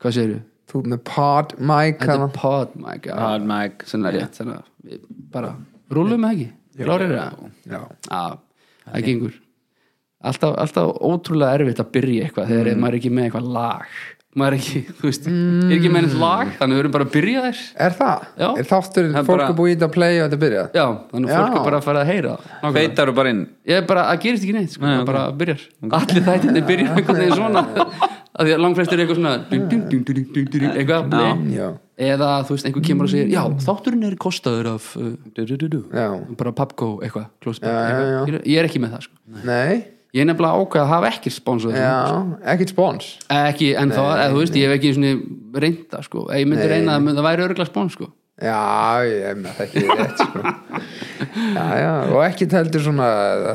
Hvað segirðu? Þú ert með pod mic Þetta hana. er pod mic Pod mic, svona rétt Þannig að við bara rúlum með ekki Klárir það? Já. Já, það gengur alltaf, alltaf ótrúlega erfitt að byrja eitthvað þegar maður er ekki með eitthvað lag maður er ekki, þú veist, er ekki með Mm. eitthvað lag þannig við erum bara að byrja þér Er það? Já. Er þátturinn Það er fólk bara- er búið í þetta að playa og þetta byrjað? Já, þannig að fólk Já. er bara að fara að heyra það Nákvæmlega. Feitar og bara inn Ég er bara, það gerist ekki neitt, sko, það bara byrjar Allir þættinni byrjar einhvern veginn svona að því að langflest er eitthvað svona dun, dun, dun, dun, dun, dun, dun, eitthvað blei. Já. eða, þú veist, einhver kemur og segir já, þátturinn er kostaður af uh, du, du, du, du. Mm. Já. bara Pabco eitthvað, Close Já, já, já. eitthvað. Ég er ekki með það, sko Nei? Ég er nefnilega ákvað að hafa ekki sponsor Já, ekkert spons. ekki en þá, eða þú veist, ég hef ekki svona reynda, sko, Ef ég myndi reyna það það væri örgla spons, sko Já, ég með það ekki rétt sko. Já, já, og ekki heldur svona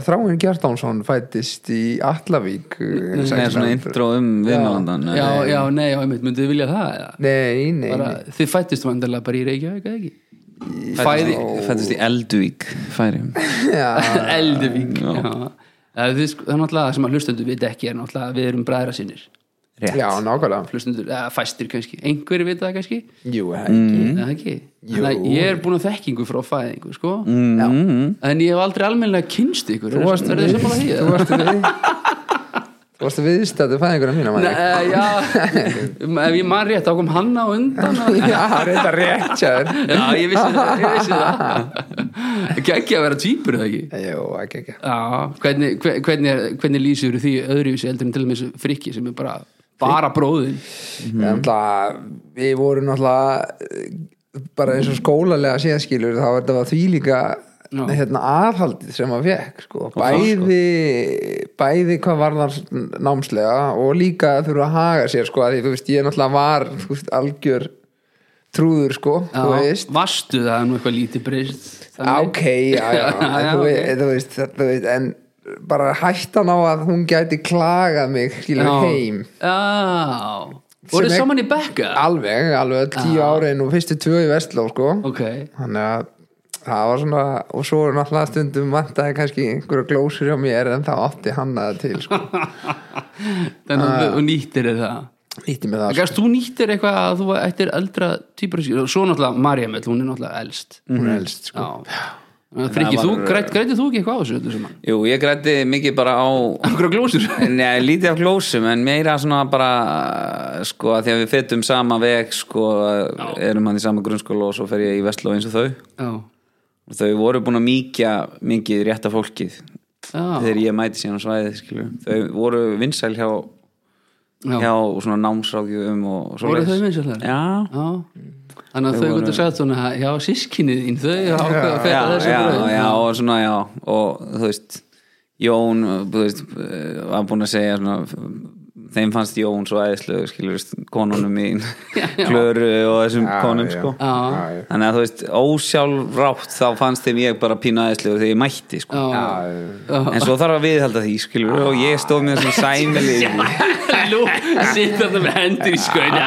Þráin Gjartánsson fættist í Allavík eh, Nei, 1600. svona intro um eh, viðmælandan Já, já, nei, já, einmitt, myndið þið vilja það eða? Nei, nei, bara, nei. Þið fættist vandarlega bara í Reykjavík, eða ekki? Fæði, fættist í Eldvík færi Já, Elduvík Já, Eða þið sko- það er náttúrulega sem að hlustendur vita ekki er náttúrulega að við erum bræðra sinir já, nákvæmlega hlustendur, eða fæstir kannski, einhverju vita það kannski Jú, ekki eða ekki Þannig að ég er búin að þekkingu frá fæðingu, sko Já. en ég hef aldrei almennilega kynst ykkur Mm. Þú varst verður þið sammála því? eða? Þú varst við Þú varst viðstættu fæðingurinn mína Nei, maður eh, já, Um, ef ég man rétt þá kom hann á undan og... Já, reynda rétt sér Já, ég vissi það, ég vissi það Gekki að vera týpur eða ekki Jú, ekki, ekki Já, hvernig, hver- hvernig, er- hvernig lýsir því öðruvísi heldur en til og með frikki sem er bara, bara bróðin Mhm. Náttúrulega, við vorum náttúrulega eh, bara eins og skólalega séðskilur þá var þetta var því líka Já. hérna, aðhaldið sem að fekk sko. bæði, bæði hvað varðar námslega og líka að þurfa að haga sér sko, að því, þú veist, ég náttúrulega var þú veist, algjör trúður sko, þú veist Vastu það er nú eitthvað lítið breyst ok, já, já, Já, já, þú, ok. veit, þú, veist, þú veist en bara hættan á að hún gæti klagað mig skilur heim Já, voruð Sem er- saman í bekka alveg, alveg öll tíu árin og fyrstu tvö í Vestló sko. Ok, þannig að það var svona og svo er náttúrulega stundum vantaði kannski einhverja glósur hjá mér en það átti hann að til sko. þannig að þú nýttir þér það ítti með það sko. Gæst þú nýttir eitthvað að þú ættir eldra týpur og svo náttúrulega Mariamell, hún er náttúrulega elst hún er elst sko. Já Frikki, Það þú, var- grætt, grætið þú ekki eitthvað á þessu öllu saman? Jú, ég grætti mikið bara á Akkur á glósur? Nei, lítið af glósum en meira svona bara sko að því að við fyttum sama veg sko, erum hann í sama grunnskóla og svo fer ég í Vestló eins og þau Já, og þau voru búin að mýkja mikið rétta fólkið já, þegar ég mæti síðan á svæðið skilur. þau voru vinsæl hjá, já. hjá svona námsrákjum og svo Voru þau vinsælar? Já, Já Þannig að þau gættu sagt svona Já, sískinni þín, þau ákveða að feta já, þessu já, brauð. já, og svona já og þú veist Jón, þú veist, var búin að segja svona, þeim fannst Jón svo æðislu, skilur, konunum mín klöru og þessum konum já. sko Já, Já, já. þannig að þú veist, ósjálfrátt þá fannst þeim ég bara pína æðislu þegar ég mætti sko já, en svo þarf að viðhalda því, skilur og ég stóð mér sem sæmili í því. Lú, sitt þetta með hendur í skoinu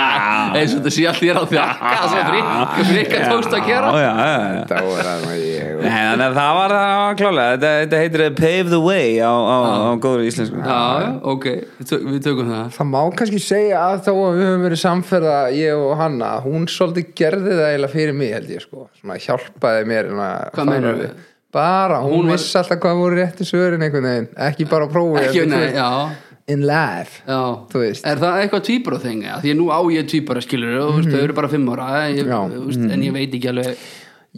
eins og þetta sé allt þér á þjaka svo frikka tókst að gera já, já, já. þetta voru að ég Nei, þannig að það var, það var klálega þetta, þetta heitir Pave the Way á, á, á góður íslensku Já, já, ok, við tök- við tökum það Það má kannski segja að þó að við höfum verið samferða ég og hanna, hún svolítið gerði það eiginlega fyrir mig held ég sko svona hjálpaði mér en að Hvað meinarðu? Bara, hún, Hún var- vissi alltaf hvað voru réttu svörin einhvern veginn, ekki bara prófið Ekki, heldur, þú nei, veist, já, In life já Þú veist. Er það eitthvað tvíbara þing? eða? Því að nú á ég tvíbara skilur og mm -hmm. þau eru bara fimm ára ég, Mhm. Já. mhm. þú veist, en ég veit ekki alveg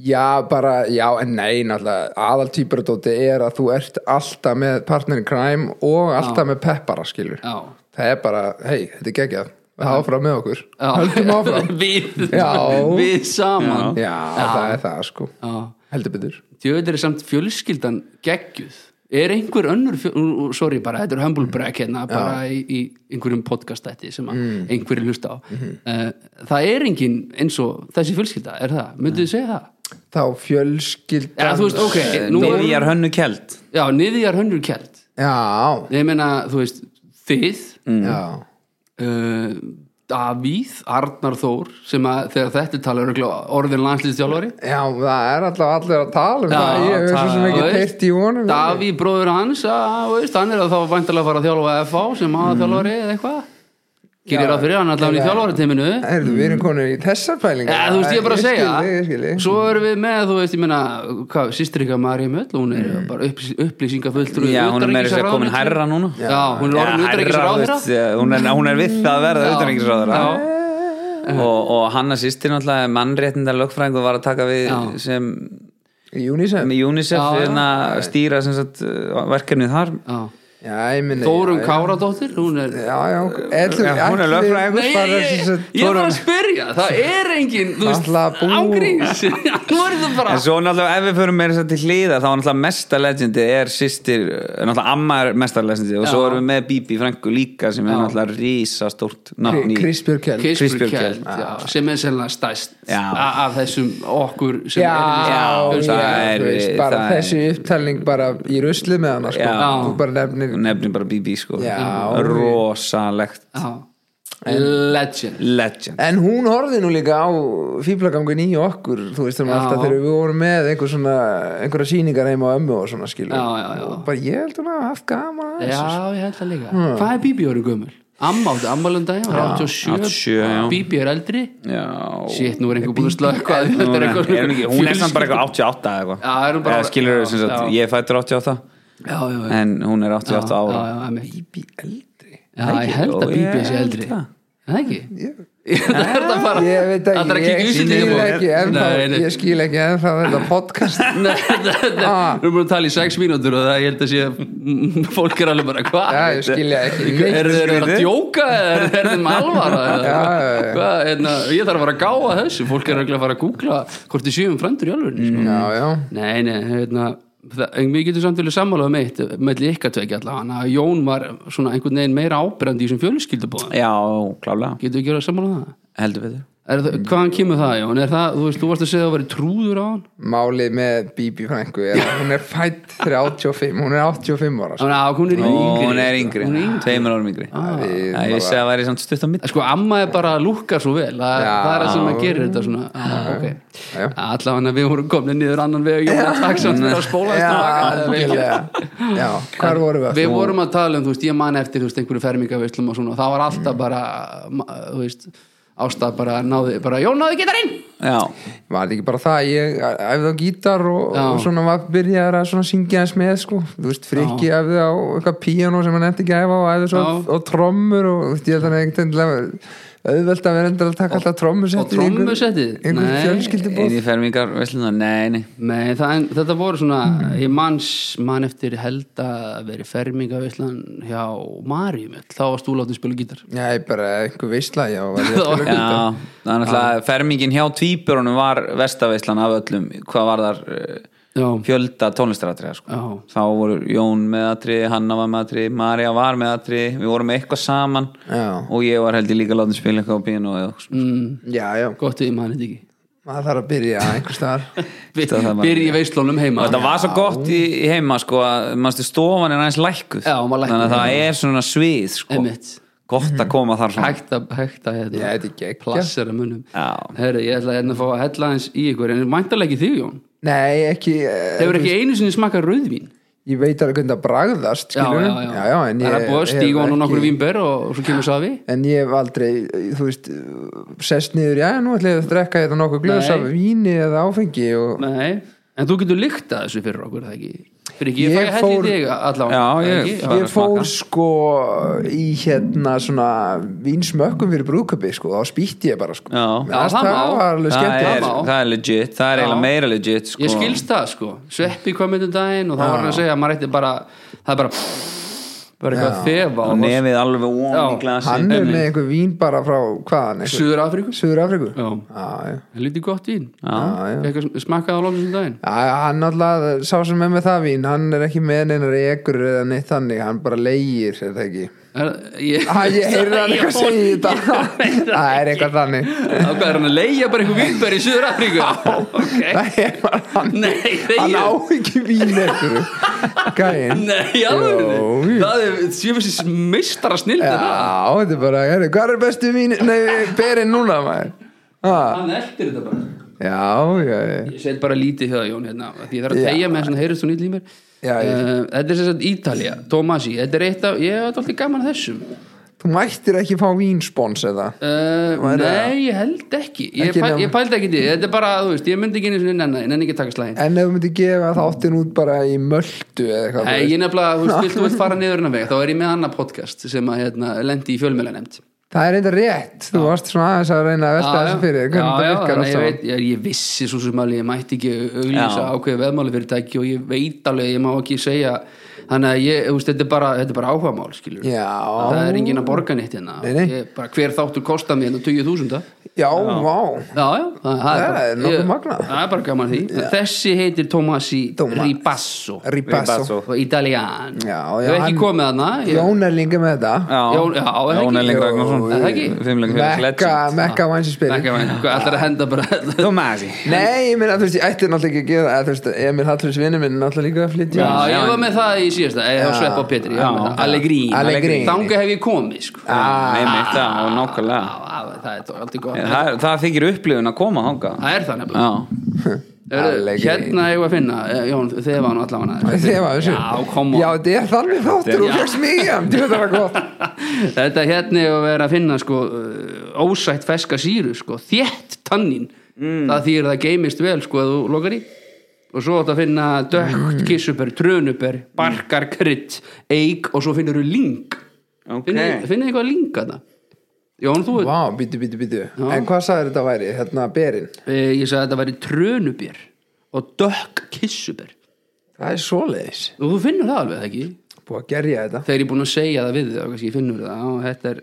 Já, bara, já, en nei, náttúrulega aðal týpuradóti er að þú ert alltaf með partnerin crime og alltaf með peppara, skilur Já, Það er bara, hei, þetta er geggjað áfram með okkur, já. höldum áfram Við, Já. við saman Já, það er það, sko Já. Heldur betur Þjóður er samt fjölskyldan geggjuð Er einhver önnur, fjö- ú- ú, sorry bara, þetta er humble Mhm. brag hérna bara í, í einhverjum podcastætti sem Mhm. mm. einhverju hlusta á uh, Það er engin eins og þessi fjölskylda, er það? Mynduð þið segja það? Þá fjölskyldan Já, þú veist, ok, nú er, Nýjar hönnu kjeld já, niðjar hönnur kjælt Já, Ég meina, þú veist, þið, já uh, Davíð, Arnar Þór sem að þegar þetta talar orðin landslýstjálfari Já, það er alltaf allir að tala um það Ég hef svo sem þú ekki veist, teirt í honum Davíð Mhm. bróður hans, að, þú veist, hann er að þá væntalega að fara að þjálfa FH sem aða þjálfari eða eitthvað gerir ráð fyrir hann allavega í þjálfarateiminu Herðu, við erum konur í þessar pælingar eða þú veist ég er bara að skil þig, ég skil segja þig. svo erum við með þú veist ég meina hvað, sýstri ykkar Marja Möll hún er Mm. bara upplýs, upplýsingafulltrú Já, hún er meira að segja komin hærra núna já, hún er Já, orðin hærra, þú veist, utanríkisráðherra já, hún er- hún er við það að verða Já. utanríkisráðara Já. og, og hann að sýstir náttúrulega mannréttindar lögfræðingu var að taka við Já. sem Í UNICEF með UNICEF Já, já. hérna að stýra sem sagt uh, verkefnið þar Já. Já, ég minni Þórun Káradóttir hún er Já, já, ætlum Já, hún er ætlum- lögfræðingur. Nei, ég, bara ég, þess að ég er bara að spyrja það er engin, þú veist, Alla bú. ángríns nú er það bara En svo náttúrulega ef við förum meira þess að til hliða þá er náttúrulega mesta legendi er sýstir náttúrulega amma er mesta legendi og svo Já. erum við með Bíbi Franku líka sem er náttúrulega risastórt nafn í Kristbjörg Kjell Kristbjörn Kristbjörg Kjeld já, sem er sennilega stæst Já. a- af þessum okkur sem Já, erum í- já, já, það er- þú veist, bara það er- þessi upptalning bara í rusli með hana sko. Já. þú bara nefnir Hún nefnir bara Bíbi sko Já. rosalegt já. legend legend En hún horfði nú líka á fýblagangun í okkur, þú veist um Já. alltaf þegar við vorum með einhver svona, einhverja sýningar heima á ömmu og svona skilur Já, já, já. og bara ég held hún að haft gaman að þessu, já, ég held það líka hvað er Bíbi orðin gömul? Amma átti ammálundagi, hún er 87, 87 já. Bíbi er eldri Já shit, nú er einhver búin að slökka Nú Þetta er- er eitthvað- er hún ekki- Hún er samt bara eitthvað 88 Já, er eða hún eitthvað bara- Eða skilur já, þau sem sagt já. Ég er fættur 88 já, já, já, en hún er já, 88 ára já, einmitt. Bíbí eldri já, ég held að Jó, Bíbi ég sé held eldri það. Er það ekki? Það er það bara Ég veit Það ekki, er að ég kíkja skil úsinn ekki ennþá ég skil ekki ennþá þetta podcast Nei, þetta þetta- Ah. við erum búin að tala í sex mínútur og það ég held að sé að mm, fólk er alveg bara hvað Já, ég skil ekki neitt. er þeir að skrítið. djóka eða er þeim alvara eða? Já, já, já. Hvað, hérna, ég þarf að fara að gáa þessu fólk er örugglega að fara að googla hvort þið séum frændur í alveg sko. Já, já, nei, nei, hérna það- en við getum samt velið sammálaðum um eitt melli ykkar tvekja allavega að Jón var svona einhvern veginn meira ábyrrandi í þessum fjöluskildubóðum Já, klálega getum við gera sammálaðum um það? Heldur betur Er Mm. það, hvaðan kemur það, Jón? Er það, þú veist, þú varst að segja að það væri trúður á hann? málið með Bíbí frængu er að hún er fætt 35, hún er 85 ára sko. Þannig að hún er yngri. Hún er yngri, Hún er yngri. Ah. tveimur árum yngri Við Já, Ég vissi að það væri samt stutt á mitt Sko, amma er bara að lúkka svo vel. Það, Já. það er það sem að gera þetta svona. Ah, ok. Já. Allavega hann að við vorum komin niður annan veg og Jón að takk samt fyrir að spóla Já, þess algjörlega Já, hvar vorum við? Við vorum að tala um, þú veist, ég man eftir, þú veist, einhverju fermingavislum og svona. Það var alltaf bara, ma- þú veist, ástaf bara náði, bara Jón náði getarinn! Já, Var þetta ekki bara það, ég æfði á gítar og, Já. og svona var byrjaður að svona syngja hans með sko, þú veist, frikki æfði á eitthvað píano sem hann eftir ekki að æfa á og æfði svo Já. og trommur og þú veist, ég held hann ekkert endilega auðvelt að vera endilega að taka alltaf Og trommusettið í einhver- trommusettið? einhver Nei. fjölskyldubóð inn í fermingar veisluna, Nei, nei Nei, það, en, þetta voru svona ég manns, mann eftir held að veri fermingavislan hjá Maríum, þá varst þú látið að spila gítar Já, ég bara einhver veistla, já, var ég að Já. spila gítar Já, það er Ah. náttúrulega fermingin hjá tvíburunum var vestaveislan af öllum hvað var þar eh, Já, fjölda tónlistaratriða sko. já, þá voru Jón með atri, Hanna var með atri Marja var með atri, við vorum eitthvað saman Já. og ég var heldur líka látið spila eitthvað á pínu og eitthvað svona. mm, Já, já, gott við mann þetta ekki maður þarf að byrja einhver staðar Það By- var- Byrja í veislunum heima og þetta var svo gott í, í heima sko, að manstu, stofan er aðeins lækkuð Já, hún var lækkuð. þannig að það er svona svið sko. Einmitt. gott að koma þar svona hægt að, hægt að Já, hérna, þetta er geggjað. plassera munum Já. Herri, ég ætla hérna að fá að hella aðeins í ykkur en mæntalega ekki þig, Jón Nei, ekki eh, Þeir eru ekki einu sinni smakað rauðvín Ég veit alveg hvernig að bragðast, Já, skilur já, já, já, já en Það er ég búið að hef stíga á nú ekki- nokkur vínber og, og svo kemur safi En ég hef aldrei, þú veist, sest niður, já, nú ætla ég að drekka þetta nokkuð glöðs Nei. af víni eða áfengi og Nei, en þú getur lykta þessu fyrir okkur, er það ekki? Fyrir ekki, ég, Ég fæ helli fór- fór... þig allavega. Já, er það ég- ekki? bara ég að fór smakka. sko í hérna svona vínsmökkum fyrir brúðköpi sko, þá spýtti ég bara sko. Já. Mér Já, fannst það má. var alveg það er, skemmt. má. það er legit, það er Já. eiginlega meira legit sko. Ég skilst það, sko. Sveppi kom einn daginn og þá var hann að segja að maður ætti bara, það er bara, bara eitthvað að þefa og nefið alveg Já, ón í glasi Hann er með einhver vín bara frá hvaðan? Suður Afriku. Suður Afriku? Já, Já, já. það lítið gott vín. Já, já. Fekk að smakka á lóksum daginn. Já, hann alltaf, sá sem er með það vín, hann er ekki með neina rekur eða neitt þannig, hann bara leigir, er það ekki? Er, ég, Æ, ég heyrði hann eitthvað segja í þetta. veit það Það er eitthvað þannig. Á hvað er hann að leigja bara einhver vínber í Suður Afriku? ok. Nei, bara hann, Nei, hann á þegar. ekki vín eftir Gæinn Nei, alveg. Jó. Það er, séu þessi meistara snildi Já, þetta er bara, heru, hvað er bestu vín Nei, berinn núna maður ah, Hann eldir þetta bara. Já, já, já ég set bara lítið hjá það Jón hérna, af því ég þarf að Já. tegja með svona heyrist hún ítl í mér Já, ég- Eh, þetta er sem sagt Ítalja, Tomasi þetta er eitt af, ég er alltaf gaman að þessum þú mættir ekki fá vínspons eða Uh, Væri það- nei, ég held ekki Ég, Ekki pæ, nema- ég pældi ekki því, þetta er bara, þú veist, ég myndi ekki einu sinni nenni, nenni ekki að taka slæðin en ef þú myndir gefa þáttin út bara í möldu eða eitthvað þú Nei, veist. ég nefnilega, þú veist, vilt þú vilt fara niður hennar veg þá er ég með annað podcast sem að hérna, lendi í fjölmjöla nefnd það er reynda rétt, þú varst svona aðeins að reyna að velta þessu fyrir, þér, hvernig það virkar allt ég, saman veit, ég, ég vissi svo sem alveg, ég mætti ekki auglýsa Já. ákveði veðmáli og ég veit alveg, ég má ekki segja þannig að ég, þú veist, þetta er bara, þetta er bara áhuga mál, skilur það já, er engin að borga neitt hérna Nei, nei. Ég, bara, hver þáttur kostar mér hérna 20.000 já, vá Já, já, það, það Það bara- er nokkuð ég- magnað. Það er bara gaman því Þessi heitir Tomasi Thomas. Ribasso Ribasso, Ribasso. og Italian Já, já, Þau ekki hann- komið hana Jón er líka með þetta Já, Jón- já, er það Jón ekki? Elling Jú, Ragnarsson er það ekki? Fimmleik fyrir Mekka, legend Mekka vænsi spyrir Ekki vænt, hvað ætlar að henda bara Tomasi Nei, ég meina, þú veist, ég ætti náttúrulega ekki að gera eða, Þú veist, Emil Hallurs vinnu minn er náttúrulega líka að flytja Já, ég var með það í síðasta Ég var svepp á Petri, ég var með Já. það Allegrín, Allegrini. Þanga hef ég komið sko. Ah, Nei, mitt ah. það og Já, nákvæmlega Það það er þó aldrei gott Það, það þykir upplifun að koma hanga Það er það nefnilega Já, Eru- Allegrini. Hérna eigum við að finna, eh, Jón, þið var nú allavega Þegar var þessu Já, kom Já, on þetta er þannig þáttur og Já. fjöks mikið Þetta var gott Þetta hérna er að vera að finna sko, uh, ósætt feska síru sko, þétt tannin það þýr það geimist vel sko, að þú lokar í og svo átt að finna dögt, kissuber, trönuber barkar, krydd, eik og svo finnur þú ling Ok. finnir þið eitthvað ling að það Jón, þú, Vá, býtu, býtu, býtu En hvað sagði þetta væri, hérna, berinn e, ég sagði að þetta væri trönuber og dökk kissuber Það er svoleiðis og þú finnur það alveg ekki Búið að gerja þetta þegar ég er búin að segja það við þau og kannski ég finnur það og þetta er,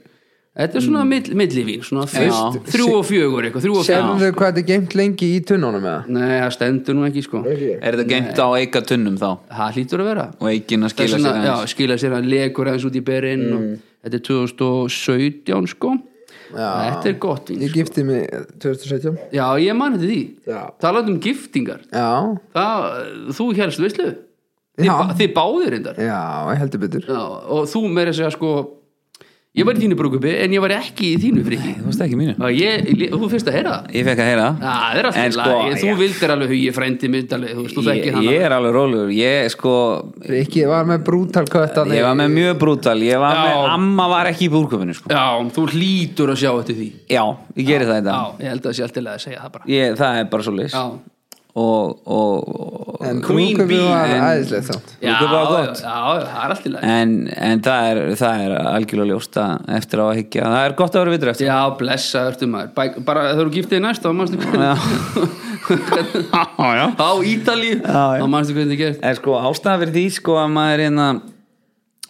þetta er svona mill, millivín svona fyrst, þrjú og fjögur eitthvað, þrjú og fjögur Sérðu hvað þetta er geimt lengi í tunnunum eða? Nei, það stendur nú ekki sko Eh, er þetta geimt á eika tunnum þá Það hlýtur að vera og eikin að skila Þess sér vegna- aðeins Já, skila sér að legur aðeins út í berinn og þetta er 2017 sko Þetta er gott vín Ég gifti mig 2017 Já, ég man þetta því Já. Talandi um giftingar Já, það, Þú helst veislu Þið, Já. ba- þið báðir reyndar já, ég heldur betur Já, og þú meira að segja sko Ég var í þínu brúkupi en ég var ekki í þínu friki Þú veist ekki mínu Og ég, þú fyrst að heyra það Ég fekk að heyra Já, Það er En alltaf sko, sko, Þú já. vildir alveg hugi frændi mynd alveg, Þú veist, þú ég, þekkir hann ég er alveg rólegur Ég sko Rikki var með brútal kött Ég var með mjög brútal Ég var Já. með Amma var ekki í búrköpunni sko Já, þú hlýtur að sjá eftir því Já, ég geri það í Já, dag ég held að það sé alltaf að segja það bara ég, Það er bara svo leys Já, og, og, og En Queen brúðkaupið Bee, var en- æðislegt samt. já, Brúðkaupið var já, gott. já, það er alltaf að En, en það, er, það er algjörlega ljósta eftir á að hyggja Það er gott að vera vitur eftir Já, blessa, ertu maður Bæ, Bara þegar þú giftið næst, þá manstu hvernig Já, já Á Ítali, Já, já. þá manstu hvernig þið gerst En sko ástæða fyrir því sko að maður hérna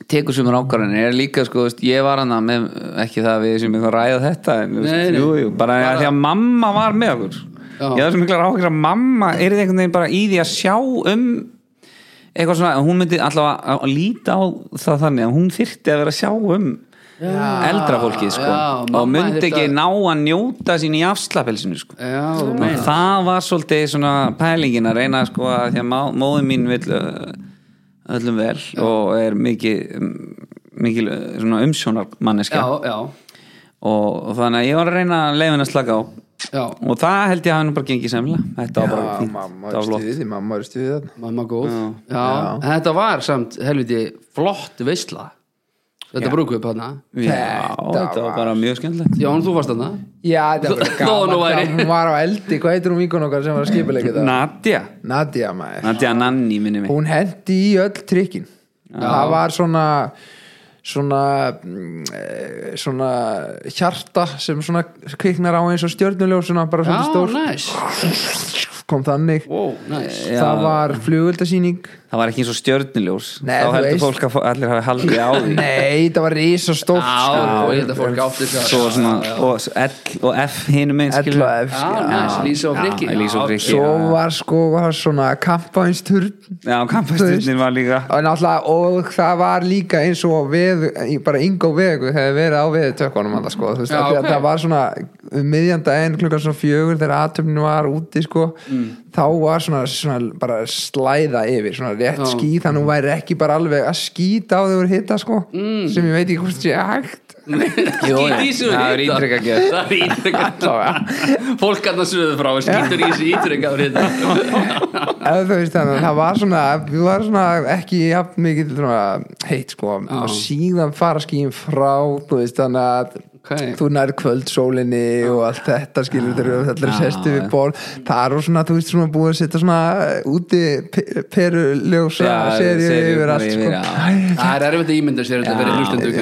tekur sumur ákvarðanir er líka sko, veist, ég var hana með ekki það að við sem eitthvað ræða þetta en, þú Nei, veist, nei. jú, jú, bara að því að mamma var með okkur Já. ég var sem miklar ákvæður að mamma er þið einhvern veginn bara í því að sjá um eitthvað svona, hún myndi allavega að- að líta á það þannig að hún þyrfti að vera að sjá um eldra fólkið sko Já, mamma og myndi þyrfti ekki að- ná að njóta sín í afslapelsinu sko Já, þú meinar. það var svolítið svona pælingin að reyna sko að því að má- móðir mín vill ö, öllum vel og er mikið mikil ö, svona já, umsjónarmanneska já, og, og þannig að ég var að reyna að leiðin að slaka á já og það held ég að hann bara gengið semlega þetta var bara Já, fínt, mamma er það var flott stuðið, mamma er stuðið þarna Mamma góð já. en Þetta var samt, helviti, flott veisla Þetta brúkuðu upp hana Já, þetta var bara mjög skemmtilegt Jón, þú varst hana Já, þetta var Þó- þó nú gaman væri. gaman. Hún var á eldi, hvað heitir hún vinkun okkar sem var að skipa leikið það? Nadja, Nadia maður Nadja Nanni minni mig Hún hendi í öll trikkin Það var svona svona mm, eh, svona hjarta sem svona kviknar á eins og stjörnuljósuna bara Já, svona stór næs kom þannig Wow, næs það var flugöldasýning það var ekki eins og stjörniljós Nei, þá þú heldur veist. fólk að fó- allir hafi haldið á því Nei, það var sko. risa stórt Já, og ég held að fólk átti þess sko. svo var svona og, L og F hinum einn skilur Ella ef Já, næs, Lísa og Frikki Já, Lísa og Frikki. Svo var sko var svona kampaðinsturn Já, kampasturnin var líka og náttúrulega og það var líka eins og við, bara Ingo Vegu hefði verið á veðu tökkunum alltaf sko þú veist, Já, af því að ok. það var svona um miðjan daginn klukkan svona fjögur þegar aðtöfnin var úti sko Mm. þá var svona, svona bara slæða yfir svona rétt Mm. skýð þannig hún væri ekki bara alveg að skýta á þau voru hitta sko sem ég veit ekki hvort sé hægt skýtur í sig og það er hitar. ítrekka gert. það er ítrekka fólk hann að suðu frá skýtur í sig hérna. ítrekka og hitar. eða þú veist þannig að það var svona, það var svona ekki jafn mikið svona, heitt sko og síðan fara skýn frá þú veist þannig að Ok. þú nær kvöld sólinni og allt þetta skilur þegar þú allir sestu við borð það er svona, þú veist svona búið að setja svona úti pe- peruljósa Já, serið seríu yfir allt yfir, sko já. það er erfitt að ímynda sér þetta fyrir hlustendu já,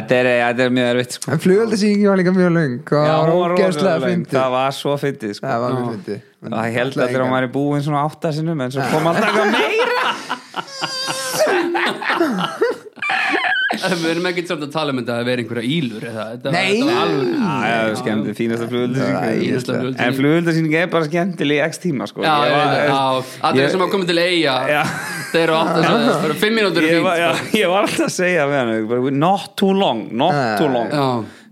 þetta er, þetta er mjög erfitt sko. en flugöldasíkingi var líka mjög löng og Já, það hún var rosalega ógeðslega löng. fyndið það var svo fyndið sko. það var mjög fyndið og það held allir að maður er búinn svona átta sinnum en svo kom alltaf eitthvað meira við erum ekki samt að tala um þetta að vera einhverja ílur eða, þetta, Nei. þetta var alveg Já, það er skemmtileg, fínasta flugöldasýning Fínasta flugeldasýning. en flugöldasýning er bara skemmtileg í x tíma sko. Já, Ég ég veit var- það, já, allir ég- sem hafa komið til eiga Já. þeir eru átt að fyrir fimm mínútur er ég var, fínt sko. já, ég var alltaf að segja við hann bara, not too long, not Já. too long Já.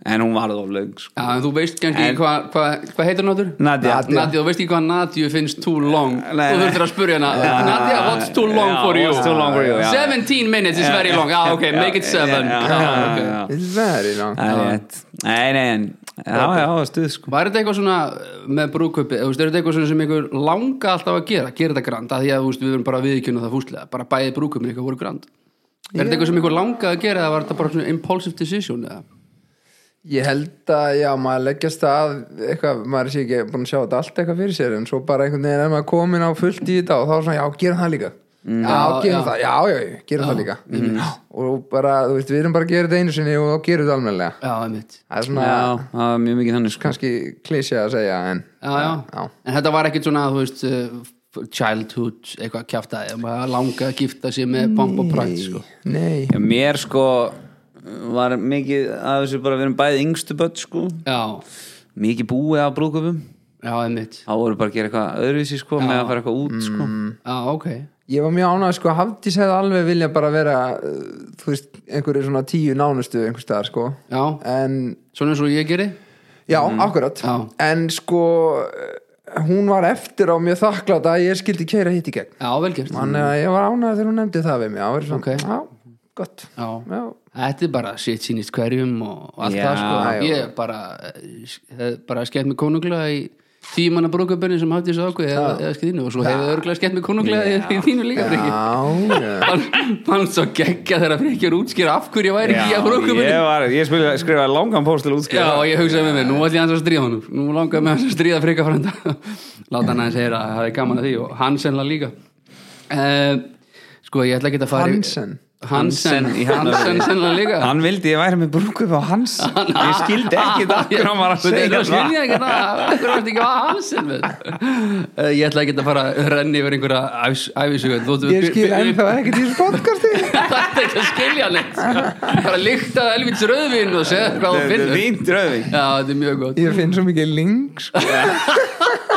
en hún varð of lög sko. Já, en þú veist kannski En- hvað hva, hva heitir náttúr? Nadia, Nadia. Nadia, þú veist ekki hvað Nadia finnst too long og þú Nei, nei. þurftir að spurja hana Nadia, what's too long Já, for you? what's too long for you, já. 17 minutes is Já, very já, long, já, ok, já, make it Ah, 7 já, já, Já, já, ok. já. very long það er rétt nei, nei, en það var stuð sko. Var þetta eitthvað svona eh, með brúðkaupi, þú veist, er þetta eitthvað svona sem ykkur langa alltaf að gera, gera þetta grand, að því að þú veist, við verum bara viðkjönda það fúslega, bara bæði brúðkaupin ykkur voru grand. Er þetta eitthvað sem ykkur langa að gera eða var þetta bara svona impulsive decision eða? Ég held að, já, maður leggjast að eitthvað, maður sé ekki búin að sjá þetta allt eitthvað fyrir sér en svo bara einhvern veginn er maður komin á fullt í þetta og þá er svona, já, gerum það líka Já, Já, gerum já. það, já, já, já, gerum það líka já. og bara, þú veist, við erum bara að gera þetta einu sinni og þá gerum þetta almennilega Já, einmitt. Það er svona, já, það var mjög mikið þannig sko. kannski klísja að segja en, já, já. Já. en þetta var ekkit svona þú veist, uh, childhood eitthvað kjaftaði, maður langa að gifta sér með pomp og prætt sko. nei Já, mér sko var mikið að þessu bara við erum bæði yngstu börn sko já, mikið búið af brúðköpum já, einmitt þá voru bara að gera eitthvað öðruvísi sko með að fara eitthvað út sko já, ok, Ég var mjög ánægð, sko, Hafdís hefði alveg vilja bara vera, uh, þú veist, einhverju svona tíu nánustu einhvers staðar, sko já, en svona eins og ég geri Mhm. Já, akkurat Já. En sko, hún var eftir á mjög þakklátt að ég skildi keira hitt í gegn já, velgjört Þannig að ég var ánægð þegar hún nefndi það við mig Það var svona, Ok. já, gott já. Já, þetta er bara shit sínist hverjum og allt Já, það sko, já. ég bara hef bara skemmt mig konunglega í tímanna brúkabönni sem hafði þessu ákveð eða, eða skilinu og svo hefði örgulega skemmt mig konunglega í- í þínu líka Frikki. já, já. Hann- hann svo geggja þegar Frikki er útskýra af hverju ég væri ekki í að brúkabönni ég, var, ég spila, skrifaði langan póst til útskjöð Já, og ég hugsaði með mér, nú ætlum ég hans að stríða honum Nú langaði með hans að stríða frika frænda Láta hann aðeins heyra, það er gaman að því og Hansenla líka uh, Sko, ég ætla ekki að fara í- Hansen? Hansen, Hansen í Hansen Hafnarfirði. senla líka hann vildi ég væri með brúkup á hans ég skildi ekki það hvernig hann var að segja það það skilja ekki það, hvernig varst ekki að Hansen við uh, Ég ætla ekki að fara að renni yfir einhverja ævis- ævisögu Þú- þú- Ég skil ennþá ekkert í þessu podcasti Það er ekki að skilja neitt sko. Bara líktaði Elvits rauðvin og segja hvað þú Þetta er finnur Já, fínt dröðving þetta er mjög gott Ég finn svo mikið links sko.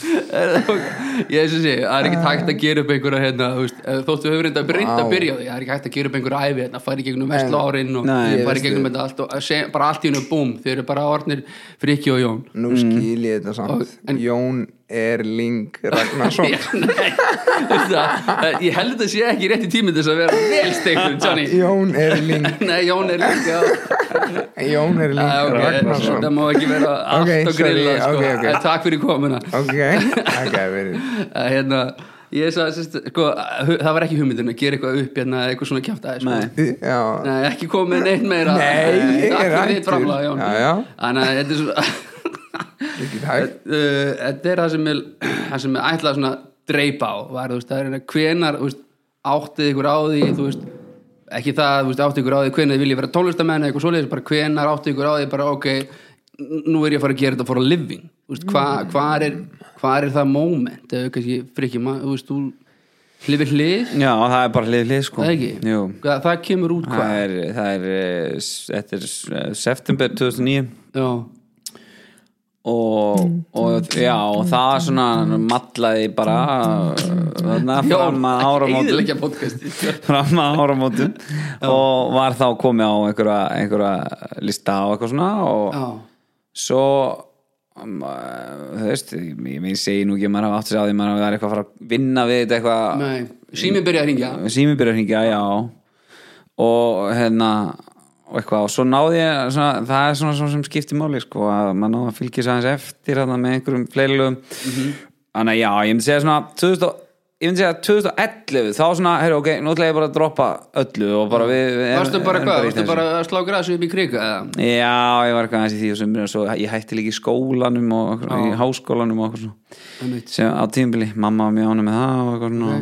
ég þess að segja, það er ekki hægt að gera upp einhverja hérna, þú veist, eh, þóttu hefur reynda breynt að Ah. Vá. byrja á því, það er ekki hægt að gera upp einhverja æfi hérna, færi gegnum vestlu árin og Nei, ég færi veist gegnum þetta allt og að segja, bara allt í hennu búm, þeir eru bara orðnir Friki og Jón Nú skil ég þetta samt Og- en- Jón er Ling Ragnarsson Já, nei, veistu það, eh, ég held að það sé ekki rétt í tíminn til þess að vera velstekur, Johnny Jón er Ling Nei, Jón er líka Jón er Ling Ah, ok, Ragnarsson það má ekki vera allt Ok, og grilla sorry, sko. ok, ok. Eh, Takk fyrir komuna Ok, ok, verið að hérna ég sagði, sérst, sko, að hu- það var ekki hugmyndin að gera eitthvað upp hérna, eitthvað svona kjátt aðeins sko. Nei. Já, Nei, ekki komið neitt meira Nei, ég Takk fyrir er þitt hættur. framlag, Jón. Já, já. Þannig að þetta er svona ekki hægt Uh, Þetta er það sem ég, það sem ég ætlaði svona að dreipa á var, þú veist, það er hérna hvenar þú veist, áttið ykkur á því þú veist, ekki það, þú veist, áttið ykkur á því hvenar þið viljið vera tónlistamenn eða eitthvað svoleiðis bara hvenar áttið ykkur á því, bara ok n- nú er ég að fara að gera þetta for a living Þú veist, hva, Mm. hvar, er, hvar er það moment eða kannski frikki maður, þú veist, þú hlifir hlið, já, það er bara hlið hlið sko það ekki Jú. Hvað- það kemur út hvað það er, það er eh, s- þetta er eh, september 2009 Já, og, og já, og það svona matlaði bara eh, þarna fram að áramótum eðilegja podcastið fram að áramótum og var þá komið á einhverja, einhverja lista og eitthvað svona og Já, svo um, uh, þú veist, ég, ég segi nú ekki að maður hafa átt sér á því maður hafa verið eitthvað að fara að vinna við þetta eitthvað nei, sími byrja að ringja sími byrja að hringja, já og hérna og eitthvað og svo náði ég svona, það er svona, svona sem skipti máli sko, að maður náði að fylgja sæðans eftir að með einhverjum fleiri lögum Mhm. þannig að já, ég myndi segja svona 2000, ég myndi segja 2011 þá svona, heyrðu ok, nú ætla ég bara að droppa öllu og bara við, við Varstu bara erum hvað, í varstu þessu. bara að slá græsu upp í krika eða? Já, ég var eitthvað aðeins í því og sumri og svo ég hætti líka í skólanum og ah. í háskólanum og eitthvað svona Einmitt. sem á tímbili, mamma var mjög ánum með það og eitthvað svona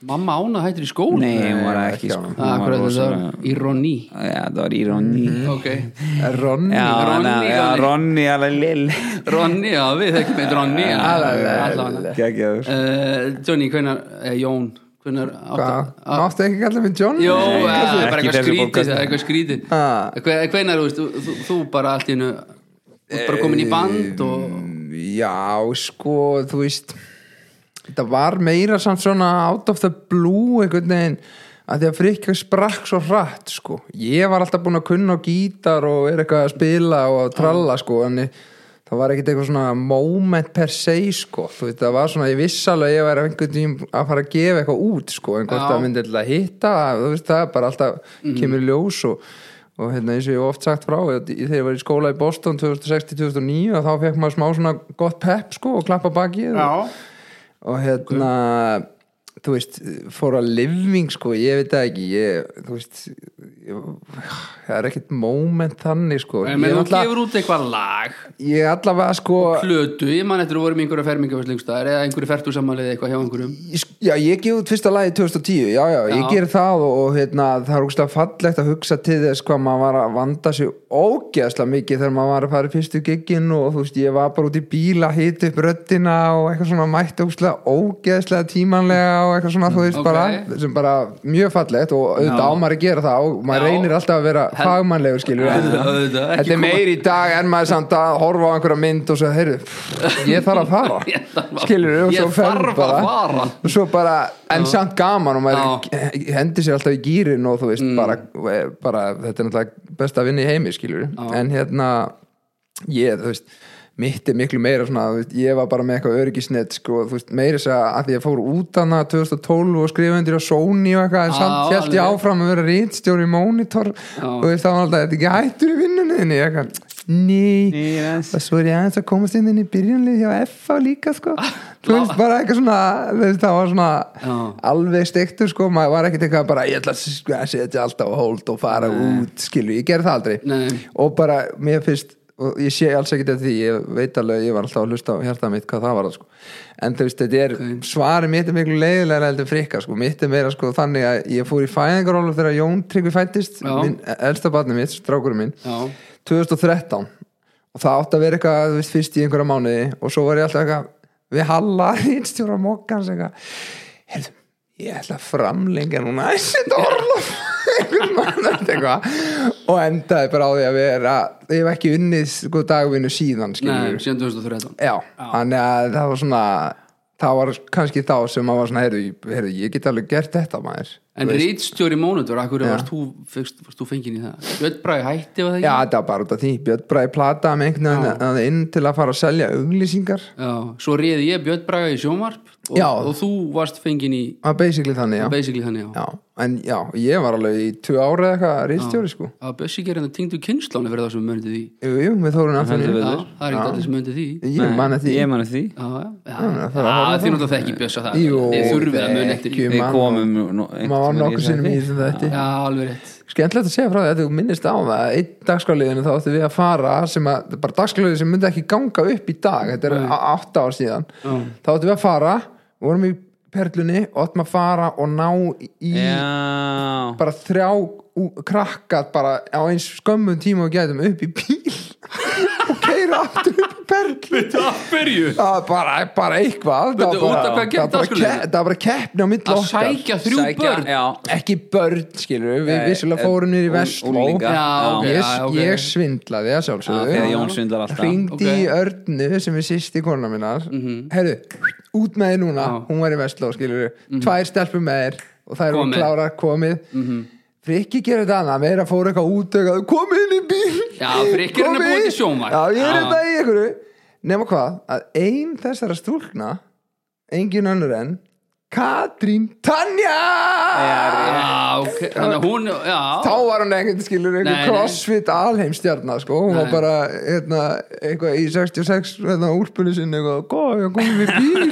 Mamma ána hættir í skóla Nei, hún var Nei, ekki ekki sko, ánægð. hún Það var er rosalega- þetta ironí Já, það var íroni Ok, Ronny Já, Ronny, Ronny, já, Ronny. Ronny alveg lill Ronny, já við þekkjum eitt Ronny en- Allavega Gekkjaður Eh, Johnny, hvenar, eh, Jón hvenar Hvað? Máttu ekki kalla mig John? Jó, eh, Nei, það er bara ekki í eitthvað þessu skrítið podcast. það er eitthvað skrítið Ha. Hvenar, þú veist, þú- þú- þú bara allt í hennu bara komin í band og Eh, Já, sko, þú veist þetta var meira samt svona out of the blue einhvern veginn að því að frikka sprakk svo hratt sko. ég var alltaf búinn að kunna á gítar og er eitthvað að spila og að tralla sko, en ég- það var ekkit eitthvað svona moment per se sko. þú veit, það var svona, ég viss alveg að ég væri einhvern veginn að fara að gefa eitthvað út sko, en hvort Já. Mm. það myndi alltaf hitta þú veist, það er bara alltaf kemur í ljós og, og hérna, eins og ég hef oft sagt frá ég- þegar ég var í skóla í Boston 2006-2009 og þá fekk maður smá svona gott pepp sko, og klappa bakið og, og hérna þú veist, for a living sko, ég veit það ekki ég, þú veist ég, það er ekkert moment þannig sko En ég, Eh, menn þú allavega, gefur út eitthvað lag ég allavega sko Plötu, ég man eftir að vorum í einhverja fermingafæslingstæðar eða einhverju fertugsammalið eitthvað hjá einhverjum ég- já, ég gef út fyrsta lagi 2010 já, já, Já. ég ger það og, og hérna, það er ógstlega fallegt að hugsa til þess hvað maður var að vanda sig ógeðslega mikið þegar maður var að fara í fyrstu giggin og þú veist, ég var bara út í bíla hita upp röddina og eitthvað svona mætt ógstlega, ógeðslega tímanlega og eitthvað svona, þú veist, Mm, ok. bara sem bara mjög fallegt og auðvitað á maður að gera það og maður Já. reynir alltaf að vera fagmannlegur skilur Já, auðvitað, ekki þetta er koma- meir í dag en maður samt að horfa á einhverja mynd og svo, heyrðu, Ég ég þarf að fara þarf að- skilur, og ég svo fer þarf að bara- fara. og svo bara, en samt gaman og maður hendir sér alltaf í gýrin og þú veist, Mm. bara, bara þetta er náttúrulega best að vinna í heimi, skilur en hérna, ég, þú veist mitt er miklu meira svona, þú veist, ég var bara með eitthvað öryggisnett, sko, þú veist, meira þess að að því ég fór út hana 2012 og skrifundir á Sony og eitthvað, en Á, samt held ég alveg. áfram að vera rítstjóri í Monitor og þú veist, það var alltaf, þetta er ekki hættur í vinnunni eitthvað, ný Yes. og svo er ég aðeins að komast inn inn í byrjunlið hjá FA líka sko þú veist bara eitthvað svona þú veist, það var svona Ah, Já. alveg stektur sko maður var ekkert eitthvað bara ég ætla að s- að setja alltaf á hold og fara út skilur, ég gerði það aldrei Nei. og bara mér finnst og ég sé alls ekkert eftir því, ég veit alveg ég var alltaf að hlusta á hjarta mitt hvað það var sko. en þú veist, þetta er, svarið mitt er miklu leiðilega heldur en frikka, sko, mitt er meira sko þannig að ég fór í fæðingarólu þegar Jón Tryggvi fættist, Já. minn e-, elsta barni mitt, strákurinn minn Já, 2013 og það átti að vera eitthvað þú veist, fyrst í einhverja mánuði og svo var ég alltaf eitthvað við Halla, einstjóra mokkans eitthvað heyrðu, ég ætla að framlengja núna aðeins þetta orlof einhvern mannast eitthvað og endaði bara á því að vera ég hef ekki unnið sko dagvinnu síðan nei, skilur við. síðan 2013 já, þannig að það var svona það var kannski þá sem maður var svona heyrðu, heyrðu ég get alveg gert þetta maður En rítstjóri mónutur, akkur Já. varst þú, fyrst, varst þú fengin í það? Björn Bragi hætti var það Já, ekki? þetta var bara út af því, Björn Bræði plataði með einhvern veginn að inn til að fara að selja auglýsingar Já, svo réði ég Björn Braga í sjónvarp og, Já. og þú varst fengin í Það er Ah, basically þannig, já. basically þannig á já En já, ég var alveg í tvö ára eða eitthvað rýstjóri, sko að Bessi gerir hann tengdu kynnslónu fyrir það sem möndi því Jú, jú, við þórum Heldur anþenni Já, betur. það er ekki allir sem möndi því Ég man eftir Ég man eftir því Já, já, já, það er að horfa á því náttúrulega þekki Bjössa það Jú, Þið þurfið að muni eftir því þekkjum Við hann komum nú- nú- og maður var einhvern nokkuð sinnum í tímann í þessum þetta Já, alveg rétt Skemmtilegt að segja frá því að þú minnist á það að einn dagskáliðinu þá áttu við að fara sem að, bara dagskáliðinu sem myndi ekki ganga upp í dag þetta er á- átta ár síðan þá áttu við að fara, vorum í perlunni og áttum að fara og ná í Já bara þrjá ú- krakka bara á eins skömmun tíma og gætum upp í bíl og keira aftur upp í perlu Það byrju það var bara, bara eitthvað það Veitu, var út af bara, hvað gekk það var bara, dagskrárliðinu? ke- það var bara keppni á milli Að okkar sækja þrjú Sækja- börn Já ekki börn skilur við, við vissulega fórum niður í ung- Vestló unglinga. Já, ok, ég, já, ok. ég svindlaði að Já, sjálfsögðu þegar Jón svindlar alltaf. ringdi Ok. Mhm. í Örnu sem er sýsti kona minnar mm herru, út með þið núna hún var í Vestló, skilur við, tvær stelpur með þér og það Mhm. eru Komið. Mhm. klára komið mm -hmm. Frikki gerir þetta annað, meira fór eitthvað út eitthvað, komið inn í bíl Já, Frikkirinn er hérna Komið búinn inn. til sjónvarp. já, ég er Já. þetta í einhverju nema hvað, að ein þessara stúlkna engin önnur en Katrín Tanja Já, ok, þannig að hún þá Já, var hún ekkert skilur Nei, nei. einhver crossfit alheimstjarnar sko, hún var Nei. bara hérna, eitthvað í 66 hérna, úlpunni sinni eitthvað, góð, ég komið við bíl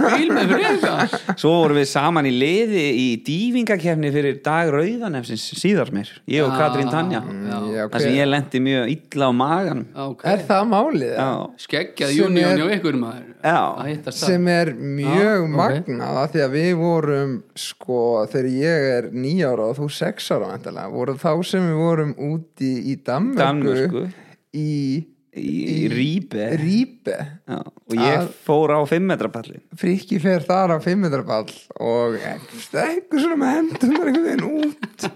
bíl með frekar Svo vorum við saman í liði í dývingakefni fyrir dag rauðanefsins síðar mér, ég og Ah, Katrín Tanja Mm, Já, þar sem hver- ég lendi mjög illa á magan Ok, er það málið eða? Já, skeggjað Sem er- júníun hjá ykkur maður Að já, hittast það sem er mjög Já, ok. magnað af því að við vorum sko þegar ég er nýjára og þú sex ára vantarlega, voru þá sem við vorum úti í Danmörku, Danmörku. í í, í rýbe Rýbe Já, og ég fór á 5 metra palli frikki fer þar á 500 ball og stengur svona með hendunar einhvern veginn út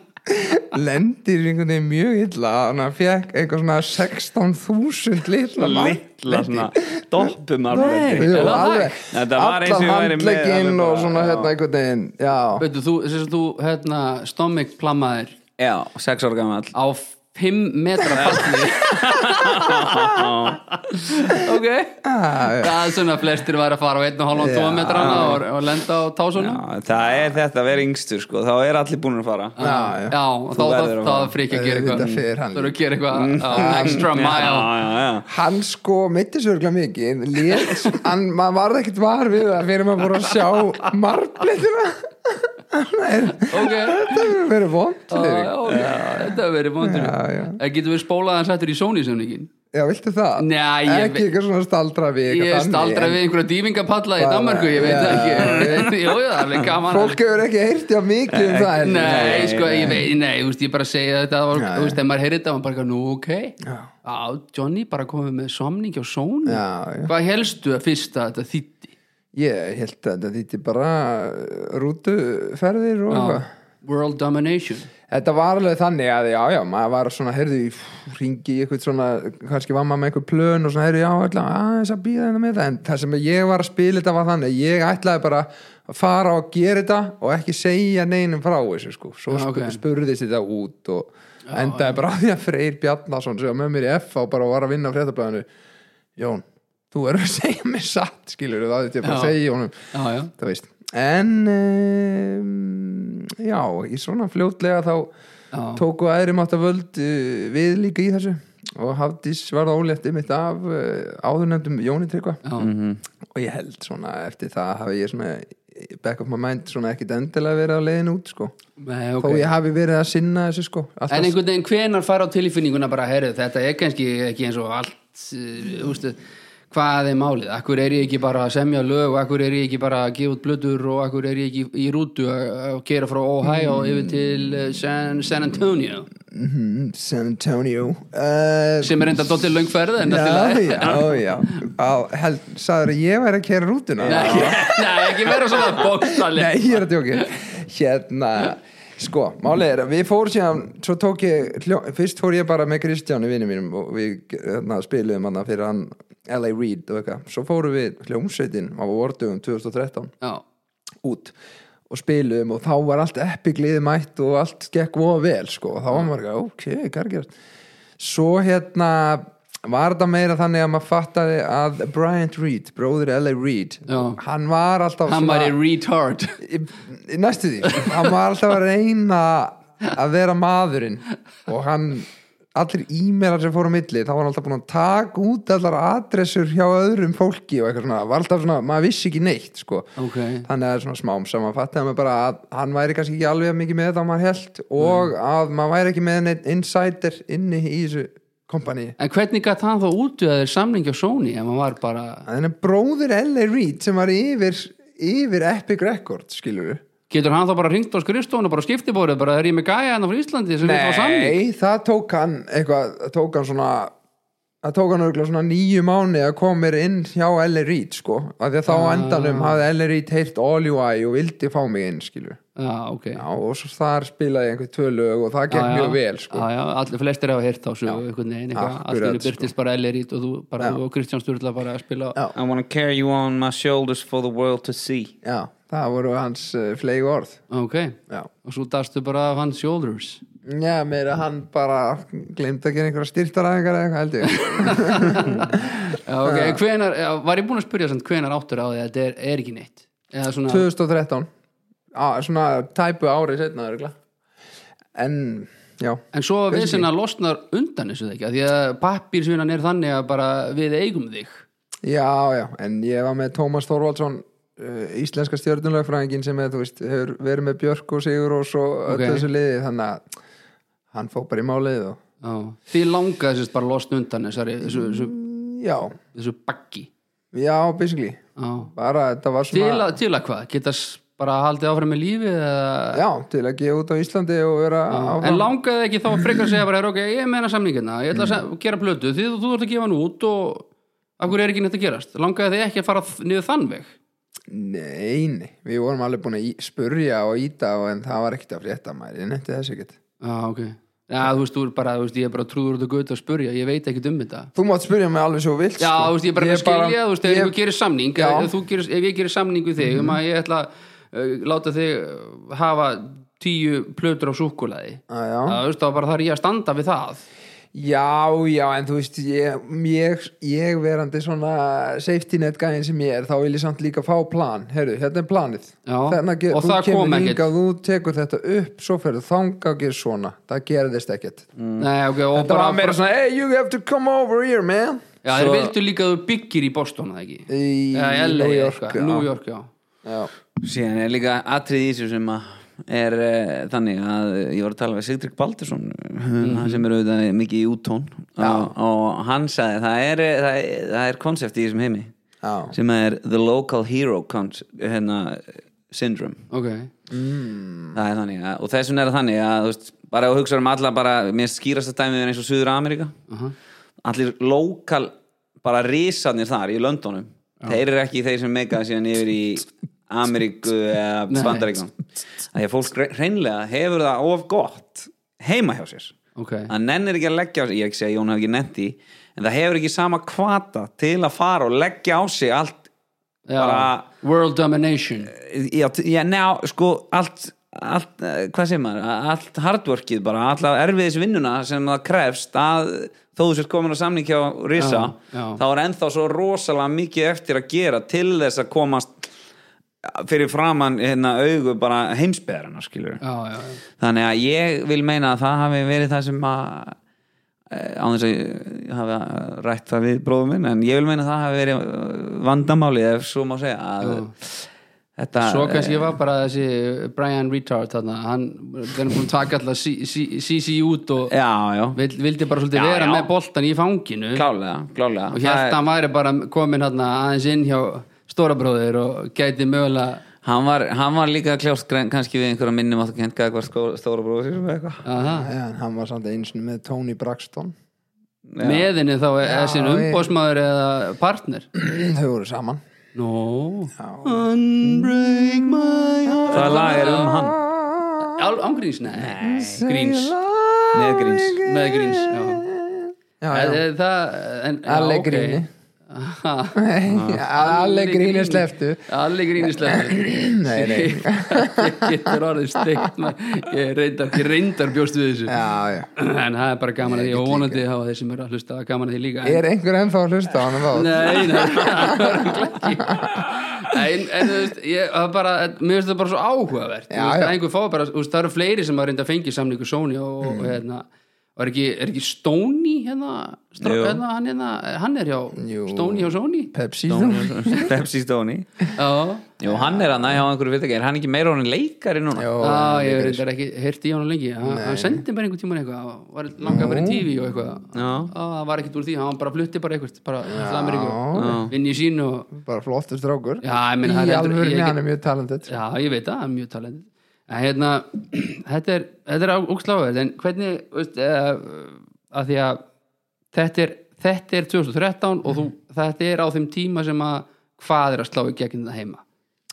lendir einhvern veginn mjög illa þannig að fekk eitthvað svona 16.000 litla litla svona doppum armbendi. Nei. Jú, Er það alveg, hægt? Þetta var eins allan og ég væri með alveg handlegginn bara, og svona já. hérna einhvern veginn já, Veitu, þú, þess að þú, hérna, stomach plamaðir já, 6 ára gammal á 5 metra falli Ok Það er svona flestir væri að fara á 1,5 Já. 2 metrana og, og lenda á tásunum Já, það er þetta að vera yngstur sko, þá er allir búin að fara já, já. Já, og Þú þá verður að þá fara. er frík að gera Auðvitað eitthvað fer hann. Mm. Þú verður að gera eitthvað á extra mile já, já, já. hann sko mitti sörgla mikið lét, hann, maður varð ekkert var við það fyrir maður voru að sjá marbletina Ok þetta hefur verið vond Já, já, já, ok. Þetta hefur verið vondur Já, já. Getur við spólað hans eftir í Sony-söfningin? viltu það? Nei, ég ekki eitthvað svona staldra við eitthvað Ég þannig, staldra en við einhverja dývingapalla í Bara- Danmarku, ég veit Já, ekki Jú, já, það er gaman fólk hefur ekki heyrt já mikið um það heldur. Nei, Nei, sko, nei. ég veit, nei, þú veist, ég bara segja þetta það var, Já, þú já. veist, ef maður heyrir þetta, maður bara, eitthvað, nú, ok Já. Já, Johnny bara komið með somning á Sony Já, já. Hvað helstu að fyrst að þetta þýtti? ég held að þetta þýtti bara rútuferðir og eitthvað World Domination Þetta var alveg þannig að já, já, maður var svona, heyrðu, í ringi í eitthvað svona, kannski var maður með eitthvað plön og svona, heyrðu, já, ætla, aðeins að býða þetta með það, en það sem ég var að spila þetta var þannig, að ég ætlaði bara að fara og gera þetta og ekki segja neinum frá þessu, sko, svo Já, já, ok. spurðist þetta út og endaði bara á því að Freyr Bjarnason sem var með mér í F og bara var að vinna á fréttablaðinu, Jón, þú verður að segja mér satt, skilur, það er þetta bara Já. að segja honum, Já, já, það veist en um, já, í svona fljótlega þá Já. tóku aðri mátta völd uh, við líka í þessu og Hafdís varða ólétt ymitt af uh, áðurnefndum Jóni Tryggva já og ég held svona eftir það hafi ég svona eh, back of my mind svona ekkit endilega verið á leiðin út sko Nei, Eh, þó ok ég hafi verið að sinna þessu sko alltaf, En einhvern veginn hvenar fara á tilfinninguna bara heyrðu, þetta er kannski ekki eins og allt eh, ústu, hvað er málið akkur er ég ekki bara að semja lög og akkur er ég ekki bara að gefa út blöður og akkur er ég ekki í rútu að að keyra frá Ohio yfir til eh, San, San Antonio mm, San Antonio uh, sem er enda dottir löngferð en já, allt í lagi. já, já Á, held, sagður að ég væri að kera rútuna Nei, ekki- nei, ekki vera svona bókstalli Nei, ég er að djóki Hérna, sko, málið er að við fórum síðan, svo tók ég hljó, fyrst fór ég bara með Kristjáni vinnu mínum og við hérna, spiluðum hann fyrir hann LA Reid og eitthvað svo fórum við hljómsveitin á vordugum 2013 Já, út og spiluðum og þá var allt epigliði mætt og allt gekk voða vel sko og þá var maður ekki, ok, gargjart svo hérna var þetta meira þannig að maður fattaði að Bryant Reid, bróðir L.A. Reid Já. hann var alltaf hann svona- var í retard Í- næstu því hann var alltaf að reyna að vera maðurinn og hann allir e-mailar sem fóru á milli þá var hann alltaf búin að taka út allar adressur hjá öðrum fólki og eitthvað svona, var alltaf svona, maður vissi ekki neitt sko. Ok. þannig að svona smám saman fattaði maður bara að hann væri kannski ekki alveg jafn mikið með þetta á maður held og að maður væri ekki með neitt insider inni í þessu kompaníi En hvernig gætt hann þá útu að þeir samlingi á Sony ef hann var bara, þannig að bróðir L.A. Reid sem var yfir, yfir Epic Records skilur við getur hann þá bara ringt á skrifstofun og bara skiptibórið, bara er ég með gæja hann frá Íslandi sem vil fá samling Nei, það tók hann eitthvað, það tók hann svona það tók hann örgulega svona nýju mánu að koma mér inn hjá L.A. Reid sko, af því að þá ah. endanum hafði L.A. Reid heyrt All You I og vildi fá mig inn skilur, Já, ok já, og svo þar spilaði ég einhver tvö lög og það gekk Já, Ah. já. mjög vel sko, já, já, allir flestir hafa heyrt á svo einhvern veginn, eitthvað, Akkurat, allir sko. byrtist bara ellerít og þú bara, þú og Kristján Sturla bara að spila Já. I wanna carry you on my shoulders for the world to see já, það voru hans uh, fleig orð, ok, já og svo dastu bara af hans shoulders Já, meira hann bara glemt að gera einhverja styrtaræðingar eða eitthvað held ég já, ok, hvenar, já, var ég búin að spyrja samt hvenar áttur á því að þetta er, er ekki neitt eða svona 2013 á, Ah, svona tæpu ári setna örugglega. en já En svo við sinna losnar undan þessu það ekki af Því að pappírsvinnan er þannig að bara við eigum þig Já, já, en ég var með Tómas Þorvaldsson uh, íslenska stjörnulegfræðingin sem er, þú veist, hefur verið með Björk og Sigur og svo öll Ok. þessu liði þannig að hann fók bara í málið og Já. Því langaði sérst bara að losna undan þessari, þessu, þessu, já, þessu baggi já, basically Já. bara þetta var Til, svona að, til að hvað? Geta s- bara haldið áfram með lífi eða... já, til að gefa út á Íslandi og vera En áfram langaði ekki þá frekar að segja bara "Heyrðu, ok, ég meina samningina, hérna. ég ætla að Mm. sem- gera plötu því þú, þú ert að gefa hann út og af hverju er ekki neitt að gerast? Langaði þið ekki að fara þ- niður þann veg? Nei, nei, við vorum alveg búin að í- spurja og íta og en það var ekkert að frétta maður, ég nefndi þessu ekkert Já, ok. Já, þú veist, þú er bara, þú veist, ég er bara trúður út og gauta að spurja, ég veit ekki um þetta. Þú mátt spurja mig alveg svo þú vilt Já, sko. þú veist, ég er bara með skilja, þú veist, ef ég- þú gerir samning, Já. Mm. ef, þú gerir, ef ég gerir samning við þig um að ég ætla að uh, láta þig uh, hafa tíu plötur á súkkulaði, Já, Ah, já. þá þú veist, þá bara þarf ég að standa við það. Já, já, en þú veist ég, ég, ég verandi svona safety net gæðin sem ég er þá vil ég samt líka fá plan, heyrðu, hérna er planið Já, Þarna ge- og þú það kom kemur ekkert. hingað, þú tekur þetta upp svo ferðu þanga og gerir svona það gerðist ekkert mm. Nei, ok, og það var meira svona, hey, you have to come over here, man Já, þeir Svo- vildu líka að þú byggir í Boston, eða ekki? Í Eða LA, New York, eitthvað, já. New York, já. Já, síðan er líka atrið í þessu sem að er uh, þannig að ég var að tala við Sigdrygg Baldursson mm. sem er auðvitað mikið í úttón og, og hann sagði það er, eh, það er, það er konsept í þessum heimi já, sem er the local hero cons- hérna, syndrome Ok, það er þannig að, og þessum er það þannig að þú veist, bara að hugsa um alla bara, mér skýrast að dæmið er eins og Suður Ameríka allir lokal bara risanir þar í löndunum þeir eru ekki þeir sem megaða síðan yfir í Ameríku eða Nei. Bandaríkan að því að fólk re- hreinlega hefur það of gott heima hjá sér ok. að nennir ekki að leggja á sig, ég er ekki að segja að Jón hefur ekki nennt í en það hefur ekki sama kvata til að fara og leggja á sig allt Já, bara- World Domination. já, t- já, ná, sko allt, allt, eh, hvað segir maður allt hardworkið bara, alltaf erfiðis vinnuna sem það krefst að þó þú sért komin á samning hjá Risa Já, já. þá er ennþá svo rosalega mikið eftir að gera til þess að komast fyrir framann hérna augu bara heimsbeðarana skilur Já, já, já. þannig að ég vil meina að það hafi verið það sem að eh, án þess að ég hafi rætt það við bróðum minn en ég vil meina að það hafi verið eh, vandamálið ef svo má segja að þetta Svo kannski var bara þessi Brian Retard þarna, hann hann er búin að taka alltaf CC út og já, já, vill, vildi bara svolítið Já, vera já. með boltan í fanginu klálega, klálega og Það hérna hann væri bara komin hérna aðeins inn hjá stórabróðir og gæti mögulega er- hann, var, hann var líka kljást græn- kannski við einhverja minnum að þú kent gæði hvað stóra bróður sér eða eitthvað aha, já, en hann var samt eins með Tony Braxton meðinni þá er þessi umbósmaður eða partner þau voru saman no Já, Unbreak my heart það lag er um hann Ál- Ángríns, nei, gríns með gríns með gríns, já já, Það, já. það, en, já, Alle ok. gríni. Ha, Alle grínu sleftu Alle gríni sleftu Nei, nei. Ég getur orðið steikt maður. Ég reyndar, ég reyndar bjóst við þessu Já, já En það er bara gaman að því og vonandi hafa þeir sem eru að hlusta gaman að því líka en, Er einhver ennþá að hlusta á hann þá? Nei, nei, það var ekki En, en þú veist, ég, það er bara mér finnst það bara svo áhugavert Þú Já, veist, já. að einhver fá bara, þú veist, það eru fleiri sem að reynda að fengi samlingu Sony og, Mm. og hérna og er ekki, er ekki Stoney hérna, strá, Jú. hérna, hann, hérna, hann er hjá Jú. Stoney hjá Sony Pepsi Pepsi Stóni Já, Jú, hann er hann, já, einhverju veit ekki, er hann ekki meira honum leikari núna? Jó, Já, ég hef reyndar ekki heyrt í hann lengi Hann- hann sendi bara einhvern tímann eitthvað hann var langað að vera í TV og eitthvað Já. Já, það var ekkert úr því, hann bara flutti bara eitthvað bara til Já. Ameríku, vinn í sín og bara flottur strákur Já, ég meina, það Í er heldur- alvörinni ég- hann er mjög talendit já, ég veit það, hann er mjög talend en hérna, þetta er þetta er úksláverð, en hvernig veist, uh, að því að þetta er, þetta er 2013 og Mhm. þú, þetta er á þeim tíma sem að hvað er að slá í gegn það heima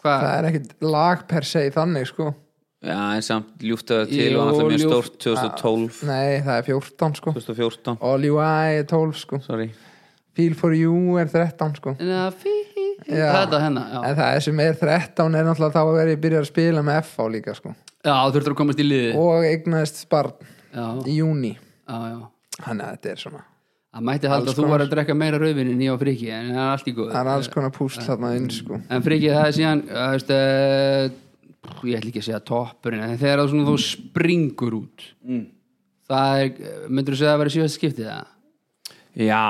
hvað, Það er ekkit lag per se þannig sko Já, en samt ljúftaðu til Jú, og hann er mjög ljúft- stórt 2012, Nei, það er 14 sko 2014 All You I er 12 sko Sorry Feel for You er 13 sko Na, fí, Já. þetta hérna já. En það sem er 13 er náttúrulega þá að vera ég byrja að spila með FH líka sko já, þú þurftur að komast í liði Og eignaðist barn já, í júni já, já Þannig að þetta er svona það mætti halda að þú var að drekka meira rauðvin en ég og Friki, en það er allt í góð það er alls konar púsl þarna inn sko en Friki það er síðan það veist, uh, ég ætla ekki að segja toppurinn en þegar það svona þú springur út það er, myndur þú segja að vera síðast skiptið það? Já,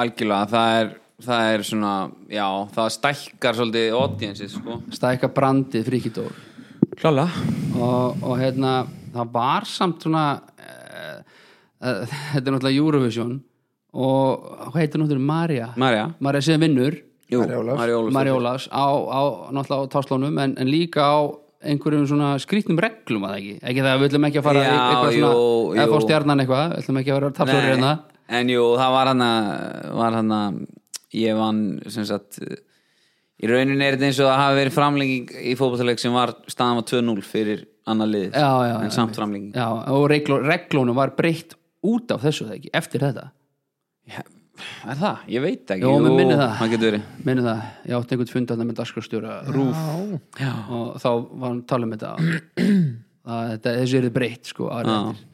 algjörlega það er, það er svona já, það stækkar svolítið audiensið sko. stækka brandið Friki Dór Klála og, og hérna það var samt svona uh, uh, þetta er náttúrulega Eurovision og hvað heitir náttúrulega Marja Marja. Marja sem vinnur Jú, Mari Ólafs. Mari Ólafs Marja Ólafs á, á náttúrulega á táslónum en, en líka á einhverjum svona skrýtnum reglum að ekki, ekki það að við ætlum ekki að fara í Já, eitthvað jú, svona, eða jú. fá stjarnan eitthvað við ætlum ekki að vera Nei, tapsóri hérna En jú, það var hann að var hann að ég vann sem sagt í rauninni er þetta eins og það hafi verið framlenging í fótbollaleik sem var staðan var 2-0 fyrir annar liðið já, já, en já, samt framlenging já, og regló, reglónum var breytt út af þessu það ekki, eftir þetta Er það? Ég veit ekki Jú, mér minnir það. það getur verið minni það, ég átti einhvern fund að það með dagskrastjóra Rúf Já. og þá var hann að tala um þetta að þetta, þessu er breytt sko árið eftir.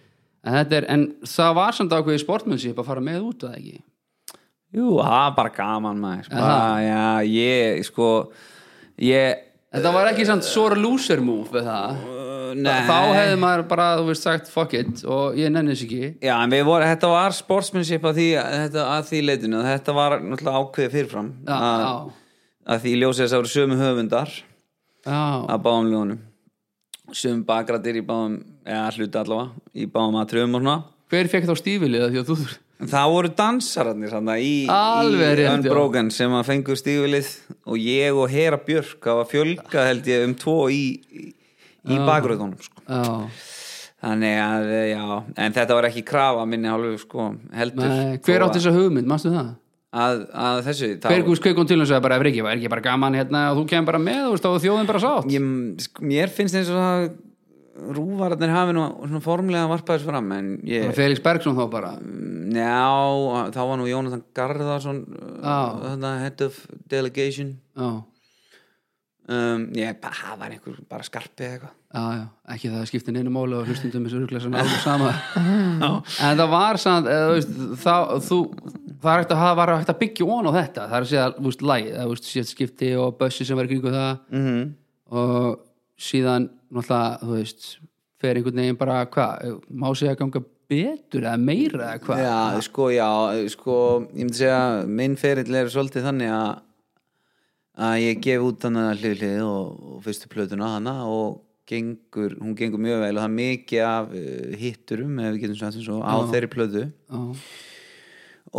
en þetta er, en það var samt ákveðið sportmönnship að fara með út að ekki Jú, það var bara gaman maður Er bara, Já, ég sko ég þetta var ekki samt sore loser move við það uh, þá hefði maður bara, þú veist sagt fuck it og ég nenni þess ekki Já, en við vorum, þetta var sportsmanship að því, að þetta, að því leitinu þetta var náttúrulega ákveðið fyrirfram Já, að, já. að því ljósið þess að voru sömu höfundar já, að báðum ljónum sömu bakgrætir í báðum eða hluti allavega, í báðum atriðum og svona hver fekk þá stífilið því að þú En það voru dansararnir þarna í, Alveg í rétt, já. Unbroken sem að fengu stífilið og ég og Hera Björk hafa fjölgað held ég um tvo í, í, í bakgröðunum sko. já, þannig að já, en þetta var ekki krafa af minni hálfu sko, heldur Nei, hver Þó átti þessa hugmynd, mástu það? að, að þessu þá- Hver gúst kveikum til hans að bara, ef ekki, var ekki bara gaman hérna og þú kemur bara með, þú veist, og þjóðin bara sátt ég, sk- mér finnst eins og það rúvararnir hafi nú svona formlega varpaðis fram en Bara ég, Felix Bergson þá bara já, þá var nú Jónatan Garðarsson uh, Já. þarna, head of delegation já, um, ég, bara, það var einhver bara skarpið eitthvað já, já, ekki það skipti neina máli og hlustundum þessu ruglega sem alveg sama en það var samt eða, þú veist, þá, þú, það er hægt að hafa var hægt að byggja ón á þetta það er að segja, þú veist, læg, þú veist, sétt skipti og bussi sem var í kringu það mm -hmm. og síðan, náttúrulega, þú veist fer einhvern veginn bara, hvað má segja ganga betur eða meira eða hvað já, sko, já, sko ég myndi segja, minn ferill er svolítið þannig að að ég gef út hann að hliðlið og, og fyrstu plötuna hana og gengur, hún gengur mjög vel og það er mikið af uh, hitturum ef við getum sagt þess á þeirri plötu Já.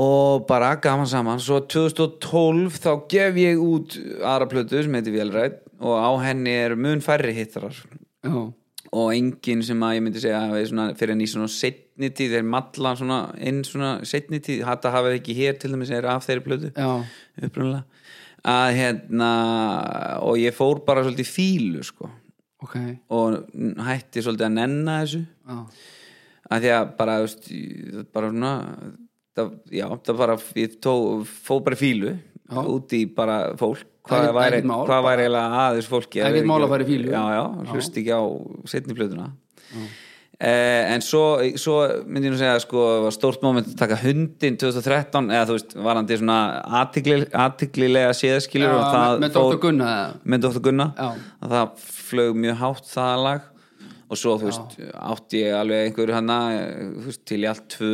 og bara gaman saman svo 2012 þá gef ég út aðra plötu sem heitir Vélrætt og á henni er mun færri hittarar já, og enginn sem að ég myndi segja að er svona, fyrir enn í svona setni tíð þeir malla svona inn svona setni tíð þetta hafið ekki hér til dæmis er af þeirri plötu já, upprunalega að hérna og ég fór bara svolítið í fílu sko ok og hætti svolítið að nenna þessu já, að því að bara, þú veist, ég- bara svona það, já, það bara ég tó, fó bara í fílu já. út í bara fólk hvað Ekkert- væri, ekkert mál, hvað væri eiginlega að þessu fólki Ekkert Ef ég- mál að fara í fýlu. já, já, hlust ekki á setni plötuna Eh, en svo, svo myndi ég nú segja sko, var stórt moment að taka hundin 2013 eða þú veist, var hann til svona athygli, athyglilega séðskilur og með, það með Dr. fór- Gunna eða? með Dr. Gunna Já. að það flög mjög hátt það lag og svo þú veist átti ég alveg einhverju hana eh, þú veist, til í allt tvö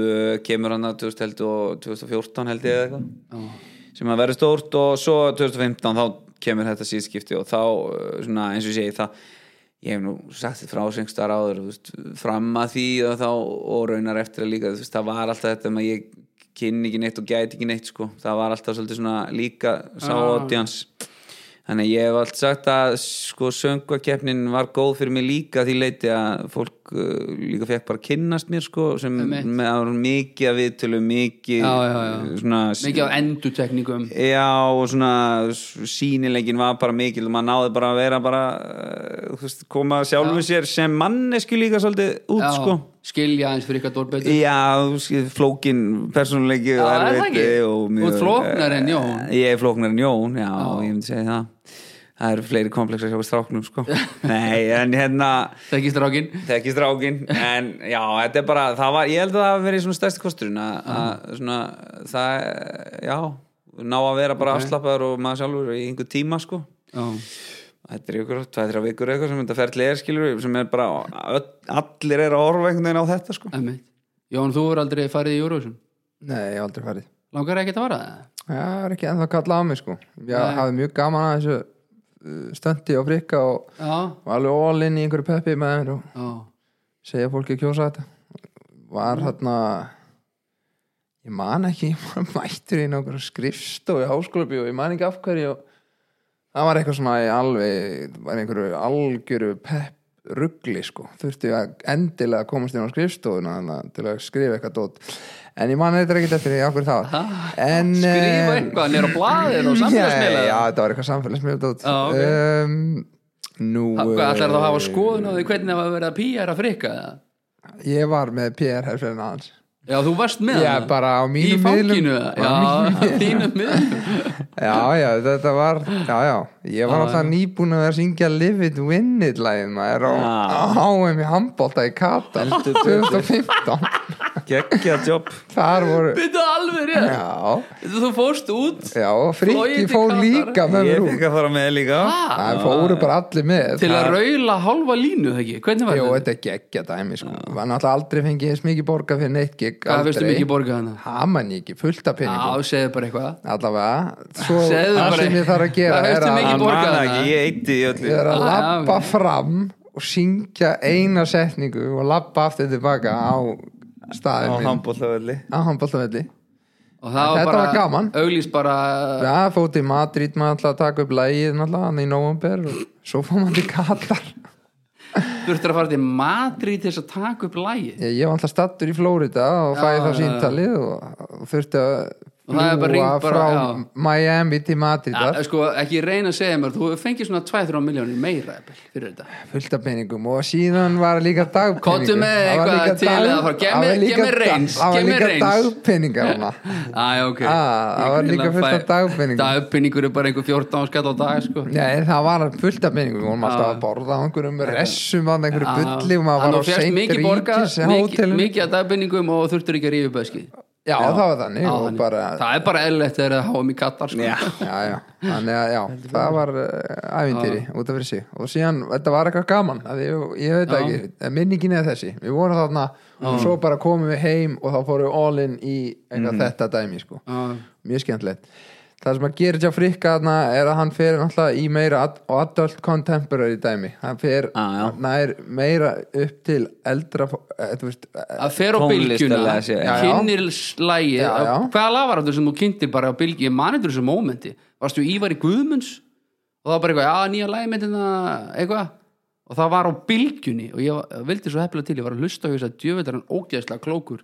kemur hana 2000 held og 2014 held ég eða eitthvað sem að verður stórt og svo 2015 þá kemur þetta síðskipti og þá eh, svona, eins og ég segi það ég hef nú sagt þið frá sengstar áður þú veist, fram að því og þá og raunar eftir að líka þú veist, það var alltaf þetta með að ég kynni ekki neitt og gæti ekki neitt sko. það var alltaf svolítið svona líka sá audience Þannig að ég hef allt sagt að sko sönguakeppnin var góð fyrir mig líka að því leiti að fólk uh, líka fekk bara að kynnast mér sko sem Einmitt. með það var mikið að viðtölu mikið uh, Já, já, já. svona mikið af endutekningum já og svona sínilegin var bara mikil og maður náði bara að vera bara uh, þú veist, koma sjálfu sér sem mannesku líka svolítið út Já, sko skilja eins fyrir ykkar dór betur Já, þú sé, flókin persónuleiki Já, er það ekki? og Eh, Þú ert flóknari en Jón. Ég er flóknar en Jón, já, ég myndi segja það það eru fleiri komplexar hjá stráknum sko. nei, en hérna Þekki strákin þekki strákin en já, þetta er bara, það var, ég held að það hafi verið svona stærsti kosturinn að, að svona, það, já ná að vera bara afslappaður og maður sjálfur í einhver tíma sko Já, þetta er ykkur, tvað, þrjá vikur eitthvað sem þetta ferli er skilur, sem er bara öll, allir er að horfa einhvern veginn á þetta sko emmitt Jón, þú er aldrei farið í Eurovision Nei, ég hef aldrei farið Langar ekkert að vara það? Já, það er ekki ennþá kallað á mig sko Ég hafði mjög gaman að þessu uh, stöndi og frikka og Já, var alveg all in í einhverju peppi með mér og já, segja fólki að kjósa þetta Mm. Var hérna ég man ekki, ég var mættur í einhverju skrifstofu í háskólabi og ég man ekki af hverju og það var eitthvað svona í alveg var í einhverju algjöru pepp ruggli sko, þurfti að endilega komast inn á skrifstofuna þannig að- til að skrifa eitthvað dót en ég man eitthvað ekki eftir því af hverju það var En, Ah, skrifa eh, eitthvað, hann er á blaðið og Já, Eh, samfélagsmiðlega já, þetta var eitthvað samfélagsmiðla Já, ok. um, Nú Hvað ætlar þá að hafa eh, skoðun á því hvernig það var að vera PR að frikka það? Ég var með PR herfyrir hans Já, þú varst með Já, hana. bara á Í mínum fanginu, miðlum. já, á þínum miðlum Já, já, þetta var Já, já, ég var alltaf nýbúin að vera að syngja Live it, win it lægin maður á á HM í handbólta í Katar 2015 geggja jobb Þar voru Þetta er alveg rétt Já, Þú fórst út já, og Flogið Frikki til fór Katar. líka með ég mér út fikk að fara með líka ha, Það fóru bara allir með til að raula hálfa línu, það ekki? Hvernig var Jó, þetta? þetta er geggja dæmi sko. Var náttúrulega aldrei fengið eins mikið borga fyrir neitt gig Hvað finnst þú aldrei. mikið borgað hana? Haman ég ekki, fullt af peningum Já, segðu bara eitthvað Allavega, svo Segðu það bara- sem ég þarf að gera Hvað er veistu að mikið hann borgaði man það. ekki, ég eitti í öllu ég er að Já, labba já. fram og syngja eina setningu og labba aftur tilbaka á á staðin minn handbóltavelli á handbóltavelli Og það var Þetta bara var gaman. Auglýst bara Já, fótt í Madrid maður alltaf að taka upp lægið náttúrulega hann í november og svo fór maður til Katar Þurftir að fara til Madrid til þess að taka upp lægi Ég, ég var alltaf stattur í Flórida og fæði Já, já, það já. síntalið og, og þurfti að Og það er bara fljúga hringt bara, frá já. Miami til Madrid ja, Sko, ekki reyna að segja mér Þú hefur fengið svona 2-3 miljónir meira jafnvel, fyrir þetta fullt af peningum og síðan var líka dagpeningum Komdu með Það var eitthvað líka til dag- eða bara, gef það var mér- líka gef mér dag- reins, það var gef mér líka reins. dagpeningar hana. Æ, ok Ah, það var líka fullt af dagpeningum. Dagpenningur er bara einhver 14 skall á dag sko. Nei, það var fullt af peningum við vorum alltaf að borða á einhverjum ressum á einhverju bulli og Þannig maður var á að þú fékkst seint mikið borga ríkis mikið, hótelinu. mikið að dagbenningum og þurftur ekki að rífi bæski Já, það var þannig og bara Það er bara eðlilegt þegar það háum í kattar sko. Já. Já, já, þannig að já, það var uh, ævintýri út af fyrir sig og síðan, þetta var eitthvað gaman að ég, ég veit það ekki, en minningin er þessi við vorum þarna og svo bara komum við heim og þá fórum við all in í eitthvað þetta dæmi, sko, Mhm. Já. mjög skemmtilegt það sem að gera hjá frikka þarna er að hann fer náttúrulega í meira ad- og adult contemporary dæmi, hann fer Já, Ah, já. nær meira upp til eldra, fó- eh, þú veist eh, að fer á bylgjuna Tónlistarlega séð, já. kynir slægi Já, já. hvaða lag var þetta sem þú kynntir bara á bylgju ég mani þetta sem mómenti, varstu Ívar í Guðmunds og það var bara eitthvað, já nýja lagi með þetta eitthvað og það var á bylgjunni og ég var- vildi svo hefnilega til ég var að hlusta á þess að djöfetar hann ógeðslega klókur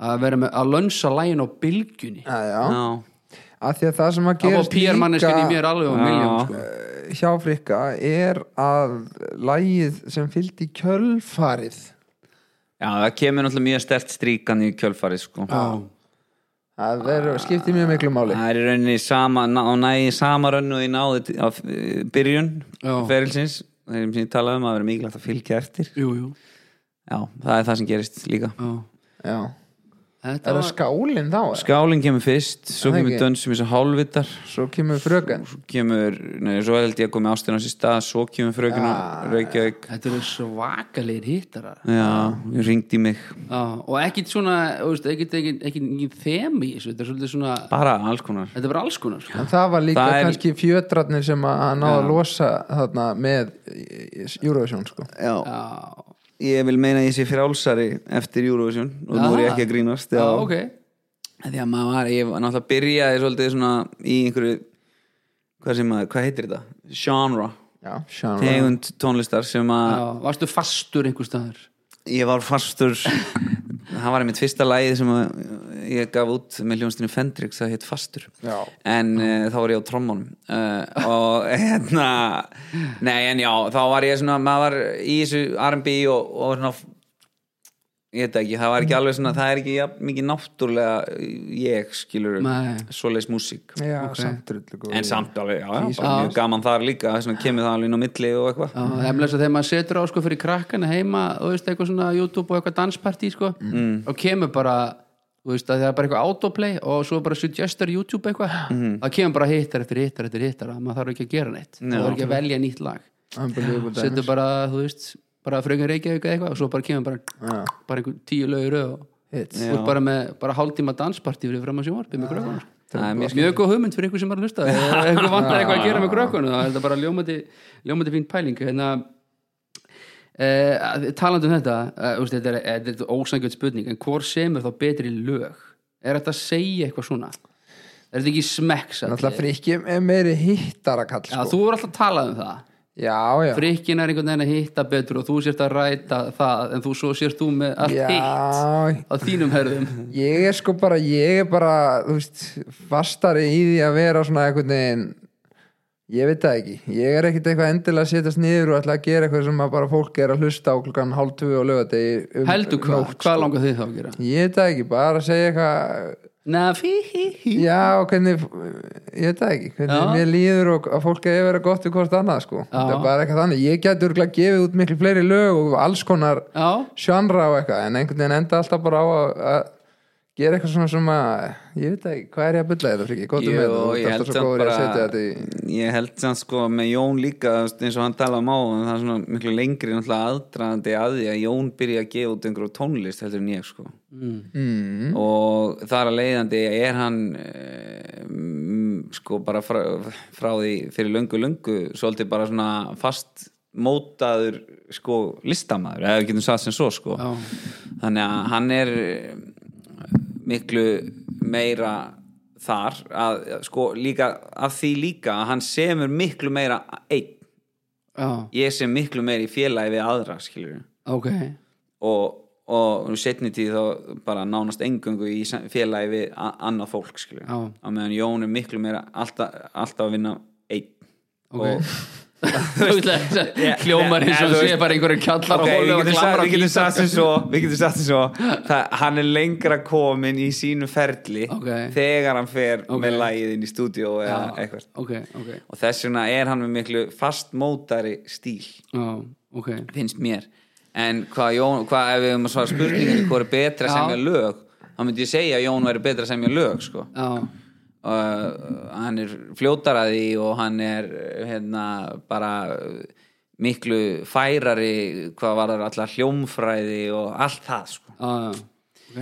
að vera með að lönsa lægin á bylgjunni já, já, já, að því að það sem að það var gerist pýrmanneskin í mér alveg á Já. miljón sko. eh, hjá frikka er að lægið sem fylgdi kjölfarið já, það kemur náttúrulega mjög stert stríkan í kjölfari sko það er, skipti mjög miklu máli Það er í rauninni sama, ná, næ, sama rönnu í náði t- á f- byrjun Já. ferilsins, þeim sem ég talaði um að vera mikilvægt að fylgja eftir jú, jú, Já, það er það sem gerist líka já já. þetta er það var, skálinn þá? eða? Skálinn kemur fyrst, svo Það kemur ekki. dönsum eins og hálfvitar svo kemur fröken svo kemur, nei, svo held ég að komi ástin á sér stað svo kemur frökun Ah. og Reykjavík þetta eru svakalegir hittarar Já, ég ringdi í mig Já, og ekkit svona, þú veist, ekkit, ekkit, ekkit, ekkit þemi í þessu, þetta er svolítið svona bara alls konar þetta er bara alls konar sko. en það var líka Það er- kannski fjötratnir sem að hann náði að losa þarna með eh, Eurovision sko Já, Já, ég vil meina að ég sé frálsari eftir Eurovision og nú er ég ekki að grínast já, Ah, ok Því að maður var, ég var náttúrulega byrjaði svolítið svona í einhverju hvað sem maður, hvað heitir þetta? Genre, já, Ah. sján tegund tónlistar sem að Já, varstu fastur einhver staðar ég var fastur það var einmitt fyrsta lagið sem að ég gaf út með hljónstinu Fendrix það hétt Fastur Já. en uh, þá var ég á trommunum uh, og hérna nei en já, þá var ég svona maður var í þessu R&B og, og svona ég veit það ekki, það var ekki alveg svona það er ekki ja, mikið náttúrulega ég skilur Nei. svoleiðis músík já, samt drullu góð en samt alveg, já, já, bara mjög gaman þar líka svona kemur það alveg inn á milli og eitthvað Já, það er með þess að þegar maður setur á sko fyrir krakkana heima og veist eitthvað svona YouTube og eitthvað danspartí sko mm. og kemur bara þú veist að það er bara eitthvað autoplay og svo bara suggestar YouTube eitthvað mm. það kemur bara hittar eftir hittar eftir hittar að maður þarf ekki að gera neitt Já. það þarf ekki að velja nýtt lag Unbelievable setur bara, þú veist, bara fröngin Reykjavík eða eitthvað og svo bara kemur bara, Já. bara einhver tíu lögur og Hits. Ah. þú ert bara með bara hálftíma danspartí fyrir fram að sjónvarpi með krökkunum sko. það er mjög Mjög góð hugmynd fyrir ykkur sem er að hlusta Ef ykkur vantar eitthvað að gera með krökkunum þá er þetta bara ljómandi, ljómandi fín pæling hérna uh, talandi um þetta uh, úst, þetta er, þetta er, þetta er ósangjöld spurning en hvort semur þá betri lög er þetta að segja eitthvað svona er þetta ekki smekks náttúrulega að frikki er meiri hittarakall Já, sko. þú voru alltaf að tala um það já, já frikkin er einhvern veginn að hitta betur og þú sért að ræta það en þú svo sért þú með allt hitt já, á þínum herðum ég er sko bara ég er bara, þú veist, fastari í því að vera svona einhvern veginn ég veit það ekki ég er ekkert eitthvað endilega að setjast niður og ætla að gera eitthvað sem að bara fólk er að hlusta á klukkan hálf tvö og lögadegi um heldur hvað, nótt, hvað sko. langar þið þá að gera? ég veit það ekki, bara að segja eitthvað Na, fí, hí, hí. já, og hvernig, ég veit það ekki hvernig Já. mér líður og að fólk er að vera gott við hvort annað, sko, það er bara eitthvað þannig ég gæti örgulega gefið út miklu fleiri lög og alls konar Já. sjönra og eitthvað en einhvern veginn enda alltaf bara á að, að gera eitthvað svona sem að ég veit ekki, hvað er ég að bylla þetta friki, gott um Jú, þetta þú ég ert held alltaf svo samt góður í að setja bara þetta í ég held samt sko með Jón líka þú veist, eins og hann talaði má en það er svona miklu lengri náttúrulega aðdraðandi að því að Jón byrja að gefa út einhverjum tónlist heldur en ég sko mm, og þar að leiðandi er hann eh, mm, sko bara frá, frá því fyrir löngu löngu svolítið bara svona fast mótaður sko listamaður eða við getum sagt sem svo sko Já. þannig að hann er eh, miklu meira þar að sko líka að því líka að hann semur miklu meira einn Já, ég sem miklu meira í félagi við aðra skilur við ok og, og nú setni tíð þá bara nánast engöngu í sam- félagi við a- annað fólk skilju Já. á meðan Jón er miklu meira alltaf, alltaf að vinna einn Ok. og Þú veist að þetta hljómar eins Nei, og hann þú sé veist- bara einhverjum kjallar Ok, og hólu við og getum sagt- klamra við getum sagt sem svo, við getum sagt sem svo það, hann er lengra komin í sínu ferli Ok. þegar hann fer Ok. með lagið inn í stúdíó eða eitthvað Ok, ok og þess vegna er hann með miklu fastmótari stíl Já, ok finnst mér en hvað Jón, hvað ef við um að svara spurninginni hvað er betra að Já. semja lög þá myndi ég segja að Jón væri betra að semja lög sko. Já, uh, hann er fljótaraði og hann er uh, hérna bara uh, miklu færari hvað var það allar hljómfræði og allt það sko. já, já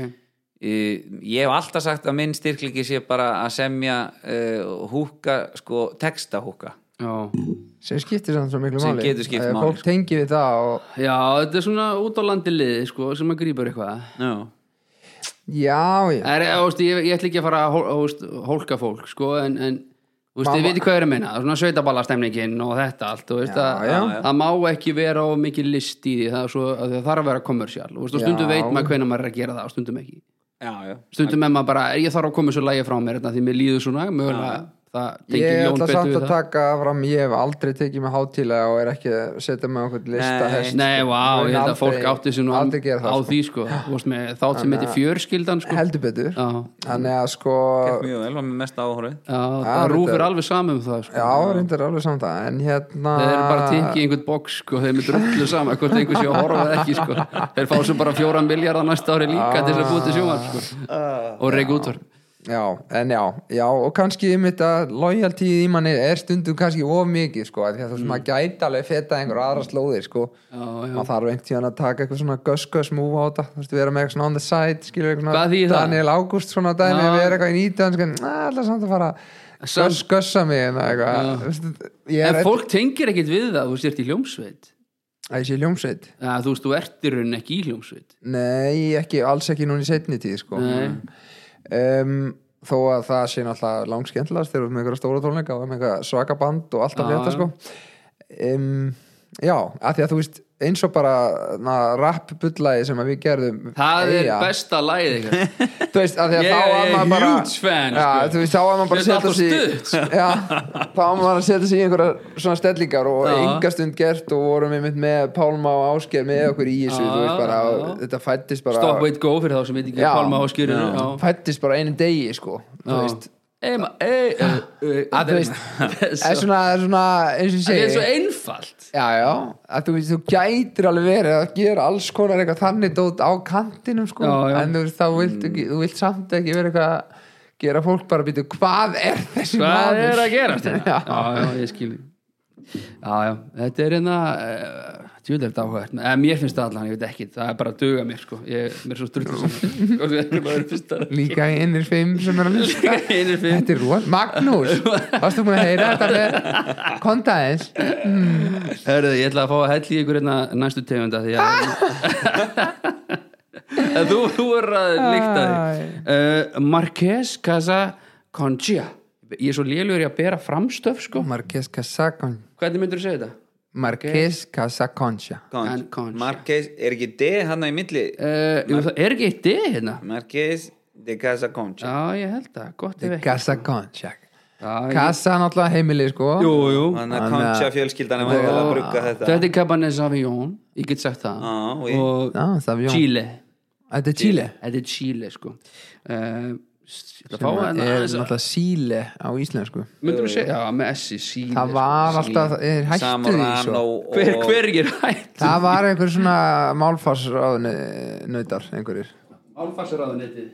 Ok, Uh, ég hef alltaf sagt að minn styrkliki sé bara að semja uh, húka, sko, textahúka já sem skiptir samt svo miklu Sem máli getur skipt Að máli, sko. fólk tengi við það og Já, þetta er svona út á landi liði sko sem að grípur eitthvað já, já, já, er, óst, ég, ég ætla ekki að fara að hól, óst, hólka fólk sko, en, en óst, ég Mamma- veit hvað ég er að meina, svona sveitaballastemningin og þetta allt, þú veist Já, að já. að- það má ekki vera of mikið list í því það, er svo, að það þarf að vera kommersial og stundum Já. veit maður hvenær maður er að gera það og stundum ekki já, já stundum er maður bara, er ég þarf að koma þessu lægi frá mér þetta því mér líður svona, mögulega það tengir ég Jón ætla betur samt við að það taka fram ég hef aldrei tekið mig hátílega og er ekki að setja mig á einhvern lista hest Nei, vá, ég held að fólk átti sér nú á aldrei gera það, sko. því sko, þú veist með þátt sem heitir fjörskildan sko, heldur betur já, þannig að sko mjög vel, var með mest áhorið já, það rúfur alveg saman um það sko, já, reyndar alveg samt það en hérna þeir eru bara tikið í einhvern boks sko, þeir eru drullu saman, hvort einhver sé að horfa eða ekki sko, þeir fá svo bara fjóra miljardar næsta ári líka til þess að búið til sjómar sko, Ah. og reik útvar Já, en já, já, og kannski um þetta lojaltíð í manni er stundum kannski of mikið, sko, af því að þú veist, maður gæti alveg feta einhver aðra slóðir, sko Já, Mm. já. maður þarf einhvern tíðan að taka eitthvað svona göskös múf á þetta, þú veist, vera með eitthvað svona on the side, skilur eitthvað Hvað þýðir svona það? Daniel Ágúst svona dæmi, Já. vera eitthvað í nýtjanskan, alltaf samt að fara Samt. göskössa mig, en eitthvað þú veist, ég en er fólk tengir ekkit við það, þú sért í hljómsveit að ég sé ljómsveit Já, þú veist, þú ert í raunin ekki í hljómsveit Nei, ekki, alls ekki núna í setni tíð sko. Nei. um, Þó að það sé náttúrulega langskendlast þegar við erum með einhverja stóra sko. tónleika og með einhverja svaka band og allt að Já, frétta já. sko. um, Já, að því að þú veist eins og bara na, rappbullagi sem að við gerðum það er Eyja. besta lagið ykkar þú veist, af því að Ég þá var er maður bara huge fan, já, sko. þú veist, þá var maður bara að Þetta er setja allt sig of stutt. já, þá var maður að setja sig í einhverja svona stellingar og Já. engastund gert og vorum einmitt með Pálma og Ásker með okkur í þessu, Já, þú veist bara já. og þetta fættist bara Stop, Wait, Go fyrir þá sem veit ekki Já. Pálma Áskýr fættist bara einum degi, sko þú veist, að þú veist, það er það svona, það er svona eins og ég er svo segi einfalt já, já, að þú veist, þú gætir alveg verið að gera alls konar eitthvað þannig dót á kantinum, sko Já, já. en þú veist, þá vilt ekki, þú vilt samt ekki vera eitthvað gera fólk bara býtu, hvað er þessi hvað maður? er að gera þetta Já. já, já, ég skil já, já, þetta er hérna uh, djúlega þetta áhugað, en mér finnst það allan ég veit ekki, það er bara að duga mér sko ég, mér er svo struttur saman líka einir fimm sem er að hlusta einir fimm þetta er rúan, Magnús varstu búin að heyra þetta með kontaðins Hörðu, ég ætla að fá að hella í ykkur hérna næstu tegunda því að En þú, þú er að líkta því uh, Marques Casa Conchia Ég er svo lélugur í að bera framstöf sko. Marques Casacon Hvernig myndur þú segja þetta? Marques Casaconcha En Concha. Marques, er ekki D hann í milli Uh, jú, það er ekki eitt D hérna Marques de Casa Concha Já, ég held það, gott ef ekki Casaconcha Já, ég- Casa náttúrulega heimili sko Jú, jú þannig Hann, að Concha fjölskyldan er Já, vantilega að brugga þetta Þetta er Cabernet Sauvignon, ég get sagt það Já, og- Og Já, það er Chile Chile Þetta er Chile Þetta er Chile sko uh, Sem sem er náttúrulega Síle á íslensku hérna Myndum við segja, já, með S í síli Það var alltaf, er hættu því Samorano svo og Hver, hver er hætt? Það var einhver svona málfarsráðnautar einhverjir Álfarsraðunetti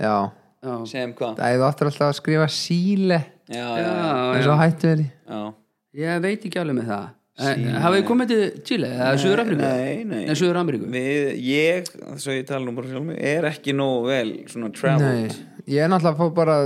Já, Já, sem hvað það er aftur alltaf að skrifa Síle já, já, já, eins já og hættu verið já. Ég veit ekki alveg með það En Hafið þið komið til Chile, eða Suður-Ameríku? nei, nei. Nei, Suður-Ameríku Við, ég, svo ég tala nú bara sjálf um mig er ekki nógu vel svona Nei, traveled ég er náttúrulega fór bara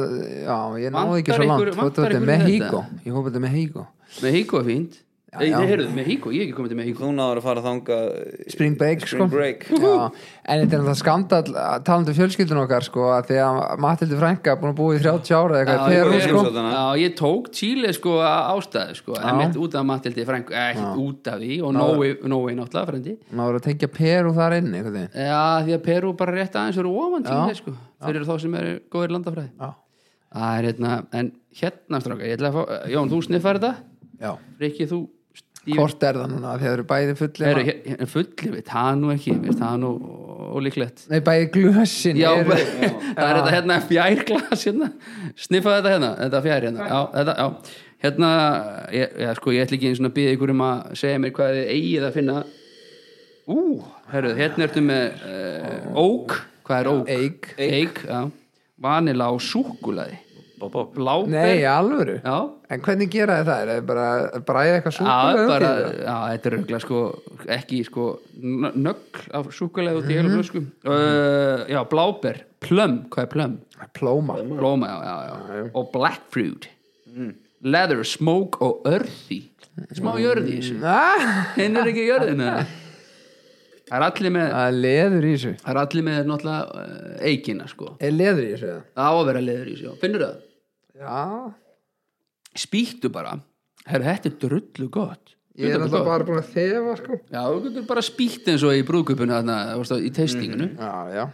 já, ég náði Vantar ekki svo ykkur- langt vantar fótbolti ykkur í Mexíkó, ég fór bara til Mexíkó Mexíko er fínt Nei, já. þið heyrðu, Mexíko, ég hef ekki komið til Mexíko þú náður að fara þangað Spring Break Spring sko Break Já, en þetta er náttúrulega skandal talandi um fjölskyldun okkar sko að því að Matildi Frænka er búin að búa í 30 ára eða eitthvað í ég, Perú ég- sko ég, já, ég tók Chile sko að ástæðu sko En mitt út af Matildi Frank eh, Ekkert út af því og Nói Nói náttúrulega frendi maður voru að tengja Perú þar inn einhvern veginn Já, því að Perú bara rétt aðeins eru ofan Chile sko Þeir eru þá sem eru góðir landafræði Já. Það er hérna, en hérna stráka, ég ætla að fá, Jón, þú sniffar þetta Já, Rikki, þú stífur hvort er það núna því að það eru bæði fulli Heru, hérna, fullir við, það er nú ekki veist, það er nú ólíklegt Nei, bæði glösin Já, eru, það er þetta hérna fjærglas hérna, sniffaði þetta hérna þetta fjær hérna, já, þetta, já hérna, ég, já, sko, ég ætla ekki einu svona að býða ykkur um að segja mér hvað þið eigið að finna Ú, herru, hérna ertu með uh, ók, hvað er ók? Eik. Eik, já vanila og súkulaði Bláber, Nei, í alvöru já En hvernig gera þið það? Er það bara að bræða eitthvað Já, súkulega bara, já, þetta er auðvitað sko ekki sko nö- nögl af súkulega út í heilum sko. uh, Já, bláber, plum, hvað er plum? Plóma Blóma, já, já, já Og blackfruit Leather, smoke og örði Smá jörði í þessu Ah, Hinn er ekki jörðin eða? Það er allir með Það er leður í þessu Það er allir með náttúrulega uh, eikina sko Er leður í þessu? eða? Það á að vera leður í þessu, finnur það? Já, Spýttu bara Herra, þetta er drullu gott ég er Drullu alltaf gott. bara búin að þefa sko Já, þú getur bara spýtt eins og í brúðköpun þarna, þú veist, í testinginu Já, já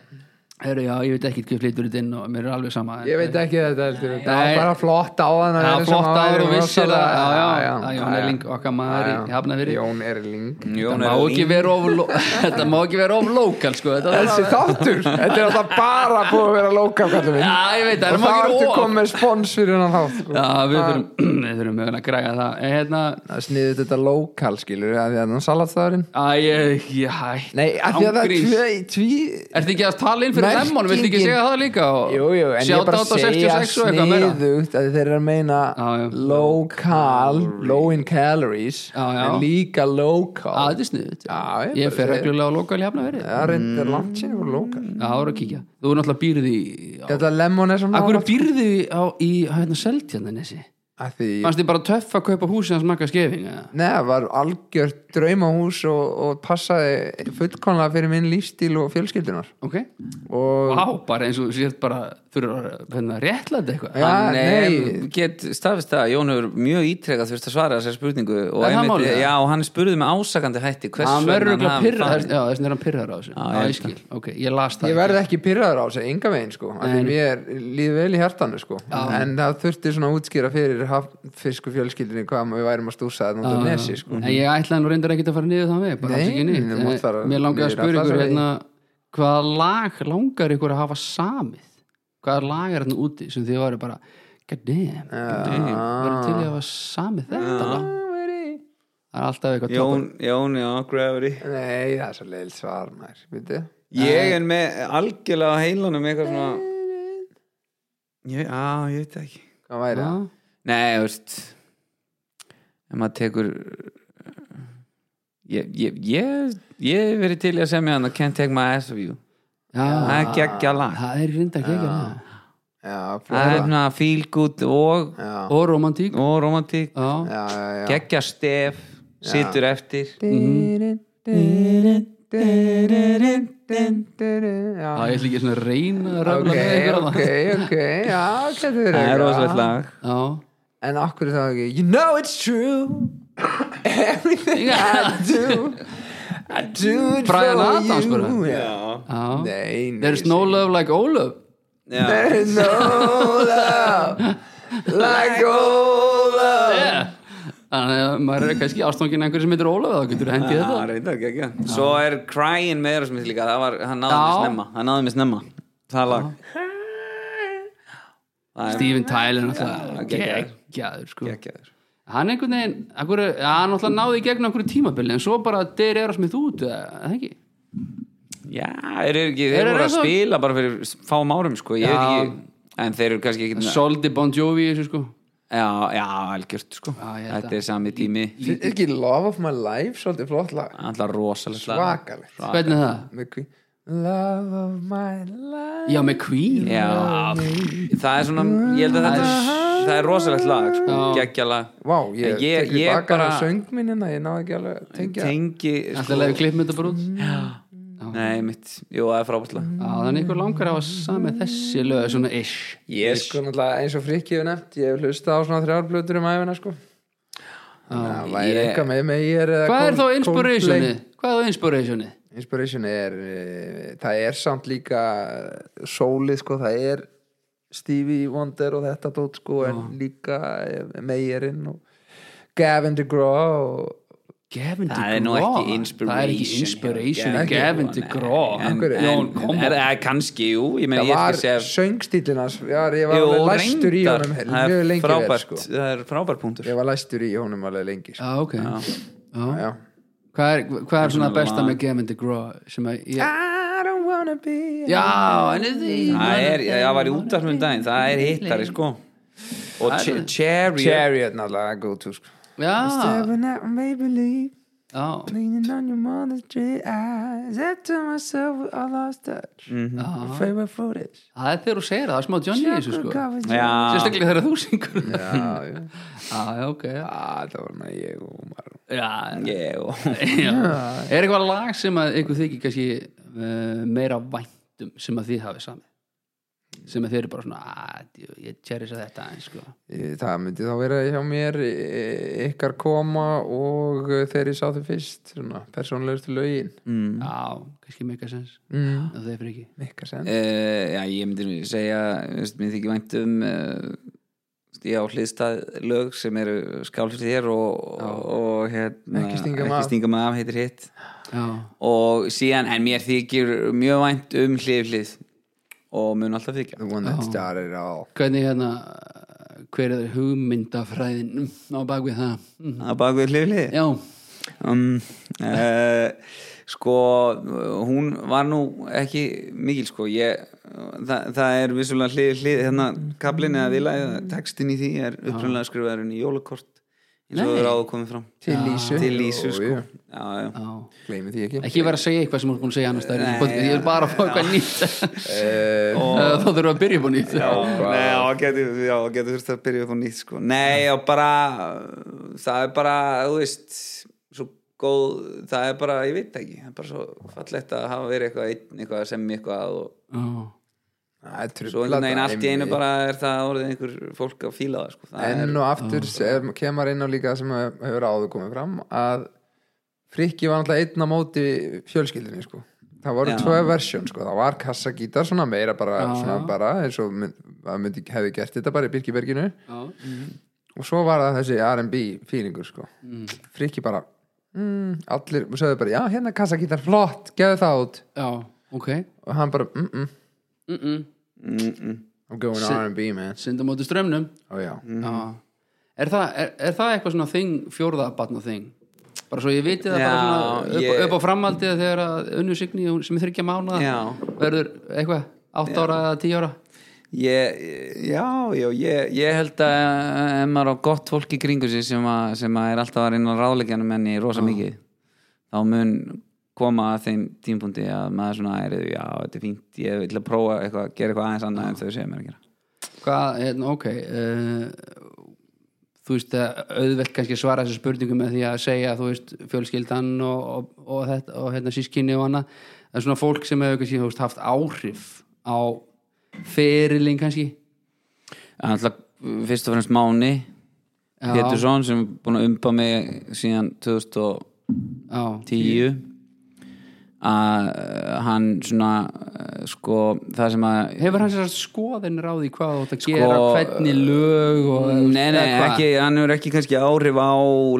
Herru, já, ég veit ekki hvað flytur þetta inn og mér er alveg sama Ég veit ekki þetta heldur Það Nei. var bara flott á hann Já, flott áður og vissir að Já, já, já, Jón Erling okkar maður í- í Hafnafyrir Jón Erling Þetta Jón má er ekki lín- vera of lo- Þetta má ekki vera of lokal, sko Þetta var Þessi þáttur, þetta er alltaf bara búið að vera lóka kallum minn Já, ég veit, það Og er má þá ekki ertu vera of komið með spons fyrir hann þátt sko. Já, við þurfum við þurfum mögulega að græja það En hérna, Það sniður þetta lokal skilur að því að hann salatstæðurinn æ, ég, ég hætt Nei, að því að það Ángríns. er tví, tví Ertu ekki að tala inn fyrir Merkingin- lemmonum, viltu ekki segja það líka? og- Jú, jú, en ég er Shout bara out á að 66 segja og eitthvað meira. sniðugt að þeir eru að meina Já, já. low cal, low in calories Já, já. en líka low Já, cal þetta er sniðut Já, ég Ég bara fer segi- reglulega á lokal í Hafnafyrir Já, Það reyndir langt sér og low cal það voru að kíkja Þú er náttúrulega býrð í á- Þetta lemon er svona Af hverju nálægt. býrðu á, í hérna Seltjarnanesi? Af því, Fannst þið bara töff að kaupa húsið hans makka skefing? eða? neða, var algjört draumahús og, og passaði fullkonlega fyrir minn lífstíl og fjölskyldunar Ok, og vá, bara eins og þú sért bara fyrir að hérna, réttlæta eitthvað Já, hann nei. nei. get stafist það að Jón hefur mjög ítrekað þurft að svara þessari spurningu Er og, það einmitt, málið? já, og hann spurði með ásakandi hætti hvers hann verður vegna örugglega hann pirraður- fann- já, þess vegna er hann pyrraður á þessu Já, Já, ég ég skil, ok, ég las það ég ekki. verði ekki pyrraður á þessu, enga veginn sko af því Nei. mér líði vel í hjartanu sko en það þurfti svona að útskýra fyrir fisku fjölskyldinni hvað við værum að stúsa þannig út af Já, nesi já. sko en ég ætlaði nú reyndar ekki að fara niður þann veg bara Nei, alls ekki neitt. þú mátt fara Eh, mér langaði að niður spyrja ykkur alla þessa hérna, hvaða lag langar ykkur að hafa samið hvaða lag er hérna úti sem þið varu bara god damn, god damn varu til í að hafa samið þetta lag það er alltaf eitthvað Jón, Jón, já, Gravity nei, það er svo leil svar mær veitu ég er með algjörlega á heilanum eitthvað svona ég, á, ég veit það ekki hvað væri það? topp. Nei, þú veist ef maður tekur ég, ég, ég, ég hef verið til í að semja hann Can't Take My Ass Of You Já, það er geggja lag það er reynda ekki ekki já, það er flóra. svona feel good og, já, og romantík og romantík já, já, já, já. geggja stef, situr eftir Já, já ég ætla ekki svona að reyna að rafla ok, með ykkur á ok, það ok já, getur verið það eitthvað. er rosalegt lag Já, en okkur er það ekki you know it's true everything I do I do it Bryan for Adams you bara. Já. já nei, nei There's no love like Ólöf Já. There is no love like all love Þannig að maður er kannski ástangin einhverjum sem heitir Ólöf þá getur hendið Já, þetta reyndar geggja svo er Crying með Erosmith líka það var, hann náði Já. mig snemma hann náði mig snemma það lag Ah, Það er Steven Tyler náttúrulega geggjaður. geggjaður sko geggjaður Hann einhvern veginn, akkur, ja, hann náttúrulega náði í gegn okkur tímabili en svo bara deyr er að smið út eða eða ekki Já, þeir eru ekki, Þeir þeir eru voru að eins og- spila bara fyrir fáum árum sko, ég Já. veit ekki en þeir eru kannski ekki Soldi Bon Jovi í þessu sko Já, já, algjört sko Já, ég held Þetta er sami tími er ekki Love of my life svolítið flott lag Alltaf rosalega svakalegt Hvernig er það? Með Queen. love of my life Já, með Queen Já, það er svona ég held að þetta er, það er rosalegt lag sko, geggja lag Vá, ég, Ég- tek ég ég baka bara... bara- söng minn hérna, ég náði ekki alveg að tengja tengi sko. Alltaf leiðu klippum þetta bara út Nei, mitt, jú, það er frábært lag Já, þannig ykkur langar að hafa samið þessi lög svona ish Ég sko náttúrulega eins og frikki hefur nefnt ég hef hlustað á svona þrjárblötur um æfina sko Það væri ég- eitthvað með mig er Hvað er þá inspirationið? Hvað er þá inspirationið? Inspiration er eh, það er samt líka sólið sko, það er Stevie Wonder og þetta dót sko en líka Meyerinn og Gavin DeGraw og Gavin Það er nú DeGraw. ekki inspiration Það er ekki inspiration hjá í Gavin DeGraw En, Akkur- en, Jón, en, koma er, er, kannski, jú, ég meina það ég var ekki sé söngstílinn hans já, ég var Jú, alveg læstur í reyndar, honum hérna, það mjög er lengi vel, frábært sko. Það er frábært punktur ég var læstur í honum alveg lengi sko. Já, ok Já. já. Hvað er, hvað er svona svona besta lag. með Gavin DeGraw sem að Ah. ég... I don't wanna be Já, anything Það er, það var í um útdarfum daginn, það er hittari sko Og Ch- Cherry Chariot náttúrulega go to sko. Já, Stepping out and maybe leave já, Leaning on your mother's dreary eyes After myself with all lost touch Favorite footage það er þegar þú segir það, það Ah. er smá Johnny í þessu sko Covered Já, Sérstaklega þegar þú syngur Já, Já, já. já, ok Já, Ah, það var maður ég og maður já ég og Já. Er eitthvað lag sem að ykkur þykir kannski uh, meira væntum sem að þið hafið samið sem að þið eru bara svona "Ah, djú, ég tjeris að þetta eins sko Ég- Það myndi þá vera hjá mér e- ykkar koma og eh, þegar ég sá þau fyrst svona, persónlegustu lögin Mm. Já, kannski mega sens mm. og þeir fyrir ekki Mikka sen Uh, já, ég myndi nú segja þú veist, mér þykir vænt um uh, ég á hlýðstað lög sem eru skál fyrir þér og, og, og hérna, Ekki stinga mig af. mig af heitir hitt Já, og síðan, en mér þykir mjög vænt um hlið hlið og mun alltaf þykja The one Oh. that started it all hvernig hérna hver er hugmyndafræðin mm, á bakvið það Mm, að bak við hlið hlið Já, um, uh, sko hún var nú ekki mikil sko ég, það, það er vissulega hlið, hlið hérna kablin eða vila eða textin í því er upprunlega skrifaðurinn í jólakort eins og Nei. það er áður komið fram Til Lísu til Lísu Jú, sko jú. já, já. já Gleimi því ekki Ekki vera að segja eitthvað sem þú er búin að segja annars staðar í þessu podcast. Ég er bara að fá eitthvað nýtt Eh, Þá þurfum við að byrja búin nýtt Nei, já, getur, já, getur þurft að byrja upp á nýtt sko. Nei, já, bara það er bara, þú veist svo góð, það er bara ég veit ekki, það er bara svo fallegt að hafa verið eitthvað einn, eitthvað sem eitthvað og Já Það er svo einhvern veginn allt í einu dæmi. bara er það orðið einhver fólk að fíla það sko. það enn og aftur er, kemur inn á líka sem hefur áður komið fram að Frikki var náttúrulega einn á móti fjölskyldinni sko það voru Já. tvö versjón sko, það var kassagítar svona meira bara, svona bara eins og mynd, að myndi, hefði gert þetta bara í Birkiberginu já, og svo var það þessi R&B fílingur sko Frikki bara mm, allir, og sögðu bara, já hérna er kassagítar flott, gefðu það út já, ok og hann bara, mm mm, mm -mm. mm -mm. I'm going R&B man synda móti strömmnum og já, Já. Mm. Er, það, er, er það eitthvað svona þing, fjórðabatna þing? Bara svo ég viti það bara Já, svona upp, ég- upp á framhaldið þegar að unnu signi hún- sem er þryggja mánuða Já. verður eitthvað, 8 ára eða 10 ára Ég, já, já, ég, ég held að ef maður á gott fólk í kringu sig sem, að, sem að er alltaf að reyna að ráleikjanum enni rosa mikið þá mun koma að þeim tímpundi að maður svona er já, þetta er fínt, ég vil að prófa eitthvað, gera eitthvað aðeins annað en þau segja mér að gera Hvað, hérna, ok uh, Þú veist að auðvelt kannski svara þessu spurningu með því að segja þú veist, fjölskyldan og, og, og, þetta, og hérna sískinni og annað en svona fólk sem hefur kannski þú veist, haft áhrif á ferilinn kannski en alltaf fyrst og fremst Máni Já. Pétursson sem er búin að umba mig síðan 2000 Já, 2010 að uh, hann svona uh, sko það sem að Hefur hann sér skoðinir á því hvað þú átt að Sko, gera, hvernig lög og, Mm, Nei, nei, eða hvað? ekki, hann hefur ekki kannski áhrif á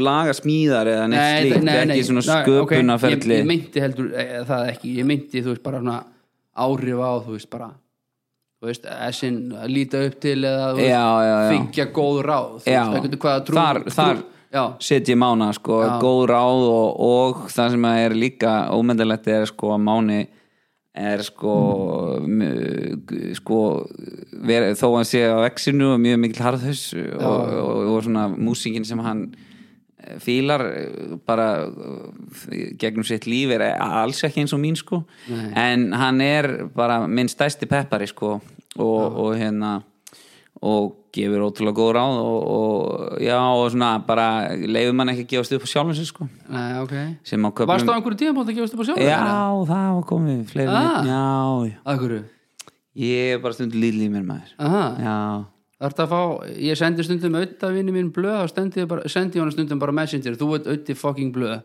lagasmíðar eða neitt Nei, slíkt, nei, nei, ekki svona nei, ok, sköpunarferli ég, ég meinti heldur e, það ekki, ég meinti þú veist bara svona áhrif á þú veist bara þú veist, essin að líta upp til eða þú Já, já, já. fengja góð ráð þú Já. veist, ekkert hvaða trú, Þar- trú þar- Já, set ég mána, sko, góð ráð og, og það sem að er líka ómyndalegt er sko að máni er sko m- g- sko ver, þó að hann sé á vexinu og mjög mikil harðhaus og, og, og svona músíkin sem hann eh, fílar eh, bara eh, gegnum sitt líf er alls ekki eins og mín sko en hann er bara minn stæsti peppari sko og, og hérna og gefur ótrúlega góð ráð og, og já og svona bara leifur mann ekki að gefast upp á sjálfum sér sko nei, ok sem á köflum Varst á einhverju tíðum átt að gefast upp á sjálfum? Já, það var komið fleiri Ah. ah. já, já, Að hverju? ég er bara stund lítið í mér maður Aha, Já, þarf það að fá, ég sendi stundum auðvitaðvinni mín blöð og sendi, bara, sendi honum stundum bara messenger, þú veit auðvitað fucking blöð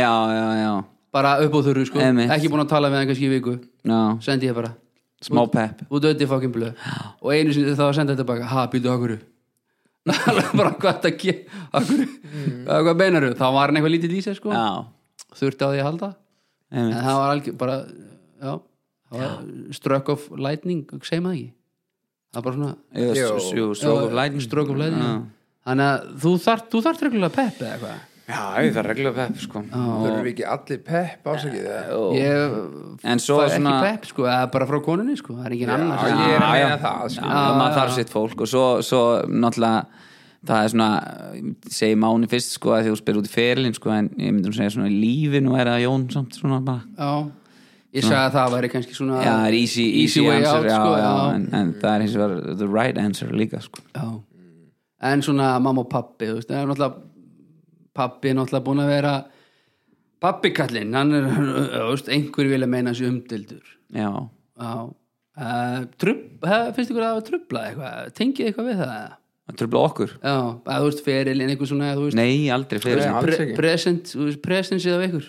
já, já, já, bara upp á þurru sko, Einmitt. ekki búin að tala við hann kannski í viku já. sendi ég bara, smá pepp út auðvitað fucking blöð og einu sinni þá sendi þetta baka, ha, býtu okkur alveg bara hvað þetta ge okkur, mm. hvað meinaru þá var hann eitthvað lítið í sig sko Já, þurfti á því að halda, en einmitt það var algjör bara, já, það var struck of lightning, segir maður ekki það var bara svona Jú, s- jú, stroke of lightning stroke of lightning þannig að þú þart, þú þart reglulega pepp eða eitthvað Já, ég þarf reglulega pepp sko þurfum við ekki allir pepp ásakið það ég En svo fæ svona- ekki pepp sko, eða bara frá konunni sko það er engin annars Já, ég er að meina já. það, sko. skilur. já, maður þarf sitt fólk og svo, svo náttúrulega það er svona, ég segi Máni fyrst sko að því þú spyrir út í ferilinn sko en ég myndi að segja svona í lífinu er það Jón samt svona bara, Já, ég sagði að það væri kannski svona já, það er easy, easy way answer, out, já, sko, já, já. En, en það er hins vegar the right answer líka sko Já. En svona mamma og pappi, þú veist, það er náttúrulega pappi er náttúrulega búin að vera pappi kallinn, hann er þú veist, einhver vilja meina hans umdildur já, Já Uh, trub, hef, finnst ykkur að það var trubla eitthvað tengið eitthvað við það eða? það tröfla okkur já, að þú veist ferilinn eitthvað svona þú veist, nei, aldrei fyrir Nei, alls pre ekki. present, þú veist, presensið af ykkur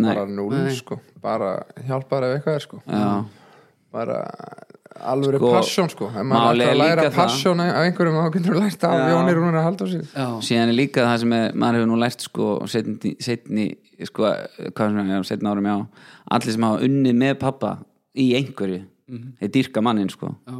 bara núl sko, bara hjálpar ef eitthvað er sko já, bara alveg Sko, sko, passion sko ef maður málið ætlar er að læra líka það. passion af einhverjum þá getur þú lært af Jóni Rúnar Halldórsson já, síðan er líka það sem er, maður hefur nú lært sko setni, setni sko, hvað sem er, setni árum já allir sem hafa unnið með pappa í einhverju, þeir dýrka mannin sko já,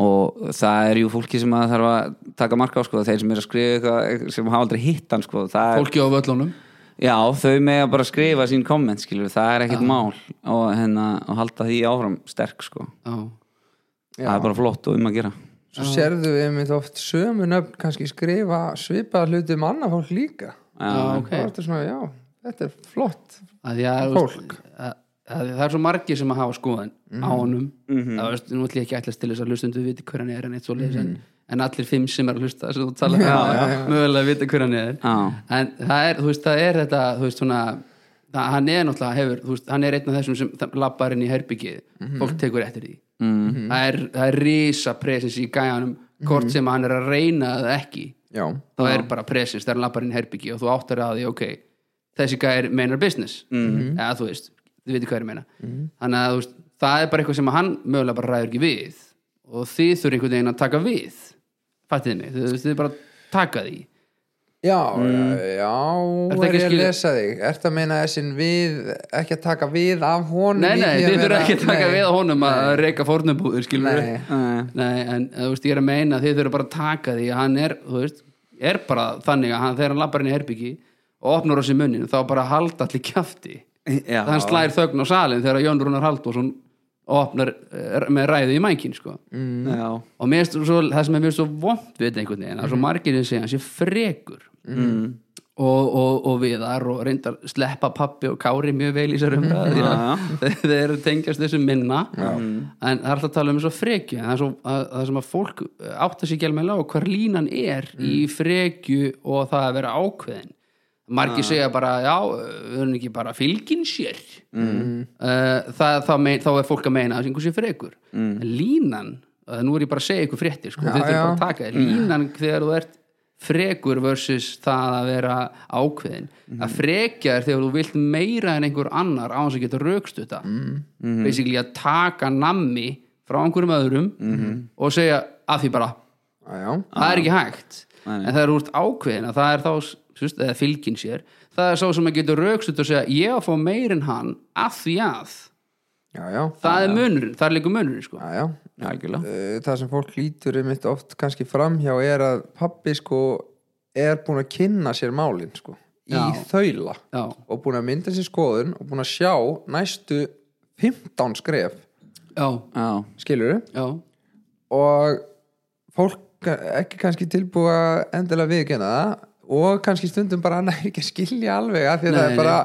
og það er jú fólki sem að þarf að taka marka á sko, þeir sem er að skrifa eitthvað sem hafa aldrei hitt hann sko það er, fólki á völlunum já, þau með að bara skrifa sín komment skilur, það er ekkit mál og, hérna, og halda því áfram sterk sko já, það er bara flott og um að gera svo sérðu við einmitt oft sömu nöfn kannski skrifa svipað hluti um annað fólk líka já, ok þá ertu svona, já, þetta er flott að því að, Fólk. að, að því það er svo margir sem að hafa skoðan á honum það veist, nú ætlum ég ekki ætlast til þess að hlustundu viti hver hann er en eitt svo leys en, en allir fimm sem er að hlusta sem þú talar um mögulega vita hver hann er Já. en það er, þú veist, það er þetta þú veist, svona, það, hann er náttúrulega hefur, þú veist, hann er einn af þessum sem lappar inn í herbyggið, fólk tekur eftir því mm. það, er, það er risa presens í gæjanum hvort sem hann er að reyna það ekki já, þá er bara presens, það er lapparinn herbyggi og þú áttar að því, ok þessi gæjar meinar business eða þú veist, þið veitir hvað er meina þannig að þú veist, það er bara eitthvað sem hann mögulega bara ræður ekki við og þið þurfi einhvern veginn að taka við fattiði mig, þið, þið, þið bara taka því já, já Ertu er ekki ég að skilur- lesa þig ert að meina þessin við ekki að taka við af honum Nei, í nei, því að þið þurfa vera- ekki að taka Nei. við á honum að reyka fórnubúður, skilur Nei. Nei, en eh, þú veist, ég er að meina að þið þurfa bara að taka því að hann er, þú veist, er bara þannig að hann, þegar hann lappar inn í herbyggi og opnar á sér munnin, þá bara halda allir kjafti Já. hann slær þögn á salin þegar Jón Rúnar Halldórsson opnar eh, með ræðu í mækin, sko Mm. já, og mér finnst svo, það sem er mér svo vond við þetta einhvern veginn, það er svo margir sem segja hann sé frekur mm. og, og, og viðar og reyndar sleppa pappi og kári mjög vel í þessar umræð mm. ja. þeir eru tengjast þessu minna en það er alltaf að tala um svo frekju en það, er svo, að, það sem að fólk átta sér gælmæla á hvar línan er í frekju og það að vera ákveðin margir segja bara, já, við erum ekki bara fylgin sér mm. það, þá, mein, þá er fólk að meina að einhver sé frekur mm. línan, að nú er ég bara að segja ykkur fréttir sko, þið þurfum bara að taka þér línan þegar þú ert frekur versus það að vera ákveðin að frekja er þegar þú vilt meira en einhver annar á hans að geta raukstuta mm. basically að taka nammi frá einhverjum öðrum og segja að því bara Já, já, það er ekki hægt en það er úrst ákveðin að það er þá sérst, eða fylgin sér, það er sá sem að getur raukstutt og segja ég á að fá meir en hann af því að, já, já, Ah. það er munurinn það er líka munurinn sko já, já. algjörlega Uh, það sem fólk lítur einmitt oft kannski framhjá er að pappi sko er búin að kynna sér málin sko, í Já. þaula Já. og búin að mynda sér skoðun og búin að sjá næstu 15 skref já, já, skilur já, og fólk ekki kannski tilbúið að endilega viðkynna það og kannski stundum bara hann er ekki að skilja alveg að því að það Nei, er bara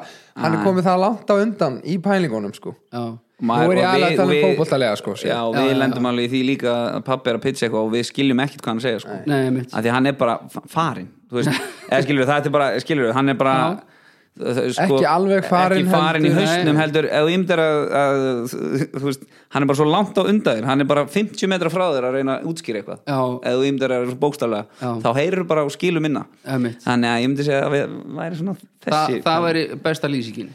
hann er komið það langt á undan í pælingunum sko já Nú er ég og aðlega við- að tala um og við- fótboltalega, sko, sér. Já, Já, við já, lendum alveg í því líka að pappi er að pitcha eitthvað og við skiljum ekkert hvað hann segja sko. Nei, mitt. Af Því hann er bara fa- farinn þú veist, eða skilur við, það er bara, skilur við, hann er bara þ- þ- sko, Ekki alveg farinn ekki farinn í heldur, hausnum nei. heldur eða þú ymdir að, að þú veist, hann er bara svo langt á undaðir hann er bara 50 metra frá þér að reyna að útskýra eitthvað Já. eða þú ymdir að bókstaflega Já. þá heyrir bara og skilur minna Einmitt. þannig að ég myndi segja að við væri svona það, þessi það væri besta lýsingin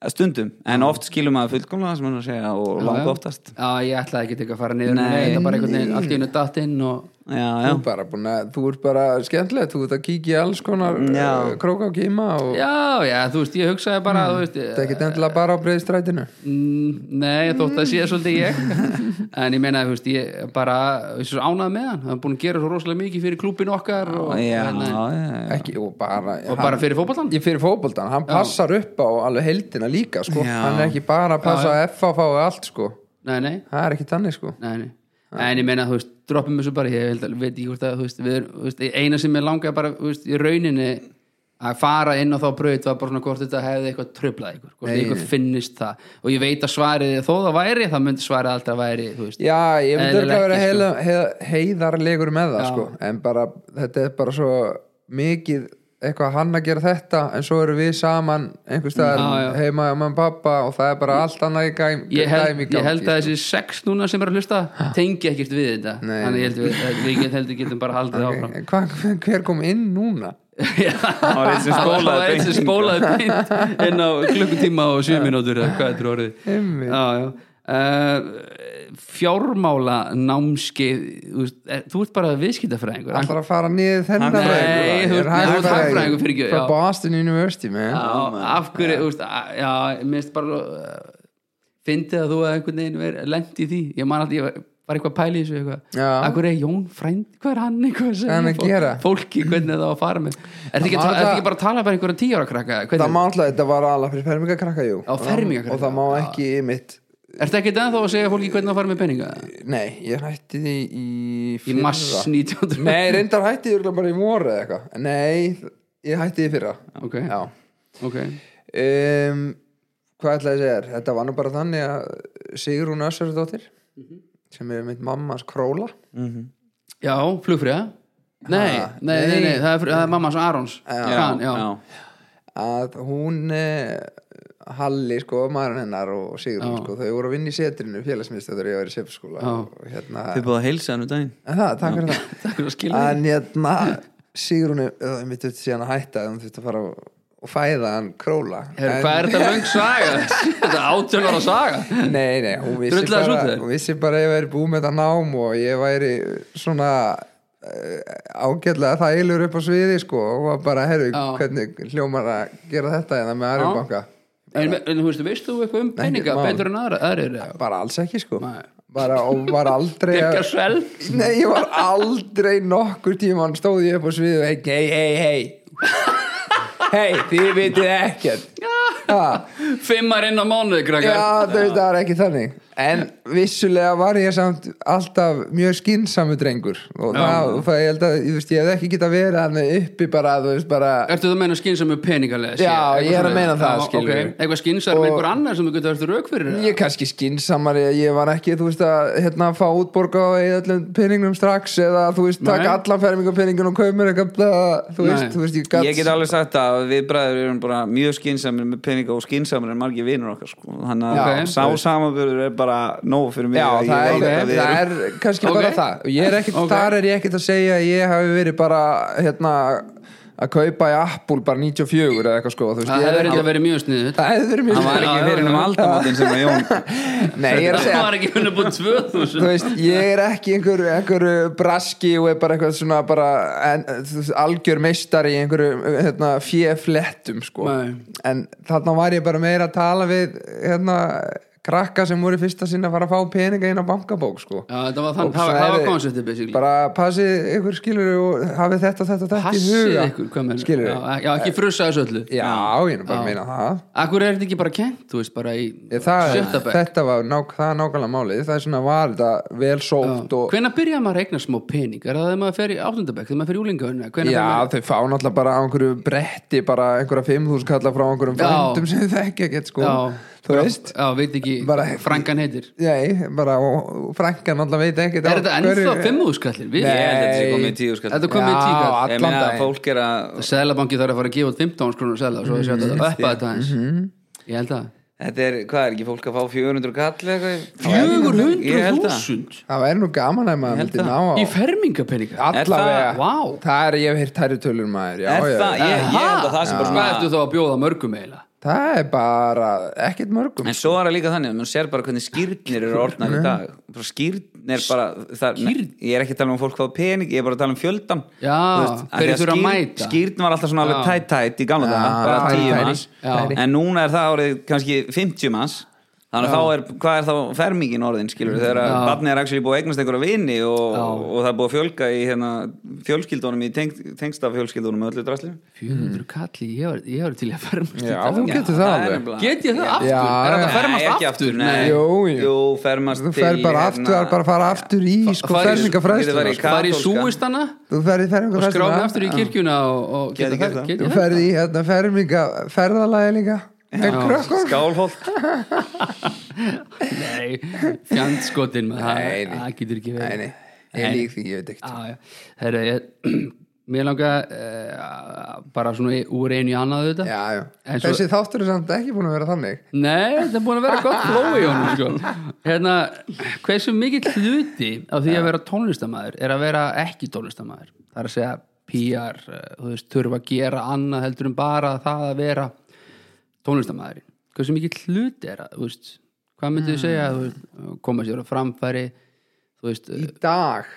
að stundum, en oft skilum að fullkomlega sem hann er að segja og Já, langt já. oftast já, ég ætlaði ekki að fara niður Nei. nei, það er bara einhvern veginn allt í einu datt inn og já, Þú já. er bara búin að, þú ert bara skemmtilegt, þú ert að kíkja í alls konar Já. uh, króka og kýma og já, já, þú veist, ég hugsaði bara Mm. þú veist, þetta er ekkert endilega bara á breiðstrætinu. Mm, Nei, þótt að sé svolítið ég en ég meina, þú veist, ég bara ég er svo ánað með hann, hann er búin að gera svo rosalega mikið fyrir klúbin okkar og, já, en, en, já, já. Ekki, og bara, og bara fyrir fótboltan ég fyrir fótboltan, hann passar upp á alveg heldina líka, sko. Já. Hann er ekki bara að passa á FFF og allt, sko. Nei, nei, Það er ekki þannig, sko. nei, nei en ég meina, þú veist, droppum þessu bara ég held, að- veit ekki hvort að, þú veist, við erum þú veist, e- eina sem ég langaði bara, þú veist, í rauninni að fara inn á þá braut var bara svona hvort þetta hefði eitthvað tröflað ykkur hvort ykkur finnist það og ég veit að svarið þó það væri, það myndi svarið alltaf væri, þú veist, Já, ég myndi Eðlilegt sko. örgulega vera ekki, heila, hei- heiðarlegur með það, sko. En bara, þetta er bara svo mikið eitthvað hann að gera þetta en svo eru við saman einhvers staðar heima hjá mamma og pappa og það er bara allt annað í gæm, ég held, dæmi í ég held gangi, að þessi sex núna sem er að hlusta tengi ekkert við þetta Nei. þannig ég held við, að við get, held við getum bara haldið áfram En Hva, Eh, hver kom inn núna? það var einn sem spólaði beint eins og spólaði beint inn á klukkutíma og sjö mínútur eða hvað þetta er Einmitt. orðið já, já. Uh, fjármála námskeið þú veist, er- þú ert bara viðskiptafræðingur Það er að fara niður þennan Nei, þú- Ég er þú- hagfræðingur, hagfræðingur fyrirgefðu, Frá já. Boston University, man Já, af hverju, þú veist, að- já, mér finnst bara uh, fyndið að þú að einhvern veginn veri lendi í því, ég man alltaf, ég var- var eitthvað pæli í þessu eitthvað, Já. af hverju er Jón frænd hvað er hann eitthvað sem Hvað er hann að gera? fólki, hvernig það á að fara með er þetta ekki, að- má ertu alltaf- ekki bara að tala bara einhverja tíu ára krakka Það hvernig, má alltaf, þetta var alveg fyrir fermingakrakka, jú Á, fermingarkrakka, Og það má já. ekki mitt ertu ekki ennþá að segja fólki hvernig það á að fara með peninga Nei, ég hætti því í í fyrra. mass 1900 Nei, reyndar hætti því bara í voru eða eitthvað Nei, ég hætti því fyrra Ok. Já ok, um, Hvað ætlaði að segja þér? Þetta var nú bara þannig að Sigrún Össardóttir Mhm. sem er mitt mammas króla já, flugfriða nei, Ha, nei, nei, nei, nei. það er, fr- það er mammas Arons Já, Kran, já, já. að hún eh, Halli sko, maðurinn hennar og Sigrun Já. sko, þau voru að vinna í setrinu félagsmiðstöður ég var í sefskóla Já. og hérna Þið búið að heilsa hann um daginn En það, takk fyrir það Takk fyrir að skilja en hérna Sigrún er- eða mitt upp síðan að hætta hún þurfti að fara og- og fæða hann króla Heru, Hvað er þetta löng saga? þetta er átjón ára saga nei, nei, hún vissi Drullaði þessu út bara þér? hún vissi bara að ég væri búið með þetta nám og ég væri svona eh, ágætlega þælur upp á sviði sko og var bara, herru, Já. hvernig hljómar að gera þetta en það með aðri banka En, en þú veistu, veistu þú eitthvað um peninga mál. betur en aðra, aðrir bara alls ekki sko Nei. bara, og var aldrei Birkja að svel Nei, ég var aldrei nokkur tíman stóð ég upp á sviðu hei, hei, hei, hei hei, þið vitið ekkert ha, Fimmar inn á mánuði, krakkar já, þau veist, það er ekki þannig en vissulega var ég samt alltaf mjög skinsamu drengur og það, það ég held að, ég veist, ég hef ekki geta verið hann uppi bara, þú veist, bara Ertu það að meina skynsam með peningalega? sé? Já, Eitthvað ég er að svoleiðis. meina það, Já, skilur. ok. Eitthvað skynsam Og- með einhver annar sem þú getur verið rauk fyrir það? ég er kannski skinsamari ég var ekki, þú veist, að hérna fá útborga og eða öllum peningum strax eða, þú veist, Nei. taka allan fermingu peningin og kaumur eitthvað, bla, þú Nei. veist, þú veist, ég gat Ég get alveg sagt að við bræður erum bara mjög skinsamir með peninga og skinsamir en margir vinur okkar sko. þannig að Já. sá samanbörður er bara nóg fyrir mig Já, Ég það veit er, að við það erum- er kannski Ok. bara það Ég er ekkit, Ok. Þar er ég ekkert að segja að ég hafi verið bara hérna, að kaupa í Apple bara 94 eða eitthvað sko þú veist, Það ég er hefur ekki- reynda verið mjög sniðið Það hefði verið mjög Hann var Já, ekki já, fyrir um já. aldamótin sem að Jón Nei, ég er að Það segja var ekki henni búin 2000 Þú veist, ég er ekki einhver, einhverju braski og er bara eitthvað svona bara en, þú veist, algjör meistari í einhverju hérna, fjöflettum sko. Nei. en þarna var ég bara meira að tala við hérna, krakka sem voru í fyrsta sinna að fara að fá peninga inn á bankabók sko. Já, þetta var þann, Og það var- það sagði- var konceptið basically bara passið ykkur skilur og hafið þetta, þetta, þetta í Passið huga ykkur, hvað meina? skilur Já, Já, ekki frussa þessu öllu já, ég er nú bara að meina það Akkur er þetta ekki bara kent, þú veist, bara í Ég, það, sjötta bekk þetta var nák, það er nákvæmlega málið það er svona var þetta vel sótt og Hvenær byrjaði maður að regna smá pening? Er það þegar maður fer í áttundabæk, þegar maður fer í úlingaunna? já, þau fá náttúrulega bara á einhverju bretti bara einhverja 5.000 kalla frá einhverjum Já. frændum sem þau ekki að geta sko þú veist, Já, veit ekki, Bara- frangan heitir nei, bara frænkan alltaf veit ekki Er þetta ennþá fimmuðskallir? Nei. Ég held að þetta sé komið í tíu skall Þetta komið í tíkall Já, Ég allan meina að daginn. fólk er að Sælabanki þarf að fara að gefa út 15 skrúnur sæla og svo þessi Mm-hmm. að þetta uppa þetta aðeins Ég held að Þetta er, hvað er ekki fólk að fá 400 kall eða eitthvað? Ég held að. 400.000 það væri nú gaman að maður Ég held myndi það. ná á í fermingapeninga Er það- allavega, Vá. það er ég hef heyrt tæri tölur maður já, Er já, það, já. ég, ég held að það sem bara Hvað ertu svona þá að bjóða mörgum eiginlega? það er bara ekkert mörgum En svo er það líka þannig að mann sér bara hvernig skýrnir eru orðnar í dag Bara Skýrn er bara það, ne, Skírn? Ég er ekki að tala um fólk fá pening Ég er bara að tala um fjöldan Já, Þú veist, af því þeir þurfa að skírn- mæta. Skýrn var alltaf svona alveg Já. tætt-tætt í gamla daga Já, Bara já, tíu tæri, manns tæri. En núna er það árið kannski 50 manns Þannig að þá er, hvað er þá fermingin orðin skilur þegar að Já. barnið er actually búið að eignast einhverja vini og, Já. og það er búið að fjölga í hérna, fjölskyldunum í tengst, tengsta fjölskyldunum með öllu drastlinu 400 kalli, ég var- ég var til í að fermast í Hmm. já, dag. þú getur það alveg Get ég það aftur? Já, Er þetta að já. fermast Nei, ekki aftur? nei. Jú, jú. jú fermast hérna þú fer bara aftur, það er bara að fara aftur í sko fara í- fermingafræðsluna getur farið sko. Það er í Katólska. súistana þú ferði og skráði í fermingafræðsluna aftur í kirkjuna og, og Geti gert það. get þú ég það? ferði í hérna, ferminga ferðalagi líka með krökkum skálholt Nei, fjandskotin maður, Nei, það nei. það getur ekki nei, verið nei, ég lík því, ég veit ekkert Já, já. Herra, ég, mér langa uh, bara svona í- úr einu í annað auðvitað. já, já. En svo- þessi þáttur er samt ekki búin að vera þannig Nei, þetta er búin að vera gott flow í honum, sko. Hérna, hversu mikill hluti af því að vera tónlistamæður er að vera ekki tónlistamæður? Það er að segja PR, eh, þú veist, þurfa að gera annað heldur en bara það að vera tónlistamæður. Hversu mikill hluti er að, þú veist, hvað myndið þið segja, þú veist, koma sér á framfæri, þú veist, í dag,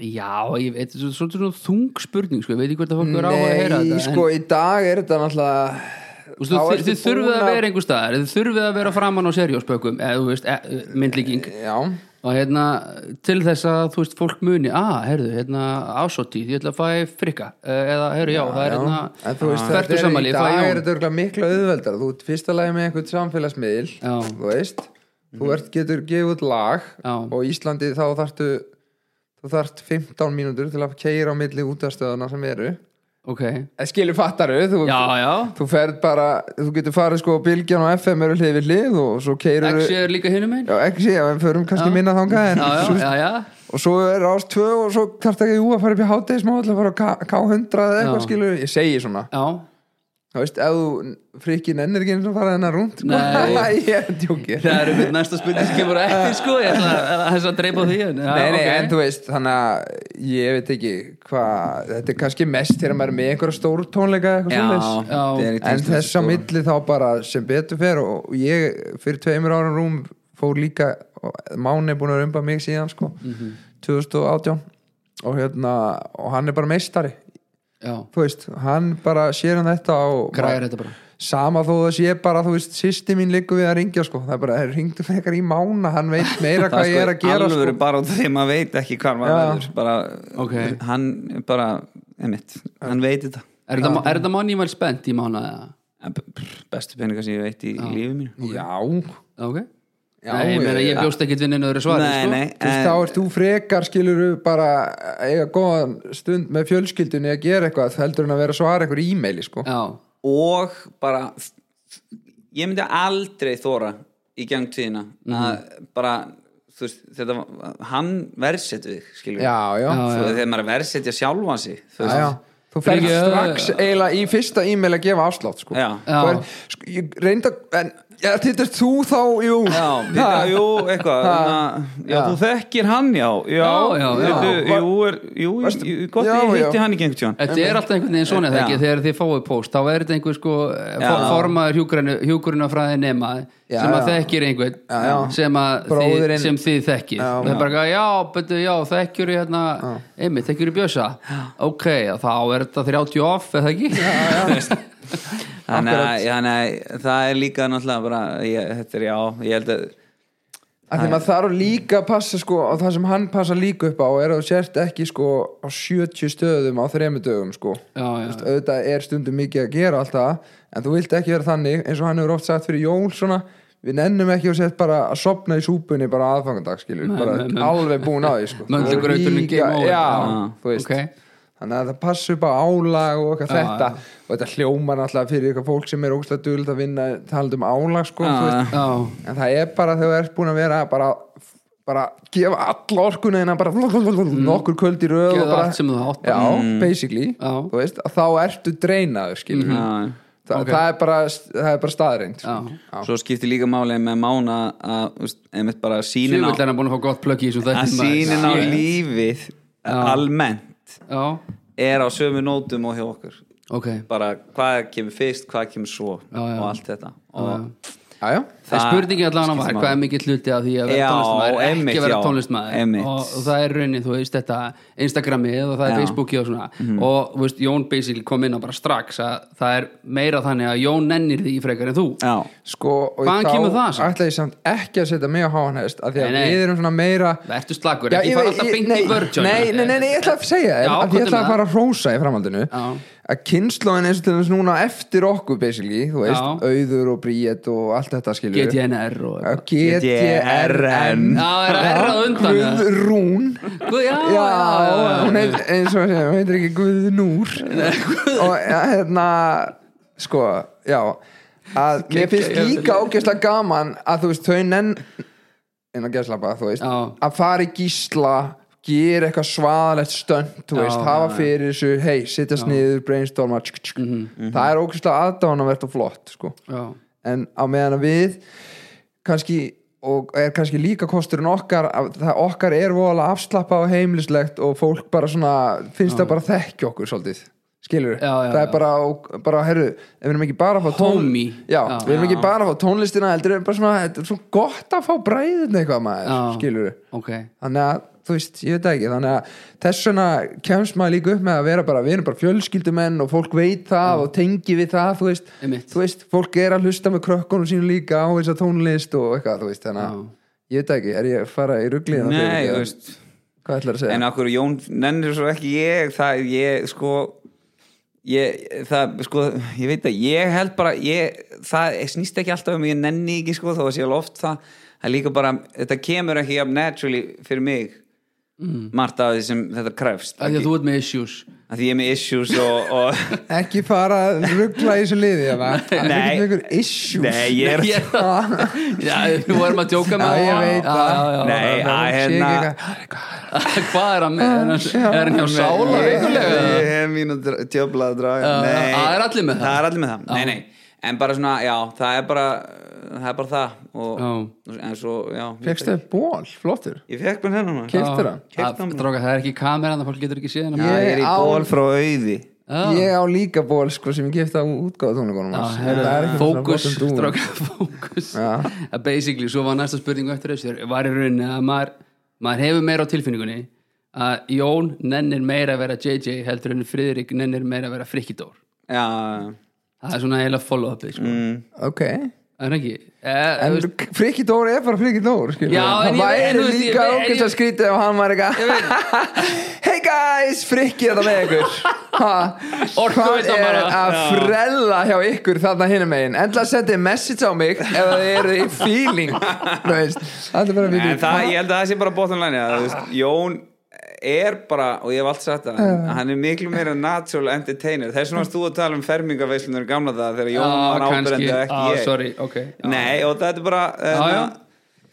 Já, ég veit, þetta er svona- svolítið svona þung spurning sko, ég veit ekki hvort að fólk er á að heyra nei, þetta sko í dag er þetta náttúrulega en, ústu, þá þið, ertu þið þurfið búin að vera einhver staðar þið þurfið að vera framan á serjóspökum eða, þú veist, e, myndlíking já, og hérna, til þess að, þú veist, fólk muni ah, herðu, hérna, ásóttíð, ég ætla að fæ frikka, E, eða, herðu, já, það er en þú hérna, veist, þetta færtu er í sammæli, ég fæ dag er jón þetta örugglega miklu auðveldar þú ert fyrsta lagi með einhvern samfélagsmiðl Já. Mhm. þú veist, þú ert getur gefið út lag Já. og í Íslandi þá þartu þú þart 15 mínútur til að keira á milli útastöðuna sem eru ok, en skilur fattaru, þú, já, já þú ferð bara þú getur farið sko bylgjan og FM eru hlið við hlið og svo keirur X er líka hinum einn já, ekki sé, en förum kannski Já. minna þangað en, já, já, já, já, og svo er rás 2 og svo þarf ekki jú að fara upp í hátegismá til að fara á K- K100 eða eitthvað Já. skilur, ég segi svona já Þú veist, ef þú frikið nennir ekki eins og fara þennan rúnd sko. Nei. ég er djókir það er einmitt næsta spurning sem kemur eftir sko, ég ætla að- þess að dreipa á því en, já, Nei, nei, ok. en þú veist, þannig að ég veit ekki hvað, þetta er kannski mest þegar maður er með einhverja stóru tónleika eitthvað svoleiðis. já. þetta er í en tengslum við þess á stóra. milli þá bara sem betur fer og ég fyrir tveimur árum rúm fór líka Máni er búin að rumba mig síðan sko Mhm. 2018 og hérna og hann er bara meistari já, þú veist, hann bara sér hann þetta og græðir þetta bara sama þó það sé bara þú veist, sýsti mín liggur við að ringja sko það er bara, það ringdu frekar í Mána hann veit meira það hvað ég er að gera alvöru sko. bara út af því að maður veit ekki hvað maður Já. verður bara, Ok. hann bara emitt, hann veit þetta er þetta- er þetta manni vel spennt í mánu eða? En b- pff, bestu peninga sem ég veit í lífi mínu já, ok Já, nei, ég, meina, ég ég- bjóst ekkit vinninu öðru svari nei, sko. nei, Þú veist, þá ert þú frekar skilur bara að eiga góðan stund með fjölskyldunni að gera eitthvað heldur en að vera að svara eitthvað e-maili sko. já, og bara ég myndi aldrei þóra í gang tíðina Mhm. að bara, þú veist, þetta var- hann verðsetu þig, Já, skilur já, þú veist, þegar maður er verðsetja sjálfan sig þú já, veist, já. Þú ferð Fyrir- strax eiginlega í fyrsta e-mail að gefa afslátt sko. Já. Já. Þú er, sko, ég reynda en, já, títast þú þá, jú Já, býta, jú, eitthvað na, já, Já. þú þekkir hann, já Já, já, já. veitu, Jú, er, jú, Varstu- jú, gott Já, ég já. hitti hann í gengur tjón þetta er alltaf einhvern veginn svona þegar Já. ekki þegar þið fáið post, þá er þetta einhver sko Já. for- formaður hjúkurunafræði nema Já, sem að já. þekkir einhvern Já, já. sem að þið, Bróðirinn. sem þið þekkir Já. það er bara eitthvað, já, betur, já, þekkjur í hérna einmitt, þekkjur í bjösa ok, og þá er þetta 30 off eða ekki? Já, Þannig að- þannig að það er líka náttúrulega bara, ég, þetta er já ég held að að því maður þarf líka að passa sko, og það sem hann passa líka upp á er að þú sért ekki sko, á 70 stöðum á þremur dögum sko. já, Þú veist, auðvitað er stundum mikið að gera alltaf en þú vilt ekki vera þannig eins og hann hefur oft sagt fyrir jól svona við nennum ekki og sett bara að sopna í súpunni bara aðfangandag skilur, bara nei, nei. alveg búin á því sko. Möndlugrauturinn Líka- game over. já, Já, þú veist ok. þannig að það passa upp á álag og Já, eitthvað þetta og þetta hljómar alltaf fyrir eitthvað fólk sem er ógstlega dugult að vinna talað um álag sko, Já, Ah. þú veist já. já, en það er bara þegar þú ert búin að vera bara, bara gefa all orkuna þína bara nokkur kvöld í röð Gefðu og bara, Mm. allt sem þú átt. Mm. já, basically Já. Mhm. þú veist, að þá ertu dreinaður skilur mm já, Þa, Ok. það, er bara, það er bara staðreind sko. Já. svo skiptir líka máli með mána að, þú veist, einmitt bara sínin á sjöfull er hann búin að fá gott plögg í þessum að þættum maður. sínin á Shit. lífið almennt já, er á sömu nótum og hjá okkur ok, bara hvað kemur fyrst, hvað kemur svo já. og allt þetta og já, já. það er Það spurningi allan að var skiptir hvað er mikill hluti af því að vera Já, tónlistmaður ekki einmitt, að vera já, tónlistmaður einmitt. og það er raunin, þú veist, þetta Instagramið og það er Já. Facebookið og svona Mhm. og þú veist, Jón basically kom inn á bara strax að það er meira þannig að Jón nennir því frekar en þú já, Sko, og Hvaðan kemur það þá samt? ætla ég samt ekki að setja mig á háan hest af því Nei, að nei. við erum svona meira Vertu slagur, Já, ekki ég fara veit- alltaf ég- beint nei, í vörð Johnny. nei, nei, nei, nei, ég ætla að segja þér Já, af því ég komdu ætla með að fara að hrósa í framhaldinu Já. að kynnslóðin eins og til þess núna eftir okkur basically, þú veist, Já. auður og bríet og allt þetta skilur við. GTNR og Já, GTRN Já, er að erra undan eða? Guðrún Guð, já, Já, hún heit, eins og að segja, hún heitir ekki Guðnúr Og ja, hérna, sko, já að Mér finnst líka ógeðslega gaman að þú veist, þau nenn inn á geðslapa, þú veist Já. að fara í gísla gera eitthvað svaðalegt stönd þú veist, hafa fyrir þessu, hei, sittast niður brainstorma, tsk, tsk. Mhm, það er ógeðslega aðdánavert og flott, sko já, en á meðan að við kannski og er kannski líka kosturinn okkar að það okkar er voðalega afslappa og heimlislegt og fólk bara svona finnst það bara þekki okkur svolítið skilur, Já, já, það er já. bara, og, bara herru, ef við erum ekki bara að fá tón Homey. já, Já. við erum ekki bara að fá tónlistina heldur, er bara svona, þetta er svo gott að fá bræðin eitthvað maður, Já. skilur ok þannig að, þú veist, ég veit það ekki þannig að þess vegna kemst maður líka upp með að vera bara, við erum bara fjölskyldumenn og fólk veit Mm. það og tengi við það, þú veist Einmitt. þú veist, fólk er að hlusta með krökkunum sínu líka á þess að tónlist og eitthvað, þú veist, þannig að Já. ég veit það ekki, er ég að fara í ruglið hérna nei, þú veist hvað ætlar að segja? en okkur Jón nennir svo ekki ég það ég sko ég, það sko, ég veit að ég held bara, ég, það snýst ekki alltaf um ég nenni ekki sko, þó að sé alveg oft það það er líka bara, þetta kemur ekki jafn naturally fyrir mig margt af því sem þetta krefst að Mm. því að þú ert með issues að því ég er með issues og, og ekki fara að ruggla í þessu liði hérna. það er Nei. ekki með ykkur issues nei, ég er Ég- já, við vorum að djóka með Já, ég það. veit Já, það. já, já. nei, að Sé ekki hérna eitthvað- hvað er hann með er hann- er hann hjá sála veikulega Ég hef mínu djöfla að Já, draga Nei. það er allir með það. Það er allir með það, nei nei En bara svona, já, það er bara Það er bara það og, En svo, já ég- Fékkstu þér ból, flottur Ég fekk mér hérna hennar maður Keyptir hann? Að- Keypti hann. Ah, Strákar, það er ekki kameran það fólk getur ekki séð Já, hana Ég er í Ég á- ból frá auði Ég á líka ból sko sem ég gifta á útgáðu tónleikonum hans. Það er ekki fókus, svona gott um dúr. strákar, fókus Já. Að basically, svo var næsta spurningu eftir þessu er- var í rauninni að maður, maður hefur meira á tilfinningunni að Jón nennir meira að vera JJ heldur en Friðrik nennir meira að vera Frikkidór Já, það er svona eiginlega follow-upið sko. mm. Ok en ekki eh, En en, Friki Dór er bara Friki Dór skilur við. Já, en Það ég- en væri þú veist, ég- líka en ég- ákveðs að skrýta ef hann var eitthvað Hey guys, Friki er það með ykkur Ha, Hvað Orkuveitan er bara. að frella hjá ykkur þarna hinum megin Endla sendi message á mig ef það eru í feeling Þú veist, Það er bara að en vita það, ég held að það sé bara bóttan læni að, þú veist, Jón er bara, og ég hef allt sagt það uh. hann er miklu meira natural entertainer þess vegna varst þú að tala um fermingaveislunar gamla það þegar Jón Ah, var ábyrjandi og ekki ah, ég sorry, ok Nei, og þetta er bara hérna, já.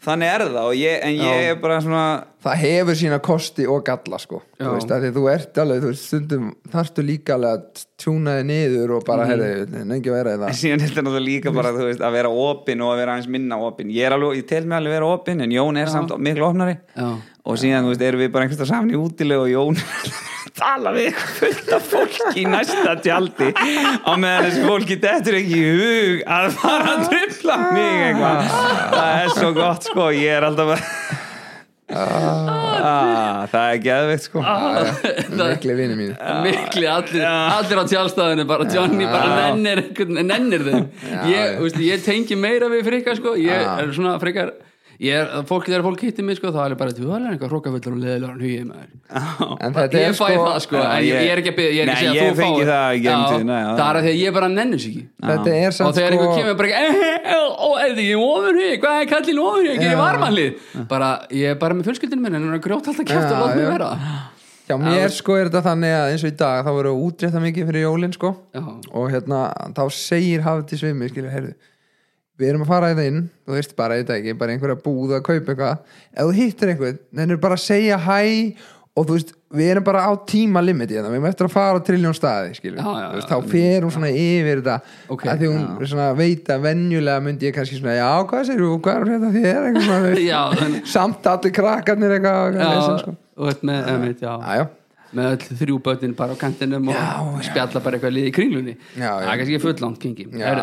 Þannig er það og ég, En ég er bara svona það hefur sína kosti og galla sko Já. þú veist, að því þú ert alveg þú veist, stundum þarftu líka alveg að tjúna þig niður og bara, mm. herri, nengi að vera í það Síðan er þetta náttúrulega líka bara þú veist, Að vera opinn og að vera aðeins minna opinn Ég, er alveg, ég tel mig alveg vera opinn En Jón er samt miklu opnari Já. Og síðan þú veist, erum við bara einhverstað saman í útilegu Og Jón tala við eitthvað fullt af fólki í næsta tjaldi á meðan þessi fólki dettur ekki í hug að fara að tripla mig eitthvað það er svo gott sko ég er alltaf bara ah, það er geðveikt sko Ah. mikli vinni mín mikli, allir, allir á tjálstæðinu bara Johnny bara nennir, einhvern- nennir þeim ég, þú veist, ég tengi meira við frikar sko, ég er svona frikar ég er, fólk, þegar fólk hittir mig sko þá er ég bara, þú er alveg eitthvað hrókafullur og leðilegur en hugið maður en þetta ég er fæ sko það sko, Já, en ég, ég- ég er ekki að byrja ég er ekki að Nei, segja ég að þú fengi fáir það í gegnum Já, tíðina, já. það er að því að ég bara nennur sig ekki þetta er og samt þegar einhver sko kemur bara ekki "Eh, eh, ó, er þið ekki ofur hug, hvað er kallin ofur hug gerir varmanlið, bara ég er bara með fjölskyldinu minn en hún er grjót alltaf kæft og Já, lótt mig já. vera hjá mér sko er þetta þannig að eins og í dag þá verður útrétta mikið fyrir jólin sko Já. og hérna þá segir Hafdís við mig skilur, heyrðu við erum að fara þetta inn, þú veist bara þetta ekki bara einhverja búð að kaupa eitthvað ef þú hittir einhvern, þannig er bara að segja hæ og þú veist, við erum bara á tíma limiti, þannig við erum eftir að fara á triljón staði, skilur, Já, já, þú veist, já, þá fer hún svona yfir þetta Ok, að því hún svona veit að venjulega myndi ég kannski svona, já, hvað segir þú, hvað er þetta þér eitthvað svona, þú veist. Já, þannig- samt allir krakkarnir eitthvað, Já, eitthvað lesen, sko. og þetta með, emitt, já já, já, með öll þrjú bötin bara á kantinum og spjalla bara eitthvað liði í kringlunni Já, já. það er kannski fulllangt kengi Já,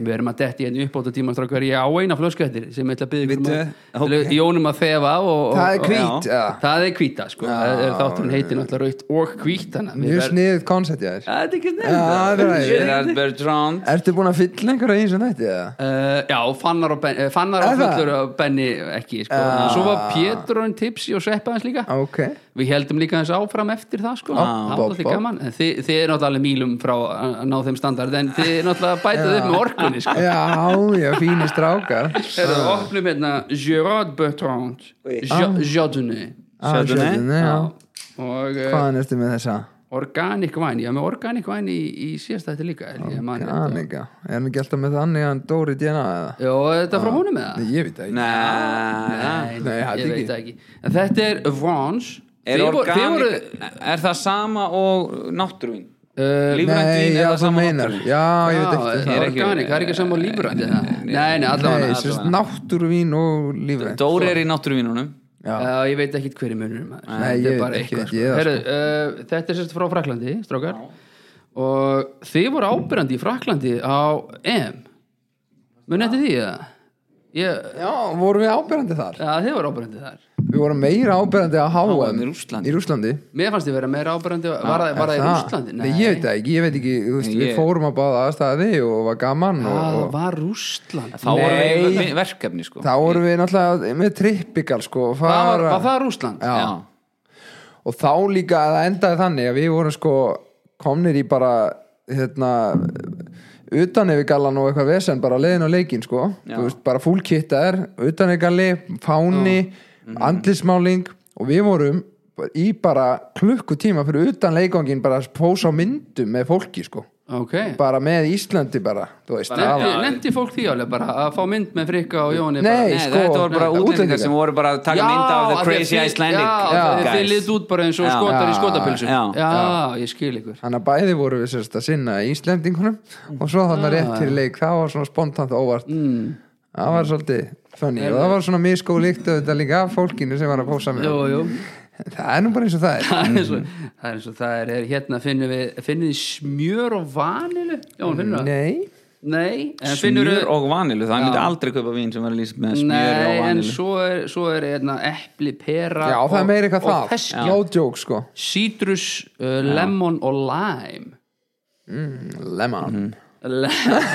við erum að detti hérna upp átta tíma strákar ég á eina flöskuettir sem ég ætla að byggja Bíddu, ok. Jónum að þefa og, og, það er og- hvít já. já. það er hvíta sko. það er þátturinn heitir náttúrulega raut og hvít þannig að við mjög verð- sniðið koncept, já, Já, þetta er ekki Já, það er nefnt það. Gerard Bertrand ertu búin að fylla einhverja í þessum þetta, eða? Uh, já, fannar og, ben, eh, fannar og Er það? Ah. fullur og Benni ekki sko. svo var Pétur og hann tipsi og sveppa hans líka ok, við heldum líka þess áfram eftir það sko. það var bop, alltaf bop. gaman En þið, þið er náttúrulega alveg mýlum frá að að ná þeim standard en þið er náttúrulega bætið upp með orkunni sko. já, já, fínir strákar er það opnum hérna Gerard Bertrand Oui. Jodunni Ah, Chardonnay. Chardonnay, já. og uh, Hvaðan ertu með þessa? Organic Wine, ég er með Organic Wine í, í síðasta þetta líka held ég, man rétt. Anika, er hann ekki alltaf með þannig að hann Dóri DNA eða? Jó, er þetta frá honum með það? Ah. Nei, ég veit það ekki Nei, Nei, Nei, það ég ekki. veit það ekki En þetta er Vrange er, Þið voru- þið organik, voru- er það sama og náttúrun? Uh, Lífrænt Eh, vín Nei, er já, það þú sama og meinar náttúruvín? Já, ég veit Já, er ekki það. ekki- Organic, það er ekki saman lífrænt eða? Nei, nei, Nei, allavega sérst náttúruvín og lífrænt Sko. Dóri er í náttúruvínunum Já, Já, ég veit ekkit hverju munur Nei, ég veit ekki, ekki ég sko. uh, það, sko. Þetta er sérst frá Fraklandi, strákar Og þið voru ábyrjandi í Fraklandi á EM Mun eftir því, eða? Ég, já vorum við áberandi þar? já, þið voru ábyrjandi þar Við vorum meira áberandi á HM í Rússlandi. Í Rússlandi Mér fannst þið vera meira ábyrjandi Var það- var það í Rústlandi? Nei, ég veit það ekki, ég veit ekki þú veist, Ég- Við fórum að báða aðstæði og var gaman og, Það og var Rústland Þá voru Nei. við í verkefni sko Þá vorum við náttúrulega með trippikal sko, og Það var, fara- var það Rústland? Já. og þá líka að það endaði þannig að við vorum sko komnir í bara hérna utan yfir gallan og eitthvað vesen bara leiðin á leikin sko Þú veist, bara fúlkittaðir, utan yfir galli fáni, andlismáling Mhm. og við vorum í bara klukkutíma fyrir utan leikongin bara að pósa á myndum með fólki sko ok bara með Íslandi bara, þú veist það var- lendi fólk því alveg bara að fá mynd með Frikka og Jóni Nei, bara, Nei, Nei, sko, þetta voru nei, bara útlendingar. útlendingar sem voru bara að taka mynd af The af því að Crazy þið- Icelandic já, af því að guys. þið lit út bara eins og Já. skotar í skotapilsu Já. já, ég skil ykkur Þannig að bæði voru við sérst að sinna Íslendingunum og svo Ah. þannig rétt fyrir leik það var svona spontant óvart mm. það var svolítið funny og það var svona miskóð líkt auðvitað líka af fólkinu sem var að pósa með jú, jú. Mm. það er nú bara eins og það er það er eins og það er, eins og það er, er hérna finnum við finnum við smjör og vanilu Jón, finnur það? Nei, Nei, en finnur Mm. smjör og vanilu, það myndi aldrei kaupa vín sem var lýst með smjör og Nei, en vanilu svo er, svo er hérna, epli, pera já og- það er meira eitthvað og það fesk- no joke sko Citrus, uh, lemon og lime lemon Mhm. mm.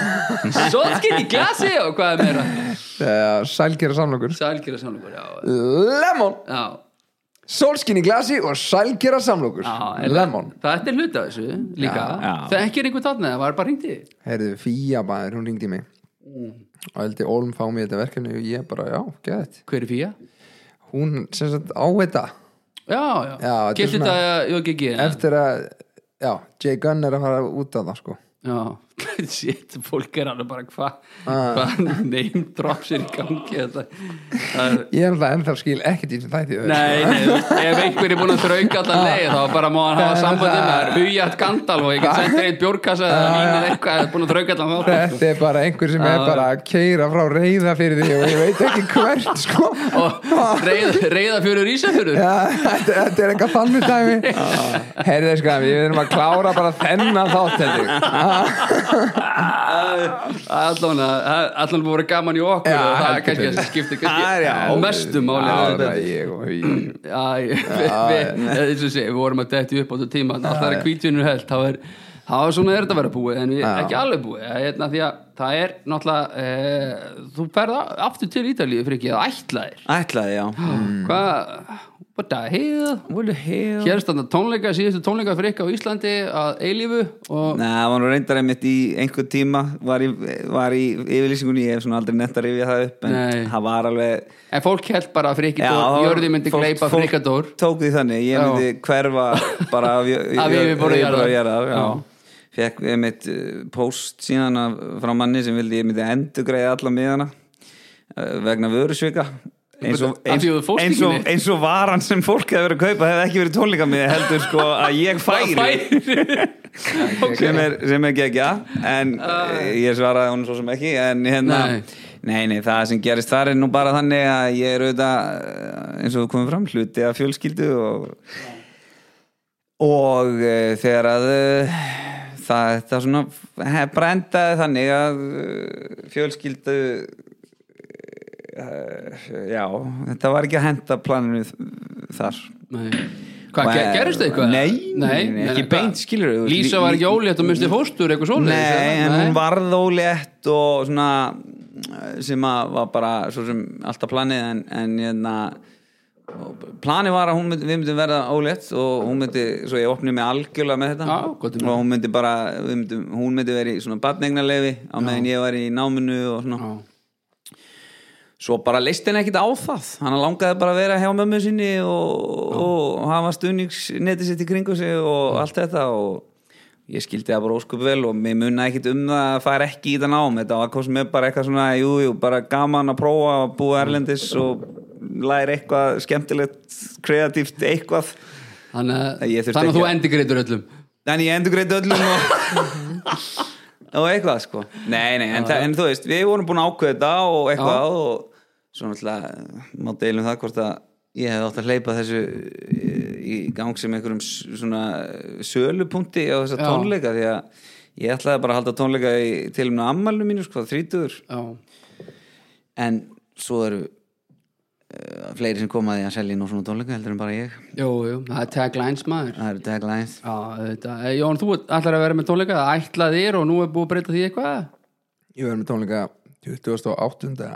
Sótskinn í glasi og hvað er meira sælgera samlokur Sælgjara samlokur, já lemon, Já, sólskin í glasi og sælgera samlokur já en lemon Það er hluta þessu líka Já, já. Það ekki er einhver þarna, það var bara hringdi heyrðu fíja maður, hún ringdi í mig Mm. og heldur Olm fá mér þetta verkefni og ég bara já, geðið Hver er fíja? hún sem sagt á þetta Já, já, Já, þetta er getur svona- þetta JGG eða? eftir að já, Jay Gunn er að fara út af það sko Já, shit, fólk er alveg bara hvað Ah. hvað name drops er í gangi þetta Það er ég er alltaf ennþá skil ekkert í þessum þætti þú veist. Nei, nei, þú veist, ef einhver er búin að þrauka allan leið þá bara má hann hafa sambandi með það Hujart Gandalf og ég get sent einn bjórkassa eða mínað eitthvað, það er búin að þrauka allan sko. þá þetta er bara einhver sem er bara að keira frá reyða fyrir því og ég veit ekki hvert sko og reyða, reyða fjörur Ísafjörur Já, þetta þetta er eitthvað þannig dæmi Herðið sko, við erum að klára bara þennan þátt heldur allan, allan búin að vera gaman í okkur Já, og það heldur er kannski betur. það skiptir Já, kannski já. og mestu Já, máli það ég og ég eins og sé, við vorum að detti upp á þetta tíma alltaf það er kvítjunur held þá er, þá er svona er þetta að vera búið en við, ekki alveg búið það er, hérna því að, það er náttúrulega e, þú ferð aftur til Ítalíu fyrir ekki að ætla þér Ætlaði, já hvað, what the hell What the hell? hér standa tónleika, síðustu tónleika fyrir ekki á Íslandi að eilífu og Nei, það var nú reyndar einmitt í einhver tíma var í, var í yfirlýsingunni ég hef svona aldrei netta rifið það upp en Nei. það var alveg en fólk held bara að Já, það Frikidór, var- Jörði myndi fólk- gleipa fólk Frikadór Tók því þannig, ég Já. myndi hverfa bara af Af yfirborði jarðar. Já. Fekk einmitt eh, post síðan af, frá manni sem vildi ég myndi endugreiða alla miðana eh, vegna vörusvika eins og, Af því að þú fórst eins, ekki og, neitt. eins og varan sem fólk hefði verið að kaupa hefði ekki verið tónleika miði heldur sko að ég færi sem er, sem er gegja en uh. ég svaraði hún svo sem ekki en hérna, Nei. nei. nei, það sem gerist þar er nú bara þannig að ég er auðvitað eh, eins og við komum fram hluti af fjölskyldu og og uh, þegar að uh, það, það svona hef, bara endaði þannig að uh, fjölskyldu uh, já, þetta var ekki að henda planinu þ- þar Nei. hvað, Og, ge eh, gerist þið eitthvað? Nei, nei, ekki hvað? beint, skilurðu, þú veist, Lísa lí- var lí- jólétt og misti fóstur, eitthvað svoleiðis Nei, eða? en hún varð ólétt og svona eh, sem að var bara svo sem alltaf planið en, en hérna planið var að hún myndi, við myndum verða ólétt og hún myndi, svo ég opni mig algjörlega með þetta Já, gott um. og hún myndi bara við myndum, hún myndi verið í svona badnegnarleifi á meðan ég var í náminu og svona Já. svo bara leist henni ekkit á það hann langaði bara að vera hjá mömmu sinni og, og hafa stuðningsneti sitt í kringu sig og allt þetta og ég skildi það bara óskup vel og mér munna ekkit um það að fara ekki í þetta nám þetta var kom sem er bara eitthvað svona jú, jú, bara gaman að prófa að búa erlendis og læra eitthvað skemmtilegt, kreatíft eitthvað þannig Nei, að ég þurfti þannig að þú ekki að- endi greitur öllum en ég endur greiði öllum og, og eitthvað sko nei, nei, en, þa- en þú veist, við vorum búin að ákveða þetta og eitthvað og svo náttúrulega má deilum það hvort að ég hefði átt að hleypa þessu eh, í gang sem einhverjum s- svona eh, sölupunkti á þessa Já. tónleika því að ég ætlaði bara að halda tónleika í tilumna ammælinu mínu sko, þrítugur já, en svo eru uh, fleiri sem koma að því að selja inn á svona tónleika heldur en bara ég jú, jú, það er taglines maður það eru taglines já, þetta, Eh, Jón, þú ætlar að vera með tónleika það ætlað þér og nú er búið að breyta því eitthvað Ég verður með tónleika 28.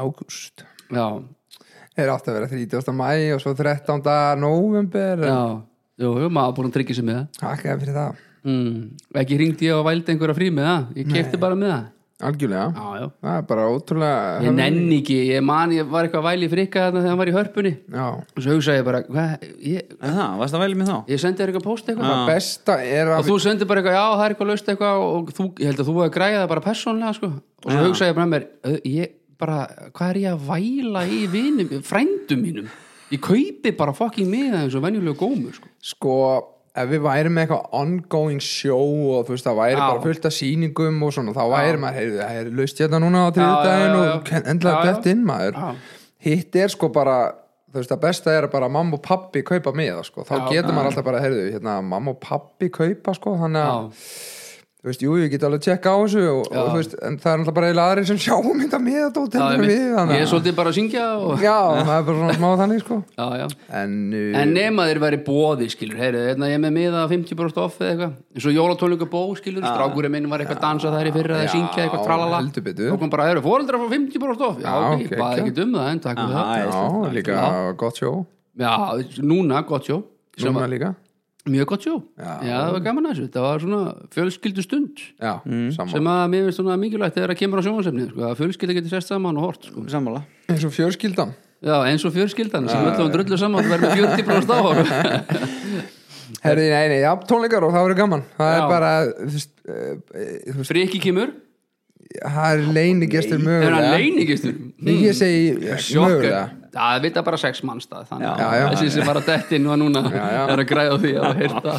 ágúst já, er átt að vera 30. mæ og svo 13. november já, jú, jú, maður búin að tryggja sig með það Takk eða fyrir það mm. ekki ringdi ég og vældi einhverja frí með það ég kefti bara með það algjörlega já, já það er bara ótrúlega ég nenni ekki, ég man, ég var eitthvað væli frikka þarna þegar hann var í hörpunni já og svo hugsaði ég bara, hvað, ég, Það, varst að velja mig þá? ég sendi þér eitthvað post eitthvað Það besta er og að þú sendir bara eitthvað, já, það er eitthvað laust eitthvað og þú, ég held að þú hefði græðið það bara persónlega sko. og Ah. svo hugsaði ég bara með mér "Ö, ég bara, hvað er ég að væla í vinum, frændum mínum ég kaupi bara fucking miða eins og venjulegu gómu sko. sko ef við væri með eitthvað ongoing show og þú veist það væri Já. bara fullt af sýningum og svona þá væri maður, heyrðu það er laust hérna núna á já, þriðdægin já, og já. endlaði Já, já. dætt inn maður Já. hitt er sko bara þú veist það besta er að bara mamma og pappi kaupa miða sko, þá Já. getur maður alltaf bara heyrðu hérna mamma og pappi kaupa sko þannig að Já. þú veist, jú, ég get alveg að tjekka á þessu og, og þú veist, en það er alltaf bara eiginlega aðri sem sjáum þetta miða dótt það er heldur en við mitt, ég er þannig að- svolítið bara að syngja og, já, það er bara svona smá þannig sko já, já. en, uh, en nema þeir væri bóði skilur, heyrðu, hérna ég er með miða 50% off eða eitthvað, eins og jólatónleika bó skilur, strákurinn minn var eitthvað að dansa þær í fyrra eða Ah. Já, syngja eitthvað tralala heldur betur. og kom bara, heyrðu, fóreldrar fá 50% off já, Já, ok, ok, ég baði ok. ekki um það en takk fyrir Aha, það já. já, líka gott sjó Já, núna gott sjó sem núna var líka mjög gott sjó Já. það var gaman að þessu, það var svona fjölskyldu stund Já, saman sem að mér finnst svona mikilvægt þegar að kemur á sjónvarsefni sko, að fjölskylda getur sérst saman og hort sko. Sammála eins og fjörskildan Já, eins og fjölskyldan sem öllum drullu saman og verður 40 bróðst á Herði, nei, nei, já, tónleikar og það verður gaman Það Já. er bara, þú veist, eh, eh, þú veist Friki kemur, Það er leinigestur er hann Hmm. mögulega leinigistur Nei, ég segi eh, Sjokkar, mögulega það vita bara sex mannstað þannig Já, að já. þessi sem var að detti nú að núna já. er að græða á því að heyrta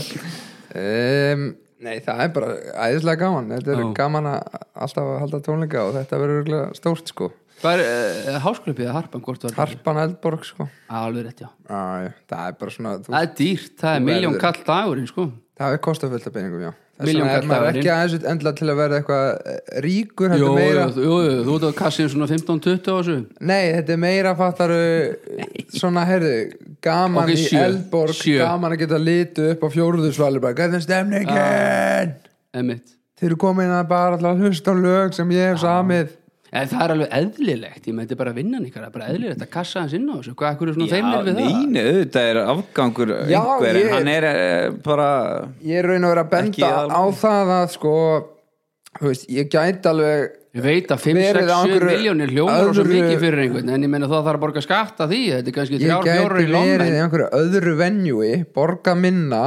um, Nei, það er bara æðislega gaman Þetta er Já. gaman að alltaf að halda tónleika og þetta verður örugglega stórt, sko Hvað er uh, hásklöpið að harpan hvort var? Harp. Harpan Eldborg, sko Alveg rétt, já Æ, Það er bara svona, þú, Það er dýrt, það er miljón kall dagurinn sko það er kostafullt af peningum, já Þess Milljón vegna er kall maður dagurinn. ekki aðeins endla til að verða eitthvað eh, ríkur Jú, heldur meira jú, jú, jú, þú ert á kassinu svona 15-20 á þessu Nei, þetta er meira fattaru svona, heyrðu, gaman Ok, sjö, í Eldborg sjö. gaman að geta litu upp á fjóruðusvalur bara, hvernig er stemningin Ah. Emmitt þeir eru komin að bara alltaf hlusta á lög sem ég hef Ah. samið En það er alveg eðlilegt, ég með þetta er bara vinnan ykkar, það er bara eðlilegt að kassa hans inn á þessu, hvað akkur er svona feimnir við það? neini, auðvitað er afgangur Já, einhver ég- en hann er eh, bara ég er raun og vera að Ekki benda alveg. á það að sko þú veist, ég gæti alveg Ég veit að Verið á 5-6 einhverju miljónir hljómar og svo öðru- mikið fyrir einhvern, en ég meina það þarf að borga skatt af því, þetta er kannski ég 3-4 gæti í verið í lommen. einhverju öðru venjui borga minna,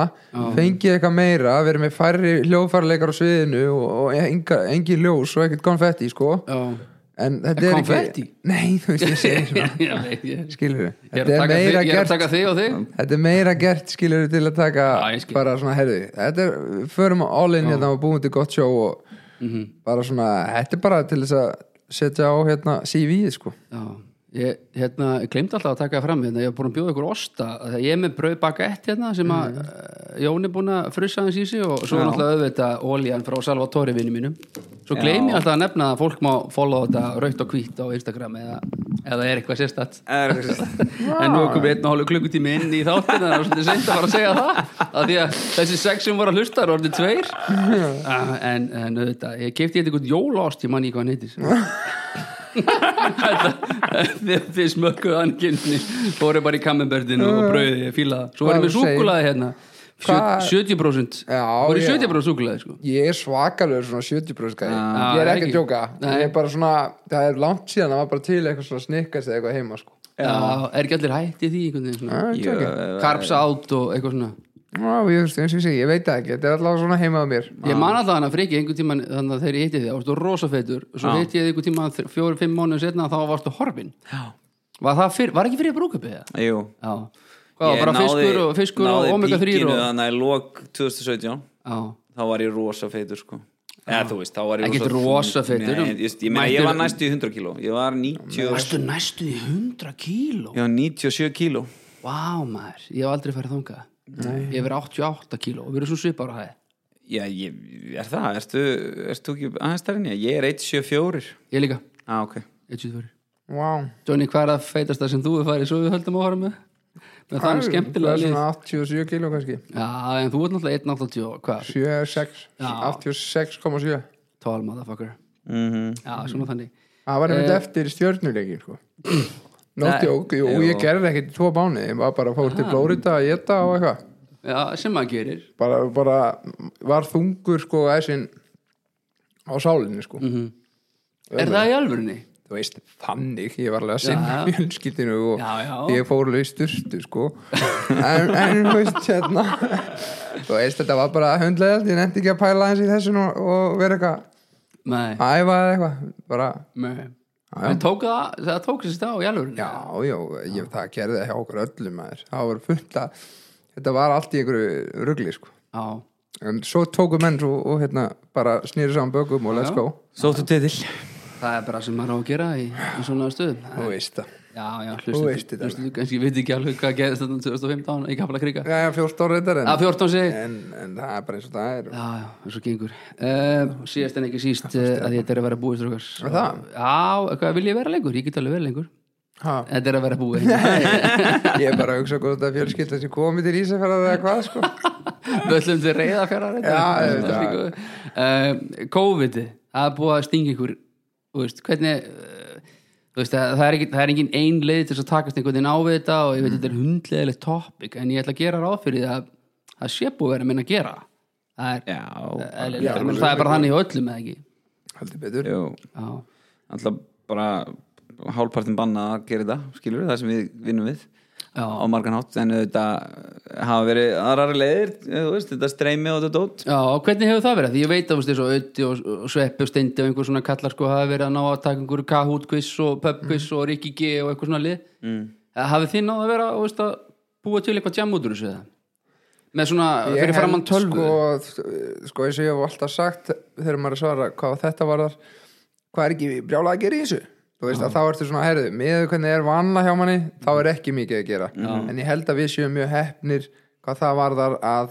fengið eitthvað meira verið með færri hljóðfærleikar á sviðinu og, og enga, engi ljós og ekkert konfetti sko Já, en þetta er Konfetti? ekki nei, þú veist, ég segi svona ég veit, ég skilur við, ég er þetta að taka er þig- ég meira er að gert taka þig og þig. þetta er meira gert skilur við til að taka Já, ég skil. bara svona, herðu, þetta er, við förum all in hérna og búum til gott sjó og Mhm. bara svona, þetta er bara til þess að setja á hérna CV-ið sko Já, ég hérna, glemt alltaf að taka það fram hérna, ég hef búin að bjóða ykkur osta ég er með brauð bakett hérna sem að mm. Jón er búin að frussa hans í sig og svo er alltaf auðvitað ólíjan frá Salvatore vinnu mínum, svo gleymi ég alltaf að nefna að fólk má follow þetta raukt og hvít á Instagram eða, eða er eitthvað sérstætt eh, er, já, en nú er komið einn og hálfu klukkutími inn í þáttin þannig að það er svolítið seint að fara að segja það af því að þessi sex sem voru að hlusta er orðið tveir Ah, en, en auðvitað, ég hérna kefti eitthvað jólást ég manni í hvað hann heitir Þetta- þið, þið smökkuðu hann kynni fóru bara í kammerberðinu og brauði ég fíla það, svo Mm. Hvað varum er við þú segir? súkulaði hérna Hvað- 70% Já, voru í já. 70% súkulaði sko ég er svakalur svona 70% gæði ég Ah, er Já, ekki ekki. að djóka, Nei. ég er bara svona það er langt síðan, það var bara til eitthvað svona snikkast eða eitthvað heima sko Já, er ekki allir hætti því einhvern veginn svona eh, Karps átt og eitthvað svona Ná, ég, veist, eins og ég, segi, ég veit það ekki, þetta er alltaf svona heima á mér Ég Ah. man alltaf hann að friki einhvern tíman þannig að þegar ég hitti þig, þá varstu rosafeitur og svo hitti ég þig einhvern tíman fjóru, fimm mánuðum setna þá varstu horfin var, það fyrr, var ekki fyrir brúkupið það? eh, jú Já, Hvað, Ég bara náði- fiskur og, fiskur og náði omega 3 píkinu og... þannig að í lok 2017 Já, þá var ég rosa feitur sko eða þú veist, þá var ég Ekkert rosa feitur. Nei, ég, ég, meina, ég Mætir- var næstu í 100 kíló ég var 90, varstu næstu í 100 kíló ég var 97 kíló Vá maður, ég hef aldrei farið þangað Ég hef verið 88 kíló og við erum svo svipar á hæði já, ég, er það, ertu, ertu ekki aðeins þar en ég, ég er 174 Ég líka, ah, ok 1,24 wow. Johnny, hvað er það feitasta sem þú hefur farið svo við höldum að horfa með? Með þannig skemmtilega Það er lið svona 87 kíló kannski Já, en þú ert náttúrulega 1,80 og hvað? 76, 86,7 tall motherfucker mm já, svona þannig Það var einmitt eftir stjörnuleikin sko. Nóttjók, jú, Ah. Jú. ég gerði ekkert í tvo báni, ég var bara fór til Flórida að geta og eitthvað já, sem maður gerir bara, bara var þungur sko æsin á sálinni sko mm -hmm. er það í alvörunni? þú veist, þannig, ég var alveg að Já, sinna já. fjölskyldinu og Já, já. ég fór alveg í sturtu sko en, en þú veist, hérna þú veist, þetta var bara hundlega ég nefndi ekki að pæla eins í þessu og, og vera eitthvað Nei, æfa eða eitthvað, bara nei. en tók það, það tók sér stá í alvörunni já, já, ég, það gerði það hjá okkur öllum maður, það var fullt að þetta var allt í einhverju rugli sko já, en svo tóku menn og, og hérna bara snýri saman bökum og let's Já. go Sóttu titill það er bara sem maður á að gera í, í svona stöðum þú veist það já, já, veist hlustu, þetta hlustu kannski ég veit ekki alveg hvað gerðist þarna um 2015 í Kapla Kríka já, já, 14 reyndar en, að 14 sig en, en það er bara eins og það er Já, já, eins og gengur uh, Síðast en ekki síst uh, að þetta er að vera búið strókar Er það? Já, hvað vil ég vera lengur? Ég get alveg vera lengur ha. Þetta er að vera búið Við ég er bara að hugsa hvort að fjölskylda sem komið til Ísafjörðar eða hvað sko ætlum til reyða fjara Já, ég veit það. uh, COVID Það er búið að stinga ykkur Þú veist, hvernig uh, þú veist, það, það, er ekki, það er engin ein leið til þess að takast einhvern veginn á við þetta og ég Mm. veit þetta er hundleðilegt topic en ég ætla að gera ráð fyrir því að það sé búið að vera minna að gera Það er, Já, eðlilegt. Ég meina, það er bara þannig í öllum eða ekki heldur betur jú Já alltaf bara hálfpartin banna að gera þetta, skilur það sem við vinnum við Já. á margan hátt, en þetta hafa verið aðrar leiðir, eh, þú veist, þetta streymi og þetta dót Já, og hvernig hefur það verið? Því ég veit að þú veist, eins og Ötti og, og Sveppi og Steindi og einhver svona kallar sko hafa verið að ná að taka einhverju Kahoot quiz og Pub quiz og Rikki G og eitthvað svona lið Mhm. mm. Hafið þið náð að vera þú veist, að búa til eitthvað jam út úr þessu eða? Með svona, Ég fyrir framann held, tölvu sko, sko eins og ég hef alltaf sagt þegar maður er að svara hvað þetta var þar hvað er ekki brjálað að gera í þessu þú veist að þá ertu svona herðu með hvernig er vanla hjá manni þá er ekki mikið að gera en ég held að við séum mjög hefnir hvað það var þar að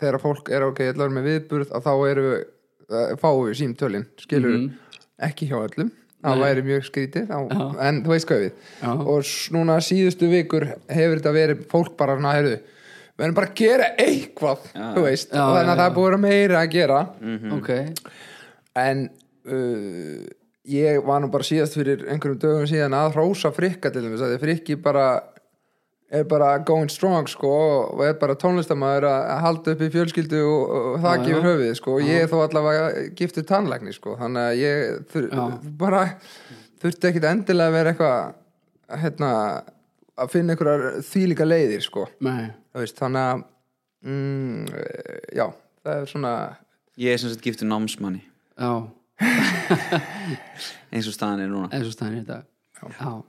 þegar fólk er ok, ég ætla að vera með viðburð að þá eru við, uh, fáum við símtölin skilur Mhm. ekki hjá öllum það væri mjög skrítið á, en þú veist hvað við Já. og s- núna síðustu vikur hefur þetta verið fólk bara svona herðu við erum bara að gera eitthvað þú veist, Já, og þannig að já, það er búið að vera meira að gera Mhm. Ok, en uh, ég var nú bara síðast fyrir einhverjum dögum síðan að hrósa frikka til þess að því frikki bara er bara going strong sko og er bara tónlistamæður að að halda upp í fjölskyldu og, og það gefur höfuð sko og ég er þó allavega giftu tannlækni sko þannig að ég þur, bara þurfti ekkit endilega að vera eitthvað hérna að finna einhverjar þýlíka leiðir sko nei Þú veist, þannig að mm, eh, já, það er svona ég er sem sagt giftur námsmanni Já, eins og staðan er núna eins og stæðin í dag Já,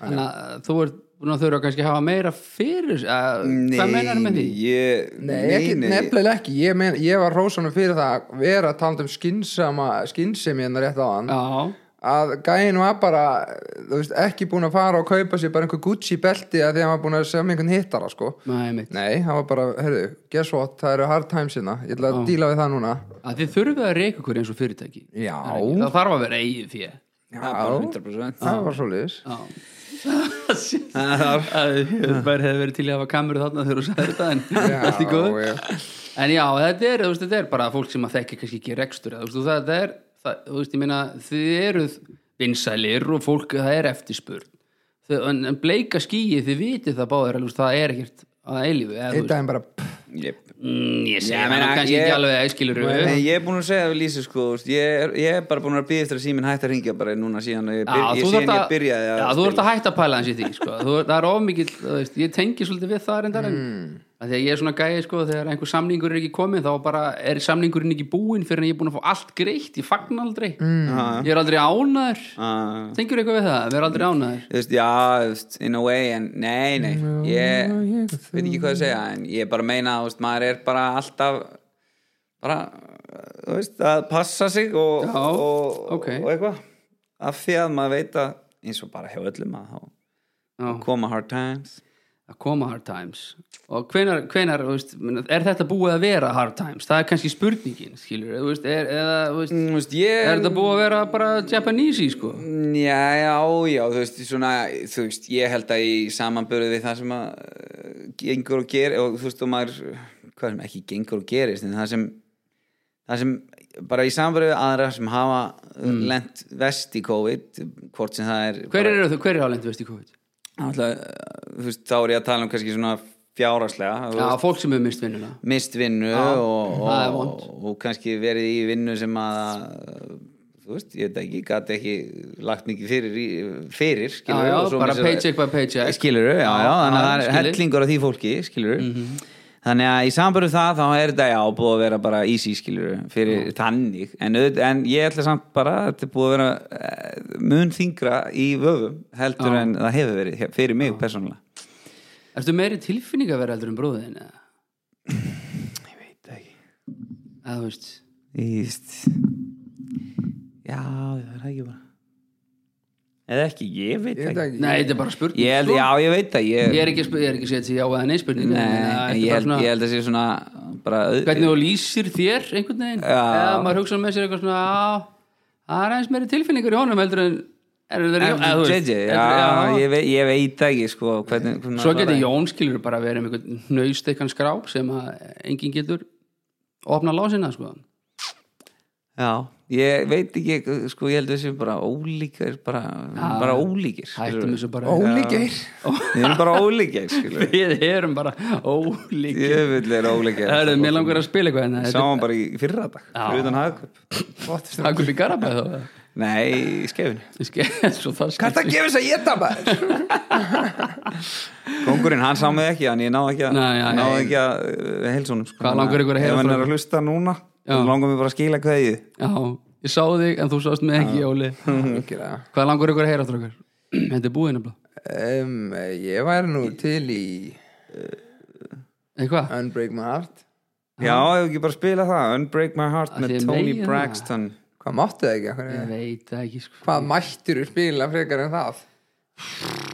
Þannig að eh, þú ert búin að þurfa kannski að hafa meira fyrir að, Hvað meinar með því? Ég, nei, ekki, nefnilega ekki, ég, men, ég var rósanum fyrir það að vera að tala um skynsama skynsemi hennar rétt á hann Já, að gæin var bara þú veist, ekki búin að fara og kaupa sér bara einhver Gucci belti að því að hann var búin að semja einhvern hittara sko nei mitt nei, hann var bara, heyrðu, guess what það eru hard times hérna, ég ætla að díla við það núna að Þið þurfið að reyka ykkur eins og fyrirtæki Já. Það er ekki- það þarf að vera eigið fyrir já, bara 100% það var svo liðis Bær hefði verið til í að hafa kameru þarna þegar þú sagði þetta en allt í góð já, En já, þetta er, þú veist, þetta er bara fólk sem að þekki kannski ekki rekstur eða, þú veist, og það, það er, það, þú veist, ég meina þið eruð vinsælir og fólk það er eftirspurn Þau- en, en bleika skýið, þið vitið það báðir alveg, það er ekkert að eilífu eða, þú einn veist, daginn bara pff, Jep. mm, ég segi Ég það meina, nú kannski ég- ekki alveg að skilur Nei, ég er búin að segja við Lísi sko, þú veist, ég, er, ég er bara búin að býða eftir að síminn hætti að ringja bara núna síðan að ég, byr, ég, þú síðan þarft ég byrjaði að já, þú ert spila. að hætta að pæla hans í því sko. þú, það er ofmikið, veist, ég tengi svolítið við það reyndar en Hmm. að því að ég er svona gæði sko, þegar einhver samningur er ekki komið þá bara er samningurinn ekki búinn fyrir en ég er búinn að fá allt greitt, ég fagna aldrei Hmm. mm. ég er aldrei ánæður Ah. tengjur eitthvað við það, við erum aldrei ánæður þú veist, já, þú veist, in a way en nei, nei, ég veit ekki hvað að segja, en ég bara meina þú veist, maður er bara alltaf bara, þú veist, að passa sig og, Já, og, ok. og eitthvað af því að maður veit að eins og bara hjá öllum að þá Já. koma hard times að koma hard times og hvenar, hvenar þú veist, meina, er þetta búið að vera hard times það er kannski spurningin skilur, þú veist, er, eða, þú veist, Mm, þú veist, ég er þetta búið að vera bara Japanese sko Já, já, já, þú veist, svona, þú veist, ég held að í samanbörðu við það sem að uh, gengur og gerir og þú veist, og maður, hvað sem ekki gengur og gerist, en það sem, það sem bara í samanbörðu við aðra sem hafa mm. lent vest í COVID, hvort sem það er, hver eru þau, hver er álendu veist í COVID? alltaf, þú veist, þá er ég að tala um kannski svona fjáraslega, þú Já, veist, fólk sem hefur mist vinnuna mist vinnu Já, og, það er og, vont. og, kannski verið í vinnu sem að, þú þú veist, ég veit ekki, gæti ekki lagt mikið fyrir, í- fyrir Já, skilur já, bara paycheck by paycheck. skilur já, já, Já, þannig að já, Mhm. það er skilur. hellingur af því fólki, skilur þannig að í sambarðu það, þá er þetta já, búið að vera bara easy, skilur fyrir þannig, en, auðvitað- en ég ætla samt bara, þetta er búið að vera eh, mun þingra í vöfum heldur en það hefur verið, hér- fyrir mig persónulega Ertu meiri tilfinningaverð heldur um bróðin eða? ég veit ekki Eða, þú veist, Ég veist Já, það er ekki bara Eða ekki, ég veit Ég veit ekki ekki. nei, þetta er bara spurning Ég held, sko. já, ég veit það ég, Ég er ekki, að sp- ég er ekki að setja já eða nei spurning Nei, en en þetta er ég, bara held, ég held að sé svona bara, Hvernig þú lýsir þér einhvern veginn Já. eða maður hugsa með sér eitthvað svona já, það er aðeins meiri tilfinningur í honum heldur en er það verið En, eða, þú veist, JJ, já, heldur- já. Ég, veit, ég veit ekki sko, hvernig, hvernig Svo getur Jón skilur bara verið með einhvern nöystekkan skráp sem að enginn getur opna lásina sko. Já, ég veit ekki, sko, ég held að sé bara ólíkir bara, bara ólíkir Hættum þessu bara Ólíkir Ég er bara ólíkir, skilur Við erum bara ólíkir Ég vil vera ólíkir Það er mér langar að spila eitthvað en þetta Sáum bara í fyrra dag, fyrir utan hagkvöp Hvað er akkur í Garabæð þá Nei, í skefinu Ég ske- Svo það skil það gefur þess að geta maður? Kongurinn, hann sá mig ekki, hann ég náði ekki að, Nei, já, náði nei. ekki að uh, heilsunum sko. Hvað langar ykkur að heyra Ef hann frá- er að hlusta núna, þá langar mig bara að skila kveðið Já, ég sá þig en þú sást mig ekki Jóli Hvað langur ykkur að heyra þrjókar? Þetta er búið hérna, nefnilega um, Ég væri nú til í Eitthvað? Unbreak My Heart Já, ef ekki bara spila það, Unbreak My Heart Að með þið Tony megið það. Braxton Hvað máttu það ekki? Hvað, Ég veit það ekki sko hvað mættir þú spila frekar en það?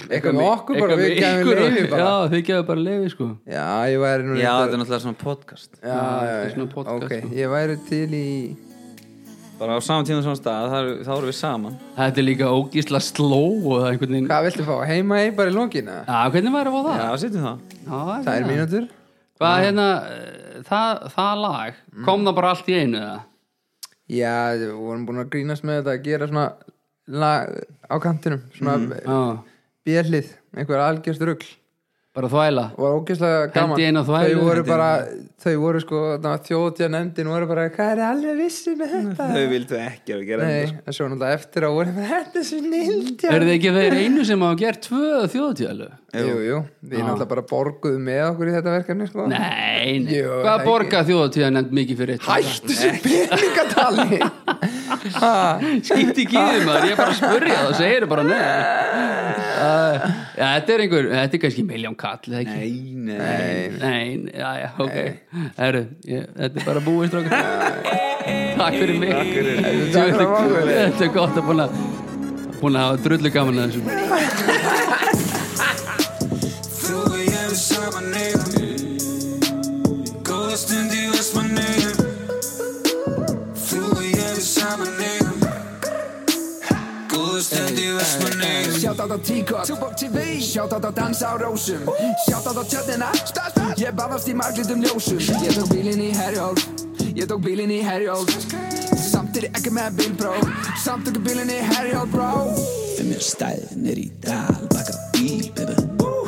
Eitthvað með okkur bara, Eitthvað við með gefum ykkur- sko. leiði bara Já, þið gefum bara leiði sko Já, ég væri nú Já, þetta er náttúrulega svona podcast Já, já, þetta er svona já, podcast, ok, sko. ég væri til í Bara á saman tíma svona stað, þar, þá erum við saman Þetta er líka ógísla sló og það er einhvern veginn Já, Hvað viltu fá? Heima ei bara í lókina? hvernig væri að fá Ah. það? Já, setjum það Já, ég Það meina. er mínútur Hvað hérna, eh, það, það lag Mm. kom það bara allt í einu eða? Já, við vorum búin að grínast með þetta að gera svona lag á kantinum svona mm. Já, bjellið, einhver algjörst rugl bara þvæla og var ógeðslega gaman Hendi inn á þvælu, þau voru hendi bara, þau voru sko þjóðtja nefndin voru bara, hvað er alveg vissi með þetta? Þau vildu ekki að gera Nei, en svo náttúrulega eftir að voru bara, þetta er svo nildja Er þið ekki þeir einu sem hafa gert tvö þjóðtjölu? Jú, jú, við náttúrulega bara borguðum með okkur í þetta verkefni sko Nei, nei. Jú, það Hvað ekki. borga þjóðatíða nefnd mikið fyrir eitt? Hættu þessu peningatali Ha, Skýtti ekki í þið maður, ég er bara að spurja það, segir bara nei uh, Já, þetta er einhver, þetta er kannski miljón kall, eða ekki? Nei, nei Nei, já, já, ok Herru, ég, þetta er bara búið strókar Takk fyrir mig Takk fyrir. Takk fyrir okkur. Þetta er gott að búin að búin að hafa drullu gaman að þessu Góða stund í Vestmanneigum Þú og ég við saman eigum Góða stund í Vestmanneigum Shoutout á T-Cox, Tupac TV Shoutout á dansa á rósum Shoutout á tjötnina Ég baðast í marglitum ljósum Ég tók bílinn í herjól Ég tók bílinn í herjól Samt er ég ekki með bílpró Samt ekki bílinn í herjól, bró Fem mér stæð ned i dal Bakker bil, bebe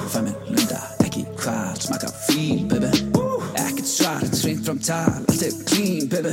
Fem mér lønter Ekki kvart Smakker fil, bebe Ekkert svart Sving frem tal Alt er clean, bebe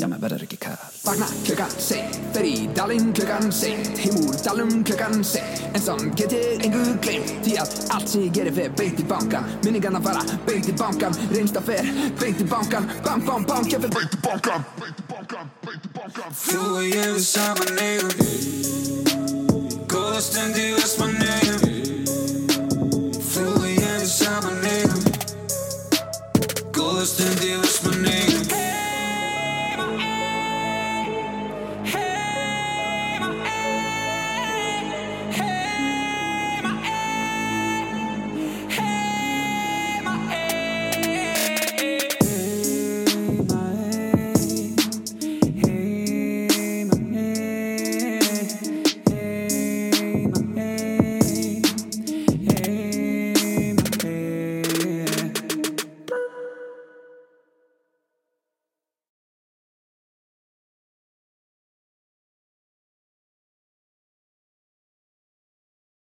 Já, maður verður ekki kall Vakna klukkan seint, fer í dalinn klukkan seint Heim úr dalum klukkan seint En samt get ég engu gleymt Því að allt sem ég gerir fer beint í bankan Minningarna fara beint í bankan Reynsta fer beint í bankan Bang, bang, bang, ég fer beint í bankan Þú og ég við saman eigum Góða stund í Vestmanneigum Þú og ég við saman eigum Góða stund í Vestmanneigum